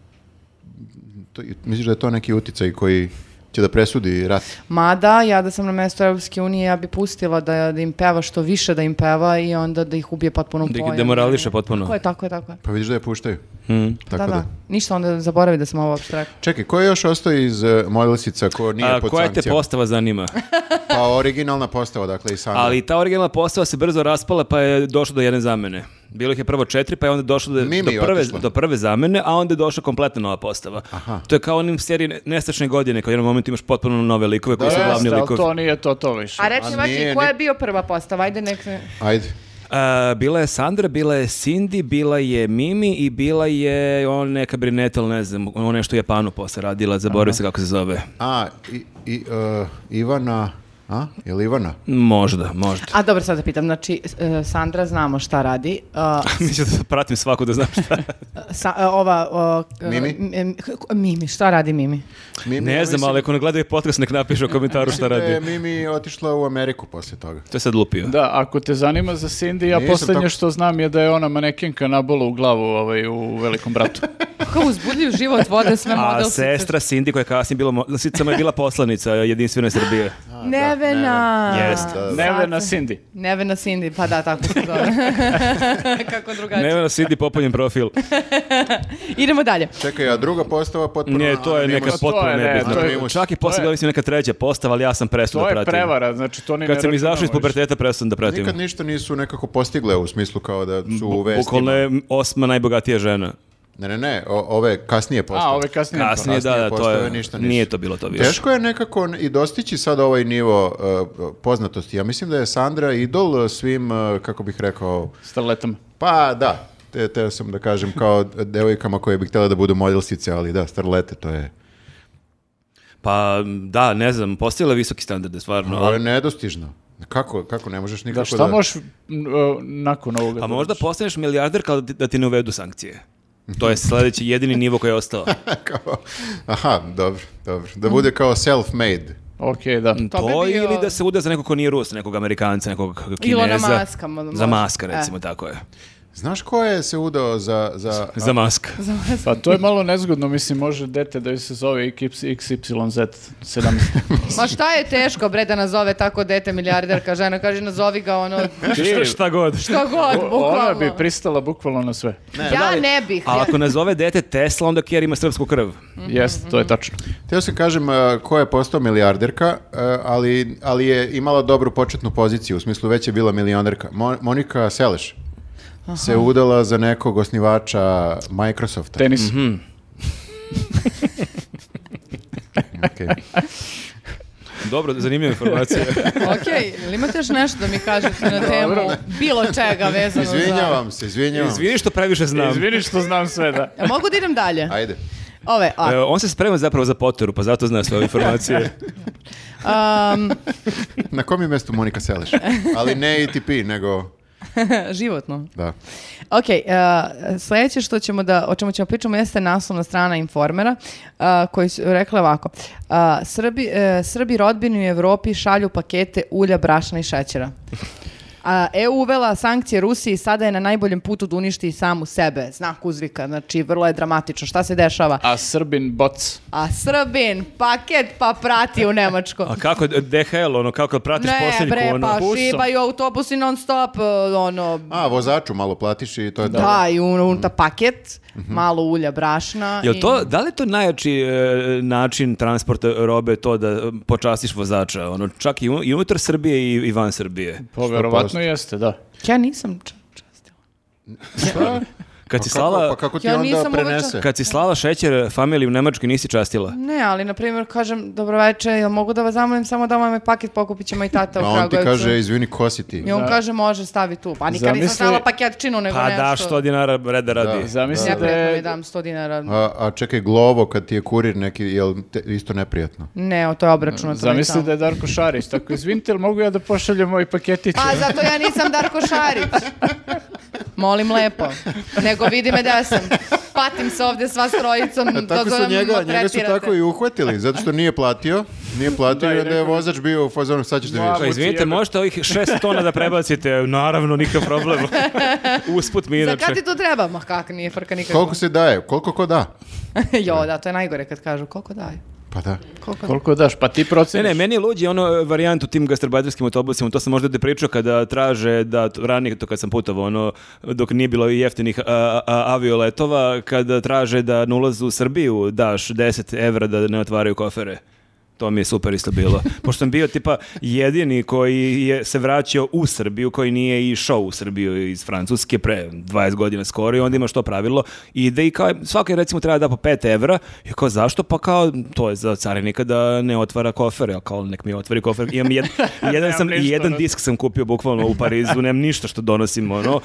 To, misliš da je to neki uticaj koji će da presudi rat? Mada, ja da sam na mestu Europske unije, ja bi pustila da, da im peva što više da im peva i onda da ih ubije potpuno u Da ih pojam. demorališe potpuno. Tako je, tako je, tako je. Pa vidiš da je puštaju. Hmm. Tako da, da, Ništa onda zaboravi da sam ovo uopšte rekla. Čekaj, ko je još ostao iz uh, modelsica ko nije A, pod koja te sankcijama? postava zanima? Pa originalna postava, dakle i sama. Ali ta originalna postava se brzo raspala pa je došlo do jedne zamene. Bilo ih je prvo četiri, pa je onda došlo do, Mimi do, je prve, otišla. do prve zamene, a onda je došla kompletna nova postava. To je kao onim seriji Ne- Nestačne godine, kad u jednom momentu imaš potpuno nove likove koji su Jeste, glavni ali likovi. to nije to, to više. A reći A Maki, nije, ko je nije- bio prva postava? Ajde nek... ne- Ajde. A, bila je Sandra, bila je Cindy, bila je Mimi i bila je on neka Brinetel, ne znam, ona je nešto u Japanu posle radila, zaboravio se kako se zove. A, i, i, uh, Ivana, a? Jel Ivana? Možda, možda. A dobro, sad da pitam, znači, e, Sandra znamo šta radi. a, Mislim da pratim svaku da znam šta. Sa- e, ova... o, k- Mimi? m- em, k- k- Mimi, šta radi Mimi? Mimi, ne ja znam, mislim- ali ako ne gledaju podcast, nek napiše u komentaru šta mislim da je radi. Mimi otišla u Ameriku poslije toga. To je sad lupio. Da, ako te zanima za Cindy, ja Nisam poslednje tako- što znam je da je ona manekenka nabola u glavu ovaj, u Velikom bratu. Kako uzbudljiv život vode sve A modelsice. sestra Cindy koja je kasnije bila modelsicama je bila poslanica Jedinstvene Srbije. Nevena. Nevena. Jest, da, da. Nevena Cindy. Nevena Cindy, pa da, tako se zove. Kako drugačije. Nevena Cindy popunjen profil. Idemo dalje. Čekaj, a druga postava potpuno... Ne, to je neka anonimus. to je, potpuno ne, nebitna. to je- Čak i to posle je- gledali su neka treća postava, ali ja sam prestao To da je pratim. prevara, znači to ni ne Kad sam izašao iz računamo više. puberteta, prestao sam da pratim. Nikad ništa nisu nekako postigle u smislu kao da su u Bu- vestima. Bukvalno je osma najbogatija žena. Ne, ne, ne, o- ove kasnije postave. A, ove kasnije. Kasnije, da, da, to je, postave ništa nisu. nije to bilo to više. Teško je nekako i dostići sad ovaj nivo uh, poznatosti. Ja mislim da je Sandra idol svim, uh, kako bih rekao, Starletom. pa da, te, teo sam da kažem kao devojkama koje bi htjela da budu modelsice, ali da, starlete, to je Pa da, ne znam, postavila visoki standarde, stvarno. ovo je ali- nedostižno. Kako, kako ne možeš nikako da... Da, šta možeš m, o, nakon ovoga? Pa da možda radiš? postaneš milijarder kao da ti, da ti ne uvedu sankcije. To je sledeći jedini nivo koji je ostao. Kao- Aha, dobro, dobro. Da bude kao self-made. Okej, da. To bi Mm, to bio- ili da se uda za nekog ko nije Rus, nekog Amerikanca, nekog Kineza. Ilona Maska, mo- Za može. maska, E. recimo, tako je. Znaš ko je se udao za... za Za maska. Pa to je malo nezgodno, mislim, može dete da joj se zove XYZ17. Ma šta je teško, bre, da nazove tako dete milijarderka žena? Kaže, nazovi ga ono, Šta, šta god. što god, Ona bukvalno. bi pristala bukvalno na sve. ja ne bih. A ako nazove dete Tesla, onda Kjer ima srpsku krv. Mhm, Jeste, to je tačno. Teo sam kažem uh, ko je postao milijarderka, uh, ali, ali je imala dobru početnu poziciju, u smislu već je bila milionerka. Mo- Monika Seleš se udala za nekog osnivača Microsofta. Tenis. Okej. Dobro, zanimljiva informacija. Ok, ili imate još nešto da mi kažete na temu bilo čega vezano za... Izvinjavam se, izvinjavam. se. Izvini što previše znam. Izvini što znam sve, da. Ja mogu da idem dalje? Ajde. Ove, a, E, on se sprema zapravo za poteru, pa zato zna sve ove informacije. um, Na kom je mestu Monika Seleš? Ali ne ATP, nego... životno. Da. Ok, uh, sledeće što ćemo da, o čemu ćemo pričamo jeste naslovna strana Informera, uh, koji su rekli ovako. Uh, Srbi, uh, Srbi rodbini u Evropi šalju pakete ulja, brašna i šećera. A, EU uvela sankcije Rusiji i sada je na najboljem putu da uništi i samu sebe. Znak uzvika, znači vrlo je dramatično. Šta se dešava? A Srbin boc. A Srbin, paket pa prati u Nemačko. A kako, DHL, ono, kako pratiš Ne, posljednjiku, bre, ono, pa busom. šibaju autobusi non stop, uh, ono, A, vozaču malo platiš i to je to. da, i unuta paket, malo ulja, brašna. Jel i- to, da li je to najjači e, način transporta robe to da e, počastiš vozača? Ono, čak i, u- i unutar Srbije i, i van Srbije. Pa verovatno jeste, da. Ja nisam č- častila. Šta? Kad si E, slala, Pa kako ti Ja onda nisam prenese? uveče- kad si slala šećer familiji u Nemačkoj nisi častila. Ne, ali na primjer kažem, dobro večer, jel mogu da vas zamolim samo da vam je paket pokupit ćemo i tata u Pa on Kragujevcu. ti kaže, izvini, ko si ti? I on kaže, može, stavi tu. Pa nikad nisam Zamisli- stavila paket činu, nego Pa nešto. da, što dinara reda radi. Zamisli Ja da prethodno i je... dam 100 dinara. A, a čekaj, glovo kad ti je kurir neki, jel te, isto neprijatno? Ne, o to je obračunato. Zamisli već da je Darko Šarić. Tako, izvinite, jel mogu ja da pošaljem ovaj paketić? tamo. Pa zato ja nisam Darko Šarić. Molim lepo. Nego vidi me da sam. Patim se ovdje sva strojicom. E, tako su njega, njega su tako i uhvatili, zato što nije platio, nije platio Da, i i onda je rekao- vozač bio u fazonu, sad ćeš da Ma, Pa vidiš. izvinite, Jebe. možete ovih šest tona da prebacite? Naravno, nikakav problem. Usput mi Za inače. kad ti to treba? Ma kak, nije frka nikako. Koliko se daje, koliko ko da? jo, da, to je najgore kad kažu koliko daju. Pa da. Koliko Koliko daš? Pa ti Ne, proceniš. ne, meni je luđi ono e, varijant u tim gastarbajterskim autobusima, to sam možda da pričao kada traže da t- ranije to kad sam putovao ono dok nije bilo i jeftinih a, a- a- avioletova, kada traže da na ulazu u Srbiju daš 10 evra da ne otvaraju kofere. To mi je super isto bilo. Pošto sam bio tipa jedini koji je se vraćao u Srbiju, koji nije išao u Srbiju iz Francuske pre 20 godina skoro i onda imaš to pravilo i da i kao svaki recimo treba da po 5 evra i kao zašto? Pa kao to je za carinika da ne otvara kofer, ja kao nek mi otvori kofer. Imam jed, jedan sam Nemam ništa, jedan ono. disk sam kupio bukvalno u Parizu, nemam ništa što donosim ono.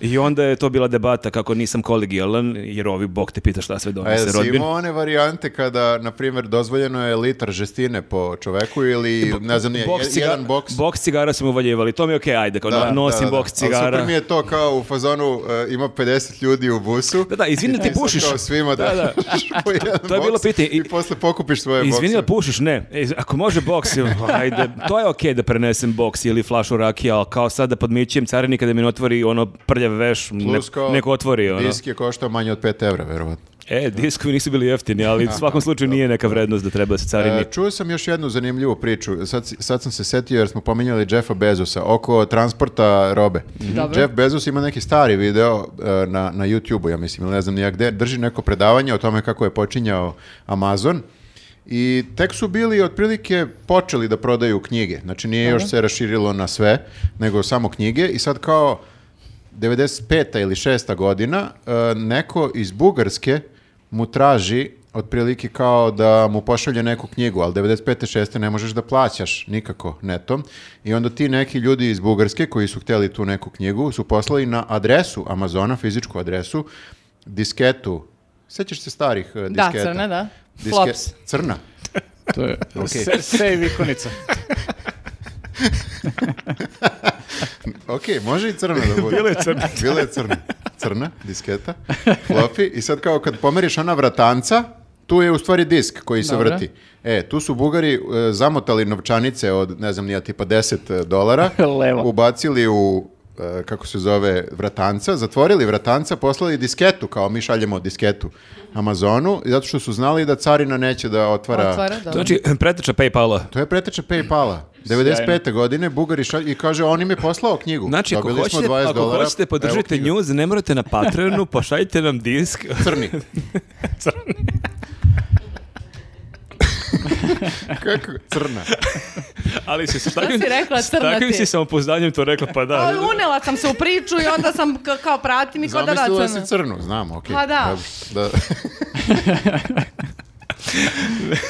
I onda je to bila debata kako nisam kolegijalan jer ovi bog te pita šta sve A jel donose Pa si rodbin. imao one varijante kada, na primjer, dozvoljeno je litar žestine po čoveku ili, ne znam, nije, Boks je- cigara, jedan boks? boks cigara smo uvaljivali, to mi je okej, ajde, kao Da, nosim da, da, da. boks Ali cigara. super mi je to kao u fazonu, e, ima 50 ljudi u busu. Da, da, izvini, ti I sad pušiš. kao svima da, Da, da. po jedan To je bilo boks pitanje. I, I- posle pokupiš svoje bokse. Izvini, jel pušiš? Ne. E, ako može boks, jel, ajde. To je okej da prenesem boks ili flašu rakija, ali kao sad da podmićujem carinika da mi ne otvori ono prljav veš, ne, Plus kao neko otvori. Ono. Disk je koštao manje od 5 evra, verovatno. E, diskovi nisu bili jeftini, ali u svakom slučaju nije neka vrednost da treba da se carini. E, čuo sam još jednu zanimljivu priču. Sad, si- sad sam se setio jer smo pominjali Jeffa Bezosa oko transporta robe. Dobro. Jeff Bezos ima neki stari video e, na, na YouTube-u, ja mislim, ili ne znam nija gde. Drži neko predavanje o tome kako je počinjao Amazon. I tek su bili otprilike počeli da prodaju knjige. Znači nije još se raširilo na sve, nego samo knjige. I sad kao 95. ili 6. godina e, neko iz Bugarske mu traži otprilike kao da mu pošalje neku knjigu, ali 95. 6. ne možeš da plaćaš nikako netom. I onda ti neki ljudi iz Bugarske koji su htjeli tu neku knjigu su poslali na adresu Amazona, fizičku adresu, disketu. Sećaš se starih e, Da, disketa? crna, da. Diske- Flops. Crna. To je Okej. se- save ikonica. Ok, može i crna da bude. Bila je crna. Bila je crna. Crna, disketa, floppy i sad kao kad pomeriš ona vratanca, tu je u stvari disk koji se Dobro. vrti. E, tu su Bugari e, zamotali novčanice od, ne znam, nija tipa 10 e, dolara, Levo. ubacili u e, kako se zove, vratanca, zatvorili vratanca, poslali disketu, kao mi šaljemo disketu Amazonu, zato što su znali da carina neće da otvara... Otvara, dobro. To znači preteča Paypala. To je preteča Paypala. 95. godine Bugari šalj, i kaže on im je poslao knjigu. Znači, ako Dobili smo hoćete, 20 ako dolara, hoćete evo podržite knjiga. news, ne morate na Patreonu, pošaljite nam disk. Crni. Kako? Crna. Ali si se s takvim, si rekla, s crna takvim ti? si samopouzdanjem to rekla, pa da. A, unela sam se u priču i onda sam ka- kao pratim i kao da da Zamislila crna. si crnu, znam, okej. Pa da. Dobro,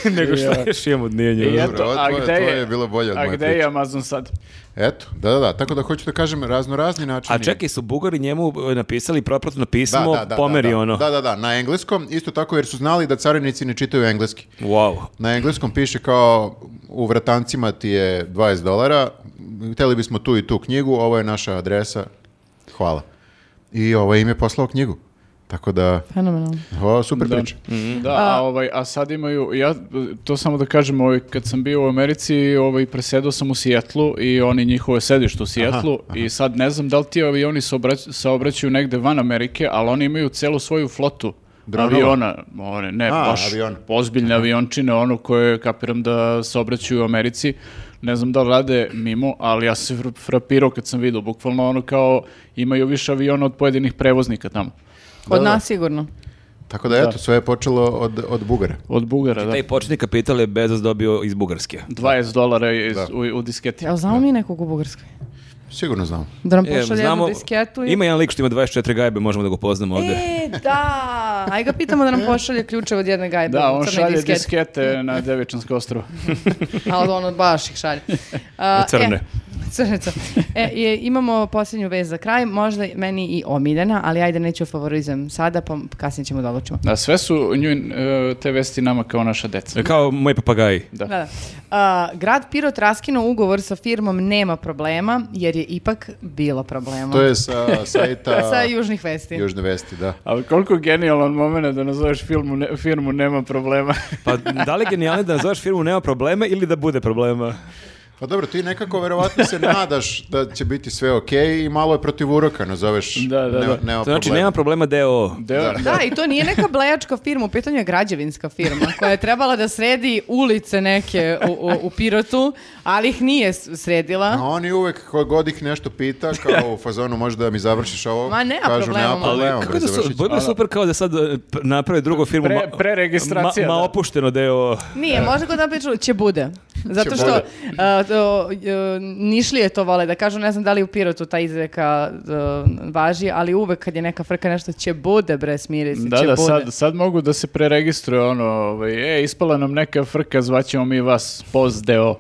Nego šta još imamo od nije I nju. Dobro, eto, ovo a tvoje- gde je, tvoje je bilo bolje od a moje gde priče. je Amazon sad? da. Eto, da, da, da. Tako da hoću da kažem razno razni načini. A čekaj, su Bugari njemu e, napisali propratno pismo, pomeri da, da. ono. Da, da, da, na engleskom, isto tako jer su znali da carinici ne čitaju engleski. Wow. Na engleskom piše kao u vratancima ti je 20 dolara, hteli bismo tu i tu knjigu, ovo je naša adresa, hvala. I ovaj im je poslao knjigu. Tako da, Fenomenalno. ovo je super Da. priča. Da, a, ovaj, a sad imaju, ja to samo da kažem, ovaj, kad sam bio u Americi, ovaj, presedao sam u Sijetlu i oni njihove sedište u Sijetlu i sad ne znam da li ti avioni se obrać- saobraćaju negde van Amerike, ali oni imaju celu svoju flotu Dronova? aviona, one, ne, A, baš aviona. ozbiljne aviončine, ono koje kapiram da saobraćaju u Americi. Ne znam da li rade mimo, ali ja sam se fr- frapirao kad sam vidio, bukvalno ono kao imaju više aviona od pojedinih prevoznika tamo. Kod nas sigurno. Tako da, eto, sve je počelo od, od Bugara. Od Bugara, da. Znači, Taj početni kapital je Bezos dobio iz Bugarske. 20 dolara iz, Da. u, u disketi. Jel znamo mi nekog u Bugarskoj? Sigurno znamo. Da nam E, pošalje jednu disketu i... Ima jedan lik što ima 24 gajbe, možemo da ga poznamo ovde. E, da! Aj ga pitamo da nam pošalje ključeve od jedne gajbe. Da, on crne šalje diskete. diskete na Devičansko ostrovo. Ali ono baš ih šalje. A, Crne. E, crne, crne. E, i- imamo posljednju vez za kraj, možda meni i omiljena, ali ajde neću favorizam sada, pa kasnije ćemo da odlučimo. Da, sve su nju, e, te vesti nama kao naša e. deca. Kao moj papagaji. Da. Da, da. A, grad Pirot raskinuo ugovor sa firmom Nema problema, jer je ipak bilo problema. To je sa sajta Sa južnih vesti. Južne Vesti, da. Ali koliko genijalan moment da nazoveš filmu ne- firmu Nema problema. Pa da li je genijalno da nazoveš firmu nema problema ili da bude problema? Pa dobro, ti nekako verovatno se nadaš da će biti sve okej i malo je protiv uroka, nazoveš. Da, da, da. nema, nema To znači problema. nema problema DO. Deo, Da, i to nije neka blejačka firma, u pitanju je građevinska firma koja je trebala da sredi ulice neke u, u, u Pirotu, ali ih nije s- A sredila. oni uvek ko god ih nešto pita, kao u fazonu možeš da mi završiš ovo, Ma, nema kažu problema, nema ma." Ali problema, kako bre, da su, završit ću. bilo je super kao da sad e, p- naprave drugu firmu. Pre- ma- preregistracija, Ma, ma da. opušteno DO. Nije, možda kod napiču će bude. Zato Će što bude. a, to, e, nišlije to vole da kažu, ne znam da li u Pirotu ta izreka e, važi, ali uvek kad je neka frka nešto će bude, bre, smiri se, Da, će da, bude. sad, sad mogu da se preregistruje ono, ovaj, e, ispala nam neka frka, zvaćemo mi vas, poz deo.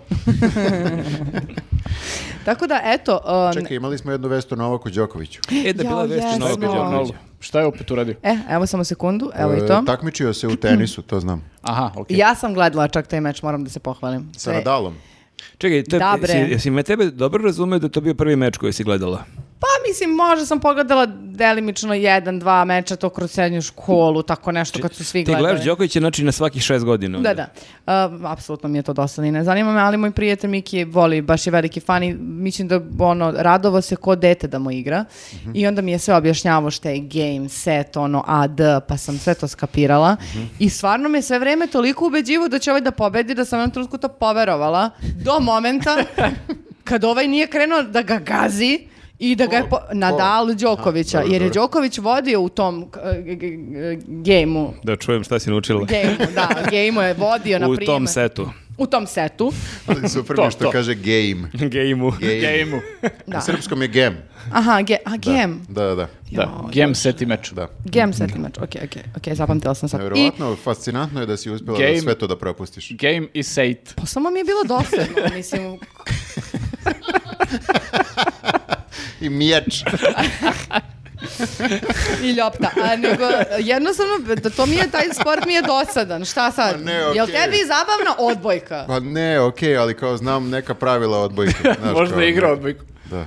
Tako da, eto, e, Čekaj, imali smo jednu vestu o Novaku Đokoviću. E, da je bila Jao, vest iz jesmo. Novog Novo. Beograda. Ono, Šta je opet uradio? e, evo samo sekundu, evo i E, to. Takmičio se u tenisu, to znam. Aha, okej. Ja sam gledala čak taj meč, moram da se pohvalim. Sa To je- Nadalom. Čekaj, to, je- Da, bre. jesi, jesi me tebe dobro razumeo da je to bio prvi meč koji si gledala? Pa mislim, možda sam pogledala delimično jedan, dva meča to kroz srednju školu, tako nešto kad su svi Ti gledali. gledaš Đokovića znači na svakih šest godina. Da, onda. da. Uh, apsolutno mi je to dosadno i ne zanima me, ali moj prijatelj Miki je voli, baš je veliki fan i mislim da ono, radovo se ko dete da mu igra Mhm. i onda mi je sve objašnjavao šta je game, set, ono, AD, pa sam sve to skapirala Mhm. i stvarno me je sve vreme toliko ubeđivo da će ovaj da pobedi da sam na trutku to poverovala do momenta kad ovaj nije krenuo da ga gazi i da ga je po... Nadal Đokovića, dobro, jer je dobro. Đoković vodio u tom eh, g- g- g- gejmu. Da čujem šta si naučila. Gejmu, da, gejmu je vodio, na U primjer. tom setu. u tom setu. Ali super To, mi je što to. kaže game. Gejmu. Game. Gejmu. Da. Na srpskom je gem. Aha, ge, a, gem. Da, da, da. Da, gem seti meč. da. Gem set imač. Ok, ok, ok, zapamtila sam sad. I Verovatno, fascinantno je da si uspjela da Game. sve to da propustiš. Game i sejt. pa samo mi je bilo dosadno, mislim. I mijač. I ljopta. A nego, jednostavno, da to mi je, taj sport mi je dosadan. Šta sad? Ma ne, okej. Jel tebi zabavna odbojka? Pa ne, okej, ali kao znam neka pravila odbojke. znaš, kao, Možda ne. je igrao odbojku. Da.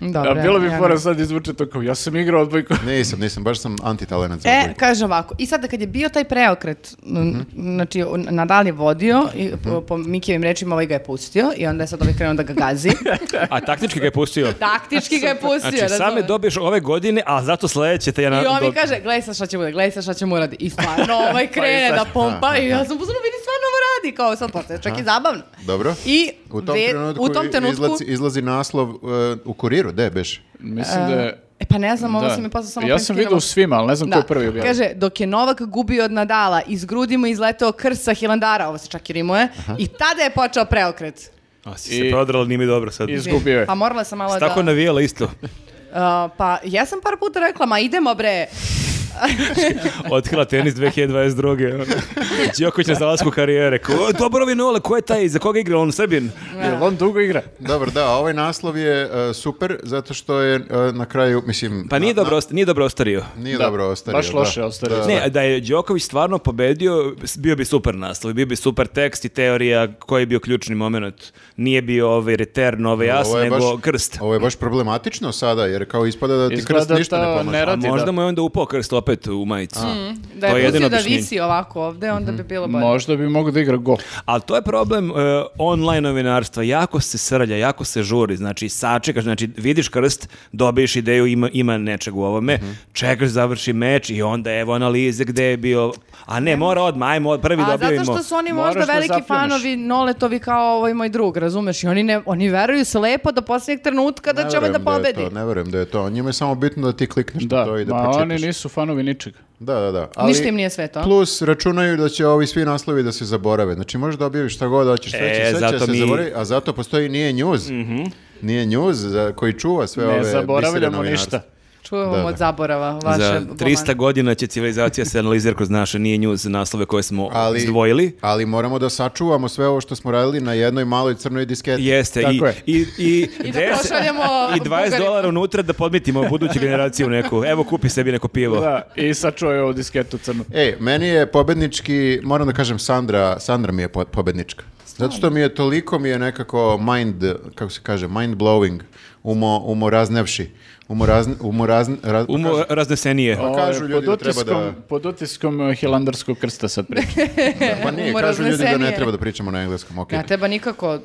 Dobro. A bilo bi ja ne- fora sad izvuče to kao, ja sam igrao odbojku. Nisam, nisam, baš sam antitalenac za E, odbojku. kaže ovako, i sada kad je bio taj preokret, n- znači on- Nadal je vodio, i, po, po Mikijevim rečima ovaj ga je pustio i onda je sad ovaj krenuo da ga gazi. A taktički ga je pustio. Taktički ga je pustio, Znači, same razumeš? dobiješ ove godine, a zato sledeće te ja na... I on mi do- kaže, gledaj sad šta će bude, gledaj sad šta će mu radi. I stvarno ovaj krene sad- da pompa i ja sam pozorno vidi stvarno ovo radi, kao sad to je čak i zabavno. Dobro. I U tom ve- trenutku, u tom trenutku- izlazi, izlazi naslov e, u kuriru, gde beš? Mislim da je... E pa ne znam, ovo da. si mi posao samo Ja sam prekinula. vidio u svima, ali ne znam ko je prvi objavio. Kaže, dok je Novak gubio od Nadala, iz grudi mu izleteo krst sa Hilandara, ovo se čak i rimuje, i tada je počeo preokret. A si se I- prodrala, nije mi dobro sad. Iz- Izgubio je. Pa morala sam malo Tako da... navijela isto. Uh, pa ja sam par puta rekla, ma idemo bre. Otkrila tenis 2022. ono. Đoković na zalasku karijere. Ko, Dobrovi Nole, ko je taj, za koga igra on Srbin? Jel on dugo igra? Dobro, da, ovaj naslov je e, super, zato što je e, na kraju, mislim... Pa nije na- dobro, ost- nije dobro ostario. na- nije Da, dobro ostario. baš loše da. ostario. Da, Ne, da je Đoković stvarno pobedio, bio bi super naslov, bio bi super tekst i teorija koji je bio ključni moment. Nije bio ovaj return, ovaj da. jas, Ovo je nego baš- krst. Ovo je baš problematično sada, jer kao ispada da ti Izgleda krst ništa ne da pomaže. ne A radi, možda da. mu je onda upao krst opet u majicu. Mm, Da je, to je jedino pustio da objašnjenje. visi ovako ovde, onda bi bilo bolje. Možda bi mogao da igra go. Ali to je problem e, online novinarstva. Jako se srlja, jako se žuri. Znači, sačekaš, znači, vidiš krst, dobiješ ideju, ima, ima nečeg u ovome, Mhm. čekaš, završi meč i onda evo analize gde je bio... A ne, mora odmah, ajmo, prvi A zato dobijemo. što su oni Moraš možda da veliki zapljuneš. fanovi Noletovi kao ovaj moj drug, razumeš? I oni, ne, oni veruju slepo do posljednjeg trenutka da Ne će ovaj da verujem je pobedi. to, ne verujem da je to. Njima je samo bitno da ti klikneš na Da, to i da ma pročitaš. oni nisu fanovi ničega. Da, da, da. Ništa im nije sveto, a? Plus, računaju da će ovi svi naslovi da se zaborave. Znači, možeš da objaviš šta god hoćeš, sve E, će, sve će zato se mi- Mhm. zaboraviti, a zato postoji nije news. Nije news za, koji čuva sve ove Ne bisere zaboravljamo novinarstva. ništa. Čujemo Da, da. od zaborava vaše Za bomane. 300 godina će civilizacija se analizirati kroz naše nije news naslove koje smo Ali, izdvojili. ali moramo da sačuvamo sve ovo što smo radili na jednoj maloj crnoj disketi. Jeste, i, Tako je. i, i, I da 10 pošaljemo i 20 Bugarima. dolara unutra da podmitimo buduću generaciju neku. Evo, kupi sebi neko pivo. Da, i sad čuo je ovu disketu crnu. Ej, E, meni je pobednički, moram da kažem Sandra, Sandra mi je po- pobednička. Zato što mi je toliko mi je nekako mind, kako se kaže, mind blowing, umo, umo raznevši. Umo razne, umo razne, raz- Umo raznesenije. Pa Ovo, kažu ljudi da pod treba da- utiskom- Pod utiskom eh, hilandarskog krsta sad pričam. Pa nije, Umo kažu ljudi da ne raznesenije. treba da pričamo na engleskom, okej. Ne treba nikako...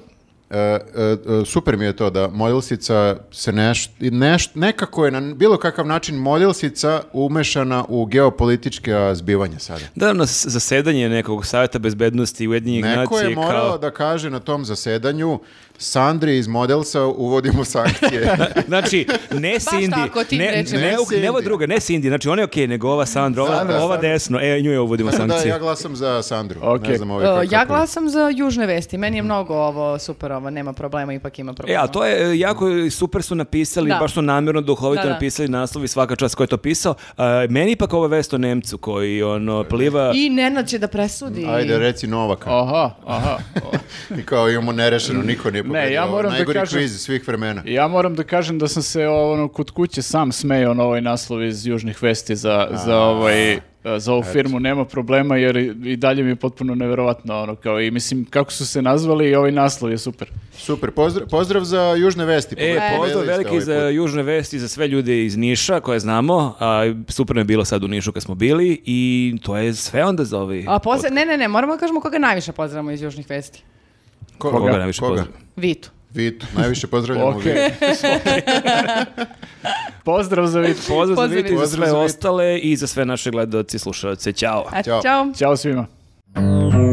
E, e, e, super mi je to da modelsica se neš, neš, nekako je na bilo kakav način modelsica umešana u geopolitičke a, zbivanja sada. Da, na s- zasedanje nekog savjeta bezbednosti Ujedinjenih Neko nacija je morao kao... da kaže na tom zasedanju Sandri iz modelsa uvodimo sankcije. Znači, ne tako, Cindy, tim ne, rečima. ne, ne, Ne ne ova Cindy. druga, ne Cindy, znači ona je okej, nego ova Sandra, ova, Sandra, ova Sandra. desno, e, nju je uvodimo da, sankcije. ja glasam za Sandru. Ne Okej. znam ovaj Uh, kako- ja kako je. glasam za južne vesti, meni je mnogo ovo super, ovo nema problema, ipak ima E, problema. a to je, e, jako super su napisali, Da. baš su namjerno duhovito Da, da. napisali naslovi svaka čast ko je to pisao. E, meni ipak ovo vest o Nemcu koji ono, pliva... I Nenad će da presudi. Ajde, reci Novaka. Aha, aha. O, I kao imamo nerešeno, niko nije pobedio. ja Ovo je moram da Najgori kažem- kviz svih vremena. Ja moram da kažem da sam se ono, kod kuće sam smejao na ovaj naslov iz Južnih vesti za, za, ovaj, eh, za ovu firmu. Nema problema jer i i dalje mi je potpuno neverovatno. Ono, kao, I mislim, kako su se nazvali i ovaj naslov je super. Super, pozdrav, pozdrav za Južne vesti. E, Pobedili pozdrav ste ovaj veliki put. za Južne Vesti, za sve ljude iz Niša koje znamo, a super nam je bilo sad u Nišu kad smo bili i to je sve onda za ovi... A posle, ne, ne, ne, moramo da kažemo koga najviše pozdravimo iz južnih vesti. Ko- Koga najviše pozdravljamo? Vitu. Vitu, najviše pozdravljamo Ok. Vitu. Pozdrav za Vitu. Pozdrav za Pozdrav Vitu i za Vitu. sve Pozdrav za Vitu. ostale i za sve naše gledaoci i slušalce. Ćao! A, Ćao. Ćao. Ćao svima.